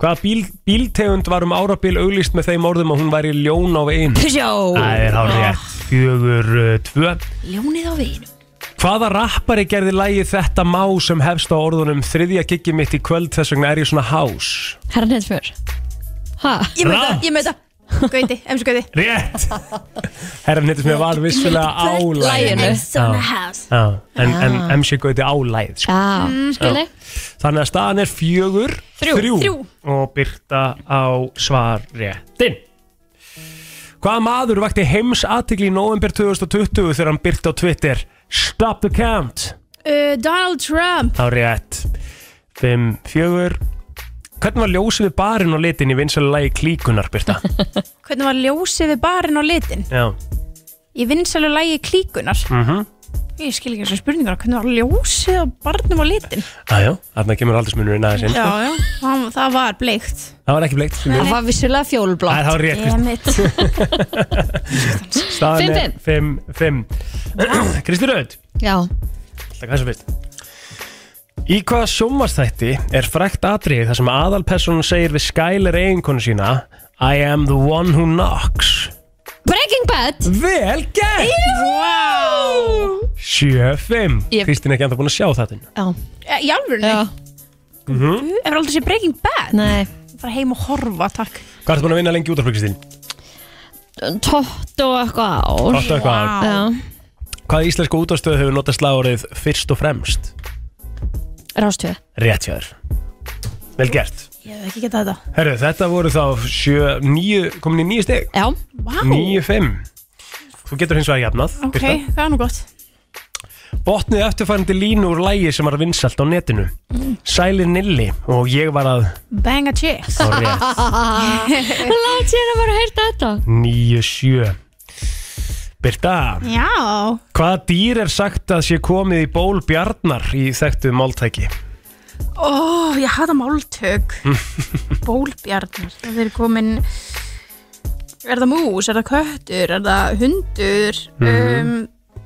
[SPEAKER 1] Hvaða bíl, bíltegund var um árabil auglist með þeim orðum að hún væri ljón á veginn?
[SPEAKER 2] sjó
[SPEAKER 1] Það er hár rétt, fjögur uh, tvö
[SPEAKER 2] Ah. Ljónið á veginu
[SPEAKER 1] Hvaða rappari gerði lægi þetta má sem hefst á orðunum þriðja kikki mitt í kvöld þess vegna er ég svona hás?
[SPEAKER 2] Herran hefði fyrr Ha,
[SPEAKER 8] ég með
[SPEAKER 1] Rangt.
[SPEAKER 8] það, ég með það gauti, ems gauti
[SPEAKER 1] Rétt! Herran hittis mér var vissulega álæginu
[SPEAKER 2] Laginu. Ah.
[SPEAKER 1] En, en MC Gauti álæð sko.
[SPEAKER 2] já, skilji
[SPEAKER 1] Þannig að staðan er fjögur
[SPEAKER 2] Þrjú.
[SPEAKER 8] Þrjú.
[SPEAKER 1] Og byrta á svar réttin Hvaða maður vakti heims aðtikli í november 2020 þegar hann byrta á Twitter Stop the count
[SPEAKER 8] uh, Donald Trump
[SPEAKER 1] Þá rétt 5, 4 Hvernig var ljósið við barinn og litin í vinsælu lagi klíkunar, Birta?
[SPEAKER 8] hvernig var ljósið við barinn og litin
[SPEAKER 1] Já,
[SPEAKER 8] í vinsælu lægi klíkunar
[SPEAKER 1] Mhm.
[SPEAKER 8] ég skil ekki þessu spurningar hvernig var ljósið á barnum og litin
[SPEAKER 1] aðjó, Ah, þarna kemur aldursmunurinn aðeins inn
[SPEAKER 8] já, já, það, það var bleikt
[SPEAKER 1] Það var ekki bleikt því miður.
[SPEAKER 2] Það var vissulega
[SPEAKER 1] Það
[SPEAKER 2] fjólblá
[SPEAKER 1] er hár rétt, Kristín
[SPEAKER 8] Emmett
[SPEAKER 1] Staðan er 5, 5 Kristi Röð,
[SPEAKER 2] Já,
[SPEAKER 1] það hvað sem fyrst Í hvaða sjómarstætti er frækt atrið þar sem aðalpersónun segir við skælir eiginkonu sína I am the one who knocks
[SPEAKER 2] Breaking Bad
[SPEAKER 1] Vel gert! Wow! 7-5
[SPEAKER 2] Ég-
[SPEAKER 1] Kristín er ekki enda búin að sjá þetta
[SPEAKER 2] Já,
[SPEAKER 8] Eh, í alvörunni,
[SPEAKER 2] já,
[SPEAKER 8] hefur aldrei séð Breaking Bad
[SPEAKER 2] nei
[SPEAKER 8] bara heim og horfa, takk
[SPEAKER 1] Hvað ertu búin að vinna lengi út af Kristín?
[SPEAKER 2] Tótt og eitthvað ár
[SPEAKER 1] Áttu eitthvað ár.
[SPEAKER 2] Já,
[SPEAKER 1] Hvaða íslensku útastöð hefur notað slagorðið fyrst og fremst?
[SPEAKER 2] rástöð
[SPEAKER 1] Rétt hjá þér. Vel gert.
[SPEAKER 8] ég hef ekki getað þetta
[SPEAKER 1] Herru, þetta voru þá sjö, níu, komin í nýju steg.
[SPEAKER 2] Já,
[SPEAKER 8] Vá,
[SPEAKER 1] Níu, fimm. Þú getur hins vegar jafnað.
[SPEAKER 8] ok,
[SPEAKER 1] Birta.
[SPEAKER 8] það er nú gott
[SPEAKER 1] Botnið eftirfærandi línu úr lægi sem var vinsalt á netinu. Sælir Nilli og ég var að...
[SPEAKER 8] bang a chick
[SPEAKER 1] Þá rétt.
[SPEAKER 2] langt sér að vera að heyrta þetta
[SPEAKER 1] Níu, sjö. Birta,
[SPEAKER 8] já,
[SPEAKER 1] hvaða dýr er sagt að sé komið í ból bjarnar í þekktu máltæki?
[SPEAKER 8] ó, ég hata máltök bólbjarnar það er komin er það mús, er það köttur er það hundur
[SPEAKER 1] Mhm.
[SPEAKER 8] um,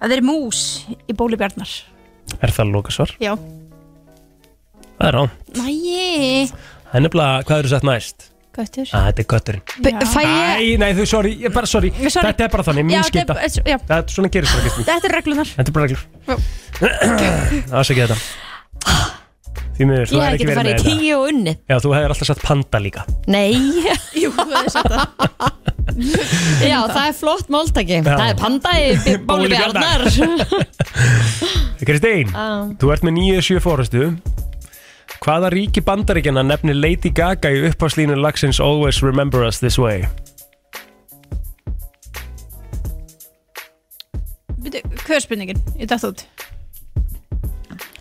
[SPEAKER 8] það er mús í bólibjarnar
[SPEAKER 1] Er það lokasvar?
[SPEAKER 8] já,
[SPEAKER 1] Það er á.
[SPEAKER 8] næi
[SPEAKER 1] Það er nefnilega, hvað eru sett næst?
[SPEAKER 8] köttur
[SPEAKER 1] Að þetta er kötturinn.
[SPEAKER 2] B- Fæ ég
[SPEAKER 1] Nei, nei, þú, sorry, ég bara, sorry.
[SPEAKER 8] Ég, sorry.
[SPEAKER 1] Þetta er bara þannig,
[SPEAKER 8] Já,
[SPEAKER 1] mín
[SPEAKER 8] þetta
[SPEAKER 1] skita
[SPEAKER 8] er- já,
[SPEAKER 1] Þetta er svona gerist bara, Kristín
[SPEAKER 8] þetta er reglunar
[SPEAKER 1] Þetta er bara reglur Það er ekki þetta Því miður, þú
[SPEAKER 2] Ég
[SPEAKER 1] hefur
[SPEAKER 2] hef ekki
[SPEAKER 1] ekki verið
[SPEAKER 2] farið
[SPEAKER 1] með
[SPEAKER 2] í
[SPEAKER 1] þetta
[SPEAKER 2] tíu og unni
[SPEAKER 1] Já, þú hefur alltaf satt panda líka
[SPEAKER 2] Nei,
[SPEAKER 8] Jú, þú hefði sagt það
[SPEAKER 2] já það er flott máltaki Það er panda í
[SPEAKER 1] Bóli
[SPEAKER 2] bóli
[SPEAKER 1] Bjarnar.
[SPEAKER 2] bjarnar
[SPEAKER 1] Kristín,
[SPEAKER 2] Ah.
[SPEAKER 1] þú ert með 9-7 fórustu Hvaða ríki bandaríkjana nefnir Lady Gaga í upphafslínu lagsins Always Remember Us This Way?
[SPEAKER 8] Bíddu, Hvað er spurningin? Ég dætt út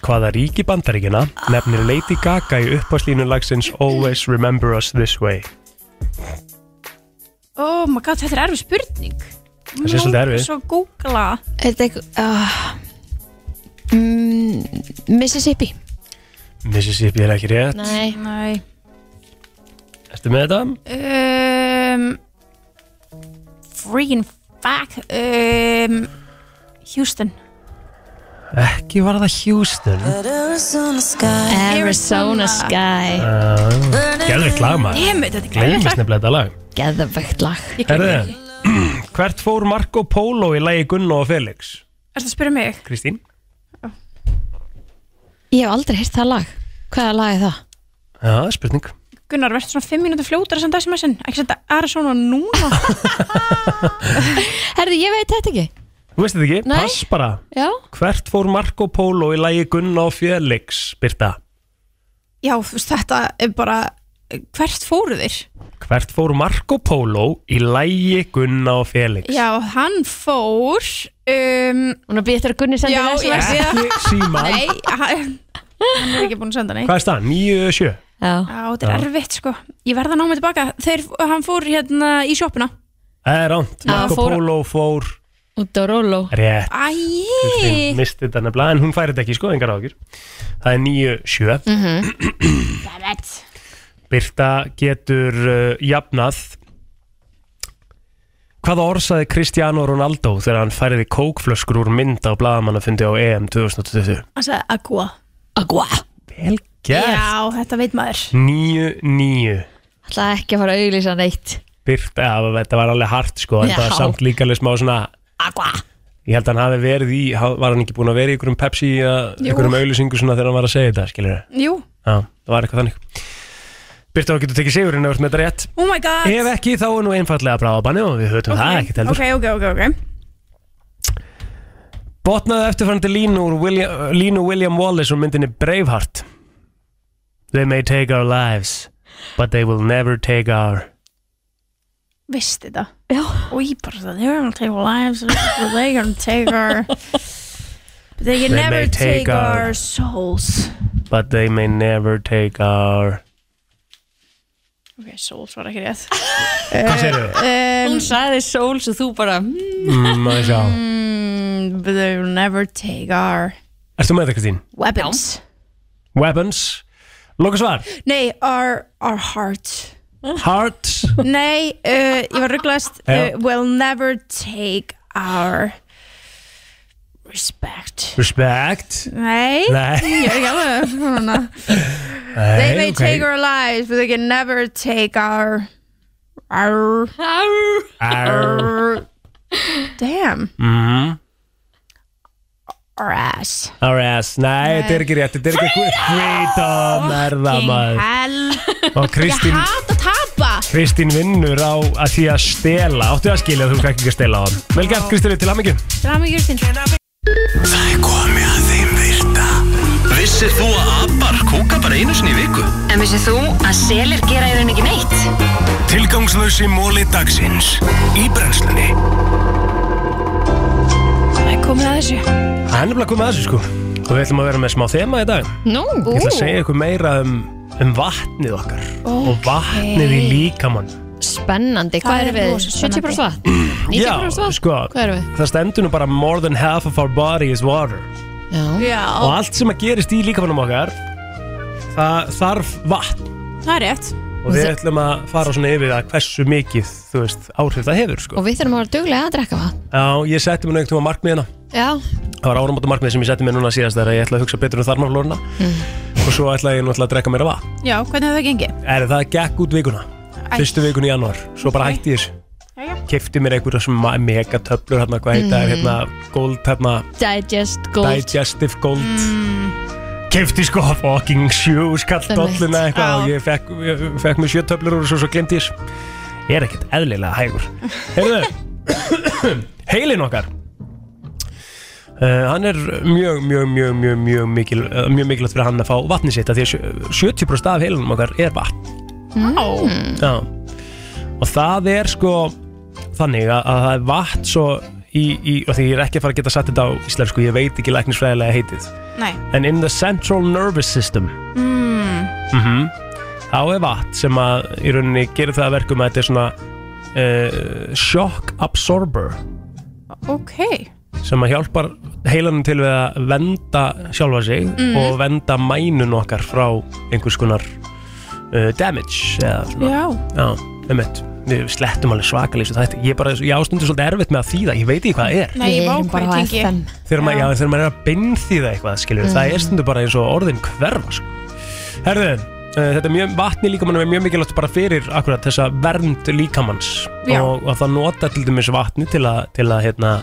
[SPEAKER 1] Hvaða ríki bandaríkjana nefnir Lady Gaga í upphafslínu lagsins Always Remember Us This Way?
[SPEAKER 8] Oh my god, þetta er erfið spurning
[SPEAKER 1] Það sé svolítið erfið.
[SPEAKER 8] Svo googla
[SPEAKER 2] Þetta er uh, mm, Mississippi
[SPEAKER 1] Mississippi er ekki rétt
[SPEAKER 2] Nei,
[SPEAKER 8] Nei
[SPEAKER 1] Ertu með þetta?
[SPEAKER 8] um, Freaking fuck um, Houston
[SPEAKER 1] Ekki var það Houston
[SPEAKER 2] Arizona
[SPEAKER 8] Arizona.
[SPEAKER 1] Eh.
[SPEAKER 2] Sky
[SPEAKER 1] Gerður klagmaður
[SPEAKER 8] Emmett, þetta er
[SPEAKER 1] Gleimist
[SPEAKER 8] glæðið
[SPEAKER 1] nefnilega þetta lag
[SPEAKER 2] Geðvegt lag
[SPEAKER 1] Herðu, hvert fór Marco Polo í lagi Gunno og Felix?
[SPEAKER 8] Ertu að spyrja mig?
[SPEAKER 1] Kristín?
[SPEAKER 2] Ég hef aldrei heyrt það lag Hvaða lag er það?
[SPEAKER 1] Já, spurning
[SPEAKER 8] Gunnar, verður svona 5 mínútur fljótar að senda SMS-in? Ekki senda Arizona núna
[SPEAKER 2] Herðu, ég veit þetta ekki
[SPEAKER 1] Þú veist þetta ekki?
[SPEAKER 2] Nei.
[SPEAKER 1] Pass bara
[SPEAKER 2] Já,
[SPEAKER 1] Hvert fór Marco Polo í lægi Gunna og Félix, Birta?
[SPEAKER 8] Já, þú veist, þetta er bara Hvert fóru þeir?
[SPEAKER 1] Hvert fór Marco Polo í lægi Gunna og Félix?
[SPEAKER 8] Já, hann fór um,
[SPEAKER 2] hún er býtt eftir að Gunni sendi
[SPEAKER 8] Já,
[SPEAKER 2] þessu
[SPEAKER 8] ég-
[SPEAKER 1] Ekki síman
[SPEAKER 8] Nei, hann hann er ekki búin að senda nei
[SPEAKER 1] Hvað er staðan? 9-7
[SPEAKER 2] Já,
[SPEAKER 8] Já, þetta er erfitt sko Ég verða að ná mig tilbaka Þeir, hann fór hérna í sjoppuna
[SPEAKER 1] Það er ránt
[SPEAKER 2] Já,
[SPEAKER 1] Marco
[SPEAKER 2] fór-
[SPEAKER 1] Polo fór
[SPEAKER 2] út á róló
[SPEAKER 1] rétt
[SPEAKER 8] Æi
[SPEAKER 1] Misti þetta nefnilega En hún færi þetta ekki sko, engar ákjör Það er 9-7
[SPEAKER 8] Mm.
[SPEAKER 1] Birta getur uh, jafnað Hvaða orsaði Cristiano Ronaldo þegar hann færiði kókflöskur úr mynd á blaðamannafundi á E EM 2020?
[SPEAKER 8] Hann sagði agua
[SPEAKER 2] Agua
[SPEAKER 1] Vel gert!
[SPEAKER 8] Já, þetta veit maður
[SPEAKER 1] 9-9
[SPEAKER 2] Það ekki að fara að auglýsa neitt
[SPEAKER 1] Birta, já, þetta var alveg hart sko en
[SPEAKER 2] Já.
[SPEAKER 1] það var samt líka alveg smá svona
[SPEAKER 2] Agua
[SPEAKER 1] ég held að hann hafi verið í, ha- var hann ekki búin að vera í einhverjum Pepsi eða
[SPEAKER 8] Jú.
[SPEAKER 1] einhverjum auðlýsingu svona þegar hann var að segja þetta, skilur
[SPEAKER 8] Jú
[SPEAKER 1] Já, það var eitthvað þannig Birta, þú getur tekið sigurinn ef þú ert með þetta rétt
[SPEAKER 8] Oh my god
[SPEAKER 1] Ef ekki, þá er nú einfallega bráðabanni og við höfum það er ekkert heldur
[SPEAKER 8] Ok, ok, ok, ok
[SPEAKER 1] Botnaði eftirfærandi línu úr William, línu William Wallace úr myndinni Braveheart They may take our lives But they will never take our
[SPEAKER 8] Vist þetta
[SPEAKER 2] Já.
[SPEAKER 8] Og ég bara það They're gonna take our lives They're gonna take our But They can
[SPEAKER 1] They
[SPEAKER 8] never
[SPEAKER 1] may
[SPEAKER 8] take,
[SPEAKER 1] take our-
[SPEAKER 8] our souls
[SPEAKER 1] But they may never take our
[SPEAKER 8] Ok, souls var ekki rétt
[SPEAKER 1] Hvað segir þau?
[SPEAKER 8] um,
[SPEAKER 2] Hún sagði sól svo þú bara "Hmm,
[SPEAKER 1] Mm, að sjá.
[SPEAKER 8] mm, But they will never take our
[SPEAKER 1] Ertu með þetta, Kristín?
[SPEAKER 8] Weapons
[SPEAKER 1] Weapons Loka svar
[SPEAKER 8] Nei, our, our heart
[SPEAKER 1] Hearts
[SPEAKER 8] Nei, uh, ég var rugglast
[SPEAKER 1] Já.
[SPEAKER 8] uh, Will never take our respect
[SPEAKER 1] Respect
[SPEAKER 8] Nei,
[SPEAKER 1] Nei,
[SPEAKER 8] ég er ekki alveg svona. They
[SPEAKER 1] Nei
[SPEAKER 8] may take our lives but they can never take our our,
[SPEAKER 1] Arr.
[SPEAKER 8] our damn
[SPEAKER 1] Mhm.
[SPEAKER 8] our ass
[SPEAKER 1] Our ass, nei, þetta er ekki rétt, þetta er ekki guð Hvita merða maður
[SPEAKER 8] hell
[SPEAKER 1] Og Kristín,
[SPEAKER 8] Hata tapa
[SPEAKER 1] Kristín vinnur á að því að stela Áttu að skilja að þú kannski ekki að stela á hann Vel gert Kristín, til hamingju
[SPEAKER 8] Drama Justin
[SPEAKER 7] Það er komið að þeim virta Vissir þú að abar kúka bara einu sinni í viku?
[SPEAKER 6] En vissið þú að selir gera í raun ekki neitt?
[SPEAKER 7] Tilgangslösi móli dagsins Í brennslunni
[SPEAKER 8] Það er komið að þessu
[SPEAKER 1] Það er nefnilega komið að þessu sko Og við ætlum að vera með smá þema í dag
[SPEAKER 2] Nú
[SPEAKER 1] Ég ætla að segja ykkur meira um, um vatnið okkar Og vatnið í líkamann
[SPEAKER 2] Spennandi, hvað
[SPEAKER 8] Það
[SPEAKER 2] erum
[SPEAKER 8] er
[SPEAKER 2] við?
[SPEAKER 8] rosa
[SPEAKER 2] 70% vatn? 90% vatn?
[SPEAKER 1] Mm. sko,
[SPEAKER 2] Hvað erum við?
[SPEAKER 1] það stendur nú bara More than half of our body is water
[SPEAKER 2] Já,
[SPEAKER 1] Og
[SPEAKER 8] Já,
[SPEAKER 1] allt sem að gerist í líkamannum okkar Það þarf vatn
[SPEAKER 8] það er rétt
[SPEAKER 1] og við ætlum að fara svona yfir að hversu mikið þú veist, áhrif það hefur sko.
[SPEAKER 2] og við þurfum að vera duglega að drekka vatn
[SPEAKER 1] Já, ég setti mér einhvern tíma markmiðina
[SPEAKER 2] Já,
[SPEAKER 1] það var áramóta markmið sem ég setti mér núna síðast þegar ég ætla að hugsa betur um þarmaflóruna
[SPEAKER 2] Mhm.
[SPEAKER 1] og svo ætla ég náttúrulega að drekka mér að vatn
[SPEAKER 8] Já, hvernig hefur það gengið?
[SPEAKER 1] er það gekk út vikuna fyrstu vikuna í januar, svo bara hætti ég
[SPEAKER 8] Jæja.
[SPEAKER 1] þessu kefti mér einhverja svona megatöflur hérna, hvað heita, mm. hérna, gold hérna,
[SPEAKER 2] digest, gold
[SPEAKER 1] digestive gold mm. kefti sko fucking sjú skall
[SPEAKER 2] Einmitt.
[SPEAKER 1] dolluna eitthvað
[SPEAKER 8] Já.
[SPEAKER 1] og ég fekk, ég fekk mér sjö töflur og svo, svo glemdi ég þessu. ég er ekkert eðlilega hægur heyrðu heilin okkar Uh, hann er mjög, mjög, mjög, mjög, mjög, mikil, uh, mjög mikilvægt fyrir hann að fá vatni sitt af því að sjö- 70% af heilinum okkar er vatn
[SPEAKER 8] Mm.
[SPEAKER 1] Já. og það er sko þannig að, að það er vatn svo í, í, og því ég er ekki að fara að geta satt þetta á íslensku, ég veit ekki læknisfræðilega heitið
[SPEAKER 8] Nei
[SPEAKER 1] en in the central nervous system mm. Mm þá er vatn sem að í rauninni gerir það að verkum að þetta er svona uh, shock absorber
[SPEAKER 8] Ok,
[SPEAKER 1] sem að hjálpar heilanum til við að venda sjálfa sig og venda mænun okkar frá einhvers konar uh, damage eða svona
[SPEAKER 8] já
[SPEAKER 1] Já, einmitt. Við slettum alveg svakalísu þetta. Ég, bara, ég ástundu svolítið erfitt með að þýða, ég veit ekki hvað það er.
[SPEAKER 8] Nei, ég vá hvað ég tengi
[SPEAKER 2] FM
[SPEAKER 1] þegar, maður, já, þegar maður er að beinþýða eitthvað skilur, það er stundu bara eins og orðin hverfa sko. herðu, uh, þetta er mjög vatni líkamannum er mjög mikilvægt bara fyrir akkurat þessa vernd líkamanns
[SPEAKER 8] Já.
[SPEAKER 1] og, og það nota til dæmis vatni til að, til að hérna,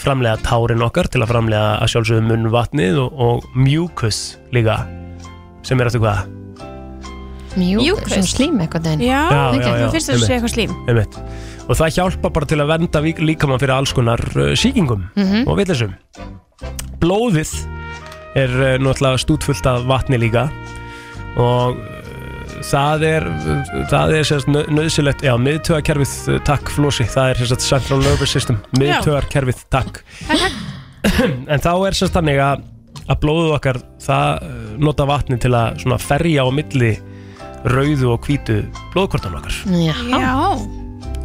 [SPEAKER 1] framlega tárin okkar til að framlega að sjálfsögðu munnvatnið og, og mucus líka sem er eftir hvað
[SPEAKER 2] Mjúk,
[SPEAKER 8] Mjúkust.
[SPEAKER 2] svona slím eitthvað deginn
[SPEAKER 8] Já,
[SPEAKER 1] Já,
[SPEAKER 8] ok,
[SPEAKER 1] já, já,
[SPEAKER 8] þú finnst þess að
[SPEAKER 1] einmitt.
[SPEAKER 8] sé eitthvað slím
[SPEAKER 1] einmitt. og það hjálpa bara til að vernda vík- líkamann fyrir alls konar uh, síkingum og vitleysum blóðið er uh, náttúrulega stútfullt af vatni líka og uh, það er það er sérst nöðsilegt já, miðtöðarkerfið, uh, takk flósi það er sérst central nervous system miðtöðarkerfið, takk en þá er sérst þannig að að blóðið okkar, það uh, nota vatni til að svona ferja á milli rauðu og hvítu blóðkortan okkar
[SPEAKER 2] Já,
[SPEAKER 8] Já,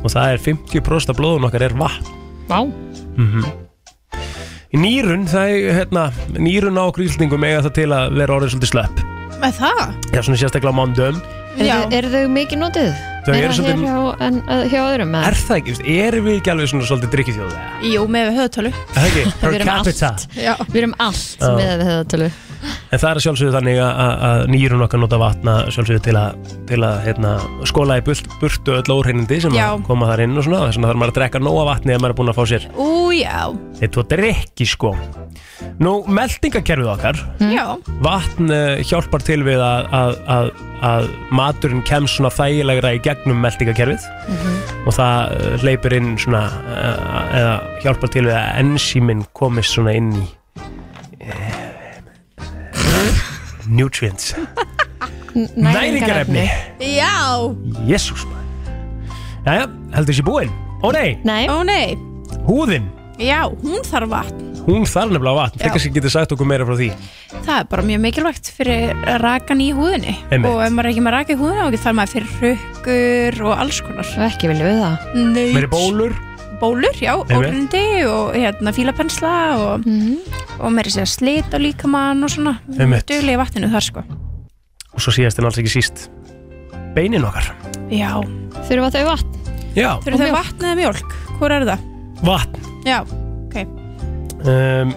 [SPEAKER 1] og það er 50% af blóðun okkar er vatn
[SPEAKER 2] vá
[SPEAKER 1] í nýrun, það er hérna nýrun á okkur íslendingum eiga það til að vera orðið svolítið slöpp
[SPEAKER 8] með það
[SPEAKER 1] já, svona sérstaklega á mándum
[SPEAKER 2] Eru
[SPEAKER 8] Já.
[SPEAKER 2] þau- eru þau mikið notuð?
[SPEAKER 1] Þau
[SPEAKER 2] Meira
[SPEAKER 1] eru svolítið-
[SPEAKER 2] hér hjá, en, uh, hjá öðrum eða?
[SPEAKER 1] er það ekki, veist, erum við ekki alveg svona svolítið drikkjufjóðu
[SPEAKER 8] Jú, með höfðtölu
[SPEAKER 1] það er ekki,
[SPEAKER 2] Við
[SPEAKER 1] per
[SPEAKER 2] erum
[SPEAKER 1] capita
[SPEAKER 2] allt.
[SPEAKER 8] Já,
[SPEAKER 2] Við erum allt
[SPEAKER 1] Já.
[SPEAKER 2] með þetta tölu
[SPEAKER 1] en það er að sjálfsögðu þannig að- að að nýrun okkar nota vatna sjálfsögðu til að, til að hérna, skóla í burt, burtu öll óhreinindi sem
[SPEAKER 8] Já.
[SPEAKER 1] að koma þar inn og svona þess vegna þarf maður að drekka nóga vatni ef maður er búin að fá sér
[SPEAKER 8] ú, já,
[SPEAKER 1] eitt og drikki sko nú, meldingakerfið okkar
[SPEAKER 8] já
[SPEAKER 1] vatn eh, hjálpar til við að, að, að, að maturinn kemst svona þægilegra í gegnum meldingakerfið og það eh, hleypir inn svona eh, eða hjálpar til við að ensíminn komist svona inn í uh, nutrients næringarefni
[SPEAKER 8] Já,
[SPEAKER 1] jésús maður Jæja, heldur þessi búinn Ó nei,
[SPEAKER 2] Nei,
[SPEAKER 8] ó nei,
[SPEAKER 1] húðin,
[SPEAKER 8] já, hún þarf vatn
[SPEAKER 1] hún þarf nefnilega vatn
[SPEAKER 8] Já.
[SPEAKER 1] þegar kannski getur sagt okkur meira frá því
[SPEAKER 8] Það er bara mjög mikilvægt fyrir rakan í húðinni
[SPEAKER 1] Einmitt.
[SPEAKER 8] Og ef maður er ekki með raka í húðinni þá þarf maður fyrir rukkur og alls konar
[SPEAKER 2] ekki viljum við það
[SPEAKER 1] meiri
[SPEAKER 8] Nöyt,
[SPEAKER 1] bólur,
[SPEAKER 8] bólur, já,
[SPEAKER 1] Einmitt.
[SPEAKER 8] ólindi og hérna fílapensla og, mm og meiri sér slit á líkamann og svona
[SPEAKER 1] Einmitt.
[SPEAKER 8] Duglega í vatninu þar sko
[SPEAKER 1] og svo síðast en alls ekki síst beinin okkar
[SPEAKER 8] Já,
[SPEAKER 2] Þurfa þau vatn
[SPEAKER 1] Já,
[SPEAKER 8] þurfum þau vatn eða mjólk, hvor er það?
[SPEAKER 1] vatn
[SPEAKER 8] Já,
[SPEAKER 1] um,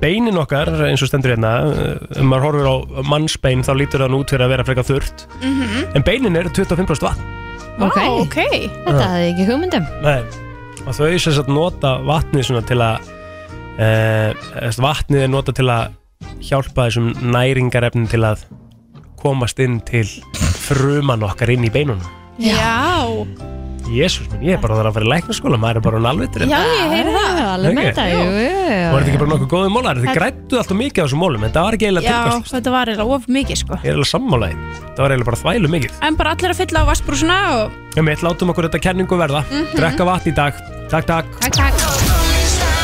[SPEAKER 1] Beinin okkar, eins og stendur hérna uh, ef maður horfir á mannsbein þá lítur þann út fyrir að vera frekar þurrt
[SPEAKER 8] Mhm.
[SPEAKER 1] -hmm. en beinin eru 25% vatn
[SPEAKER 2] Ok,
[SPEAKER 8] Vá, ok
[SPEAKER 2] þetta hefði ég ekki um. hugmyndum
[SPEAKER 1] Nei. og þau sem sagt nota vatnið svona til að uh, vatnið er nota til að hjálpa þessum næringarefnin til að komast inn til fruman okkar inn í beinunum
[SPEAKER 8] Já,
[SPEAKER 1] Jésús minn, ég er bara þar að fara í læknaskóla maður er bara hann alveg til
[SPEAKER 8] já, ég heyri það
[SPEAKER 2] Já, alveg með
[SPEAKER 1] Ekki?
[SPEAKER 2] þetta, jú,
[SPEAKER 1] og er
[SPEAKER 2] jú
[SPEAKER 1] þetta ekki bara nokkuð góðið mólar þið grættu alltaf mikið á þessum mólum en það var ekki eiginlega
[SPEAKER 8] Já,
[SPEAKER 1] tilgangslust
[SPEAKER 8] þetta var eiginlega of mikið sko
[SPEAKER 1] Ég er alveg sammálaði. Það var eiginlega bara þvælu mikið.
[SPEAKER 8] En bara allir að fylla á vassbrúsuna og
[SPEAKER 1] Ég meitt látum okkur þetta kenningu verða. Drekka vatn í dag. Takk, takk.
[SPEAKER 8] Takk, takk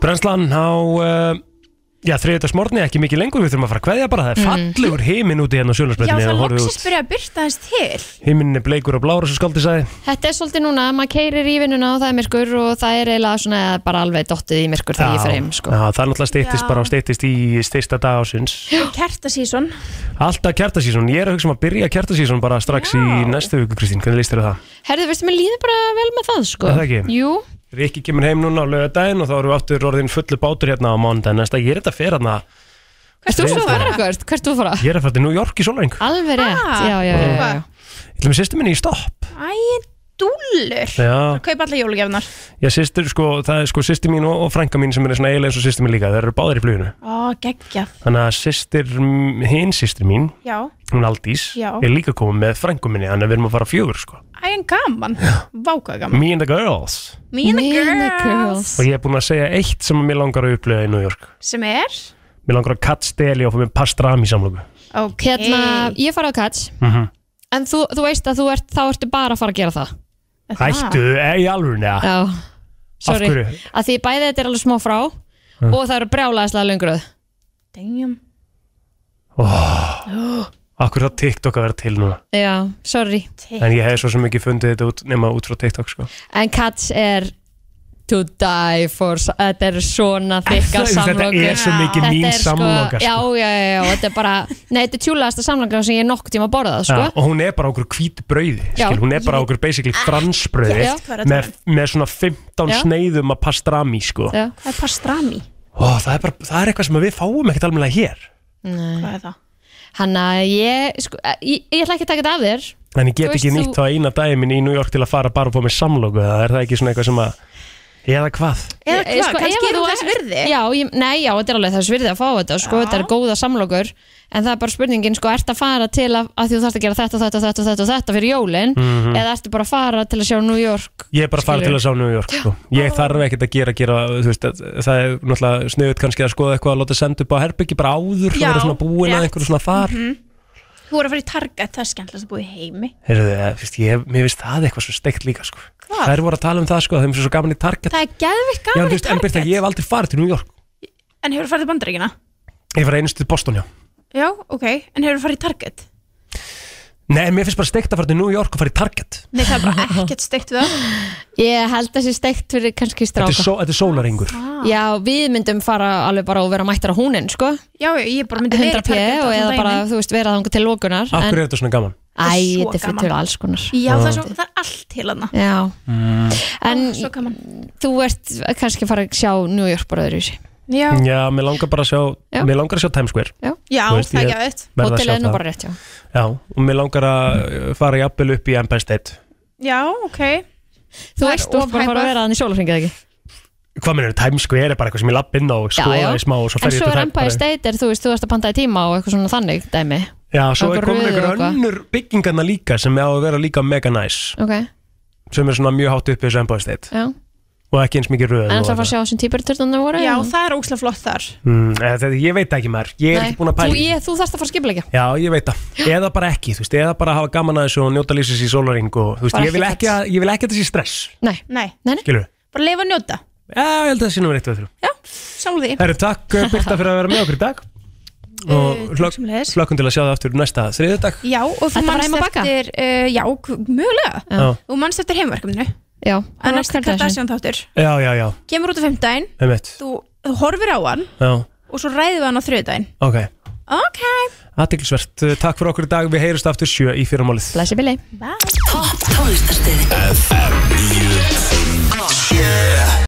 [SPEAKER 1] Brennslan á, uh, já, þriðdags morgni, ekki mikið lengur. Við þurfum að fara að kveðja bara. Það er fallegur heiminn úti hérna á
[SPEAKER 8] Já,
[SPEAKER 1] sjónarsbreytinni.
[SPEAKER 8] það loksist byrja að byrta þess til
[SPEAKER 1] Heiminn er bleikur og blár, svo skaldi sagði.
[SPEAKER 2] Þetta er svolítið núna, maður keirir í vinnuna og það er myrkur og það er eiginlega svona bara alveg dottið í myrkur þegar ég fer heim sko.
[SPEAKER 1] já, það er náttúrulega steyttist
[SPEAKER 8] Já.
[SPEAKER 1] bara og steyttist í steysta dag ásins.
[SPEAKER 8] Kertasíson
[SPEAKER 1] Alltaf kjartasísón. Ég er að hugsa um að byrja kjartasísón bara strax í næstu viku, Kristín. Hvernig líst þér á það?
[SPEAKER 2] Herðu, veistu, mér líður bara vel með það sko.
[SPEAKER 1] Er það ekki?
[SPEAKER 2] Jú,
[SPEAKER 1] Rikki kemur heim núna á laugardaginn og þá erum við aftur orðin fullu bátur hérna á mánudaginn. Næsta, ég er þetta fer hérna
[SPEAKER 2] hvert þú
[SPEAKER 1] Þriðja
[SPEAKER 2] svo að fara hvert? Hvert þú að fara?
[SPEAKER 1] Ég er að fara til New York í sólæng
[SPEAKER 2] Alveg rétt,
[SPEAKER 8] Ah.
[SPEAKER 2] já, já, já, já, já.
[SPEAKER 1] Ég ætlum sýstur minni í stopp
[SPEAKER 8] Æ, dúllur
[SPEAKER 1] Já,
[SPEAKER 8] Kaupa allar jólugefnar
[SPEAKER 1] já sýstur, sko, það er sko sýstur mín og, og frænka mín sem er svona eiginlega eins og sýstur mín líka Þeir eru báðir í fluginu
[SPEAKER 8] Ó, geggja
[SPEAKER 1] Þannig að sýstur, hinn sýstur mín,
[SPEAKER 8] Já,
[SPEAKER 1] hún Aldís
[SPEAKER 8] Já.
[SPEAKER 1] Er líka komið með frænku minni, þannig að við erum að fara fjögur sko
[SPEAKER 8] æ, en gaman Váka gaman
[SPEAKER 1] Me and the girls
[SPEAKER 8] Me and the
[SPEAKER 2] Me and the
[SPEAKER 8] girls
[SPEAKER 1] Og ég er búin að segja eitt sem mér langar að upplifa í New York
[SPEAKER 8] Sem er
[SPEAKER 1] Mér langar að kattsteli og fá mér pastrami samlóku
[SPEAKER 8] Ok
[SPEAKER 2] Hérna, ég fara á kats
[SPEAKER 1] Mhm.
[SPEAKER 2] En þú, þú veist að þú ert, þá ertu bara að fara að gera það
[SPEAKER 8] Er það?
[SPEAKER 1] Hættu, er eh, í alvörunni eða?
[SPEAKER 2] Já, sorry
[SPEAKER 1] hverju? Mm.
[SPEAKER 2] Að því bæði þetta er alveg smá frá Og það eru brjálæðislega löngröð
[SPEAKER 8] Damn
[SPEAKER 1] Akkur það TikTok að vera til núna
[SPEAKER 2] Já, sorry
[SPEAKER 1] En ég hef svo sem ekki fundið þetta út nema út frá TikTok sko
[SPEAKER 2] En Cats er to die for Þetta eru svona þykka
[SPEAKER 1] Þetta er
[SPEAKER 2] samlokur
[SPEAKER 1] svo mikið
[SPEAKER 2] Þetta
[SPEAKER 1] mín
[SPEAKER 2] er sko-
[SPEAKER 1] samloka, sko.
[SPEAKER 2] Já, já, já, já, og þetta er bara Nei, þetta er tjúlegasta samlokur sem ég nokkuð tíma að borða það,
[SPEAKER 1] Ja,
[SPEAKER 2] sko
[SPEAKER 1] og hún er bara okkur hvítu brauði
[SPEAKER 2] Já.
[SPEAKER 1] skil, hún er bara okkur basically fransbrauði
[SPEAKER 2] Já.
[SPEAKER 8] Hvað er að
[SPEAKER 1] með, með svona 15
[SPEAKER 2] Já.
[SPEAKER 1] sneiðum að pastrami sko.
[SPEAKER 2] Já.
[SPEAKER 8] Það er pastrami
[SPEAKER 1] Ó, það, er bara, það er eitthvað sem við fáum ekkert alveg hér
[SPEAKER 8] Hvað er það?
[SPEAKER 2] Hanna, ég, sko, ég, ég ætla ekki að taka þetta af þér
[SPEAKER 1] en ég get
[SPEAKER 2] Þú
[SPEAKER 1] ekki
[SPEAKER 2] veist,
[SPEAKER 1] nýtt
[SPEAKER 2] þú-
[SPEAKER 1] á eina daginn í New York til að fara bara og fá mig samloku það er það ekki svona eitthvað sem að Eða hvað?
[SPEAKER 8] Eða
[SPEAKER 2] Ég- sko,
[SPEAKER 8] hvað, kannski
[SPEAKER 2] ef
[SPEAKER 8] er
[SPEAKER 2] þú
[SPEAKER 8] hún þess
[SPEAKER 2] ert-
[SPEAKER 8] virði
[SPEAKER 2] Já, ég, nei, já, þetta er alveg þess virði að fá þetta sko, þetta er góða samlokur en það er bara spurningin, sko, ert að fara til að, að því þú þarfst að gera þetta, þetta, þetta, þetta, þetta fyrir jólin,
[SPEAKER 1] Mhm.
[SPEAKER 2] eða ertu bara að fara til að sjá New York
[SPEAKER 1] Ég er bara að fara til
[SPEAKER 2] Skilur.
[SPEAKER 1] að sá New York sko. Ég þarf ekkert að gera, gera þú veist, að- það er náttúrulega sniðut kannski að skoða eitthvað að láta senda upp á herbyggi bara áður
[SPEAKER 8] Já,
[SPEAKER 1] og vera svona búin að
[SPEAKER 8] rétt.
[SPEAKER 1] einhverju svona þar mm -hmm.
[SPEAKER 8] Þú voru að fara í Target, það er skemmtilegast að búa í heimi
[SPEAKER 1] ég, Mér finnst það eitthvað svo steikt líka sko. Það er voru að tala um það, sko, þeim sem svo gaman í Target
[SPEAKER 8] Það er geðvikt
[SPEAKER 1] Já,
[SPEAKER 8] gaman
[SPEAKER 1] þú veist, en
[SPEAKER 8] í
[SPEAKER 1] byrta,
[SPEAKER 8] Target
[SPEAKER 1] ég hef aldrei farið til New York
[SPEAKER 8] En hefur farið í bandaríkina?
[SPEAKER 1] Ég var einustu til Boston, já
[SPEAKER 8] Já, ok, en hefur farið í Target?
[SPEAKER 1] Nei, mér finnst bara steikt að fara til New York og fara í Target
[SPEAKER 8] Nei, það er bara ekkert steikt við það
[SPEAKER 2] Ég held þessi steikt fyrir kannski
[SPEAKER 1] Þetta
[SPEAKER 2] stráka
[SPEAKER 1] er, só, þetta er sólaringur
[SPEAKER 2] Já, við myndum fara alveg bara og vera mættar á húnin, sko
[SPEAKER 8] Já, já, ég bara myndi
[SPEAKER 2] 100
[SPEAKER 8] vera í Target
[SPEAKER 2] og
[SPEAKER 8] allan
[SPEAKER 2] eða
[SPEAKER 8] daginn.
[SPEAKER 2] bara, þú veist, vera þangur til lókunar
[SPEAKER 1] Af hverju er þetta svona gaman?
[SPEAKER 8] Það
[SPEAKER 2] Æ,
[SPEAKER 8] er svo
[SPEAKER 2] þetta er fyrir
[SPEAKER 8] gaman.
[SPEAKER 2] til alls konar
[SPEAKER 8] Já, það er, svo, það er allt til hana
[SPEAKER 2] Já
[SPEAKER 1] Mm.
[SPEAKER 2] En
[SPEAKER 8] Svo gaman
[SPEAKER 2] þú ert kannski að fara að sjá New York bara öðru í sig
[SPEAKER 8] Já,
[SPEAKER 1] Já, mér langar bara að sjá,
[SPEAKER 2] Já.
[SPEAKER 1] mér langar að sjá Times Square
[SPEAKER 8] já
[SPEAKER 1] Þú veist,
[SPEAKER 8] það er
[SPEAKER 1] ég-
[SPEAKER 8] geðvikt
[SPEAKER 1] Verð að sjá
[SPEAKER 2] Hótelið er nú
[SPEAKER 1] það.
[SPEAKER 2] bara rétt, já
[SPEAKER 1] Já, og mér langar að uh, fara jafnvel upp í Empire State
[SPEAKER 8] Já, ok
[SPEAKER 2] Þú
[SPEAKER 8] Það er
[SPEAKER 2] veist, þú ert bara að fara
[SPEAKER 8] ofhæpað.
[SPEAKER 2] að vera þannig sjólarfingið ekki
[SPEAKER 1] Hvað minnur, Times Square er bara eitthvað sem ég lapp inn á og skoða
[SPEAKER 2] já.
[SPEAKER 1] í smá og svo
[SPEAKER 2] En
[SPEAKER 1] fer ég
[SPEAKER 2] svo
[SPEAKER 1] til
[SPEAKER 2] er
[SPEAKER 1] Times
[SPEAKER 2] Empire State er, þú veist, þú ert að pantaði tíma og eitthvað svona þannig dæmi
[SPEAKER 1] Já, svo er
[SPEAKER 2] einhver
[SPEAKER 1] komin
[SPEAKER 2] röð og
[SPEAKER 1] einhver
[SPEAKER 2] eitthvað.
[SPEAKER 1] önnur byggingarna líka sem á að vera líka mega nice
[SPEAKER 2] Ok,
[SPEAKER 1] sem er svona mjög hátt upp í þessu Empire State
[SPEAKER 2] já
[SPEAKER 1] og ekki eins mikið röð
[SPEAKER 2] En
[SPEAKER 1] og
[SPEAKER 2] ætlar að fara að
[SPEAKER 1] það.
[SPEAKER 2] sjá sem típerturðan það voru
[SPEAKER 8] Já,
[SPEAKER 2] eða?
[SPEAKER 8] það er óslega flott þar
[SPEAKER 1] Mm, eða þetta- Ég veit ekki maður, ég er
[SPEAKER 2] Nei.
[SPEAKER 1] ekki búin að
[SPEAKER 2] Þú,
[SPEAKER 1] pæla í því.
[SPEAKER 2] ég, þú þarft að fara að skipulegja
[SPEAKER 1] Já, ég veit það, eða bara ekki, þú veist, eða bara hafa gaman að þessu og njóta lífsins í sólaring og þú veist,
[SPEAKER 2] Bara
[SPEAKER 1] ég vil
[SPEAKER 2] ekki
[SPEAKER 1] ekki að, ég vil ekki að þessi stress,
[SPEAKER 2] Nei,
[SPEAKER 8] Nei,
[SPEAKER 2] nei, nei
[SPEAKER 1] skilur
[SPEAKER 8] bara leifa að njóta
[SPEAKER 1] Já, ég held að það sé nummer 1 og 3
[SPEAKER 8] Já, samúl því
[SPEAKER 1] Það eru takk uh, Birta fyrir að vera með okkur í dag og
[SPEAKER 8] Eh, takk
[SPEAKER 1] hlökk-
[SPEAKER 8] sömuleiðis.
[SPEAKER 1] hlökkum til að sjá það aftur næsta þriðudag
[SPEAKER 8] Já, og þú
[SPEAKER 2] Þetta var heim
[SPEAKER 8] manst
[SPEAKER 2] að baka?
[SPEAKER 8] eftir uh, Já, k- mögulega
[SPEAKER 1] Já.
[SPEAKER 8] Þú manst eftir heimverkefninu
[SPEAKER 2] Já,
[SPEAKER 8] að næsta
[SPEAKER 2] Kardashian.
[SPEAKER 8] Kardashian þáttur
[SPEAKER 1] Já, já, já,
[SPEAKER 8] kemur út á fimmdæn,
[SPEAKER 1] einmitt
[SPEAKER 8] þú, þú horfir á hann
[SPEAKER 1] Já,
[SPEAKER 8] og svo ræðum við hann á þriðdæn
[SPEAKER 1] ok,
[SPEAKER 8] ok,
[SPEAKER 1] aðtiklisvert Takk fyrir okkur í dag, við heyrumst aftur sjö í fyrramálið
[SPEAKER 2] Blessi Billy
[SPEAKER 8] bye
[SPEAKER 6] Topp tónlistarstöðin
[SPEAKER 7] FM 9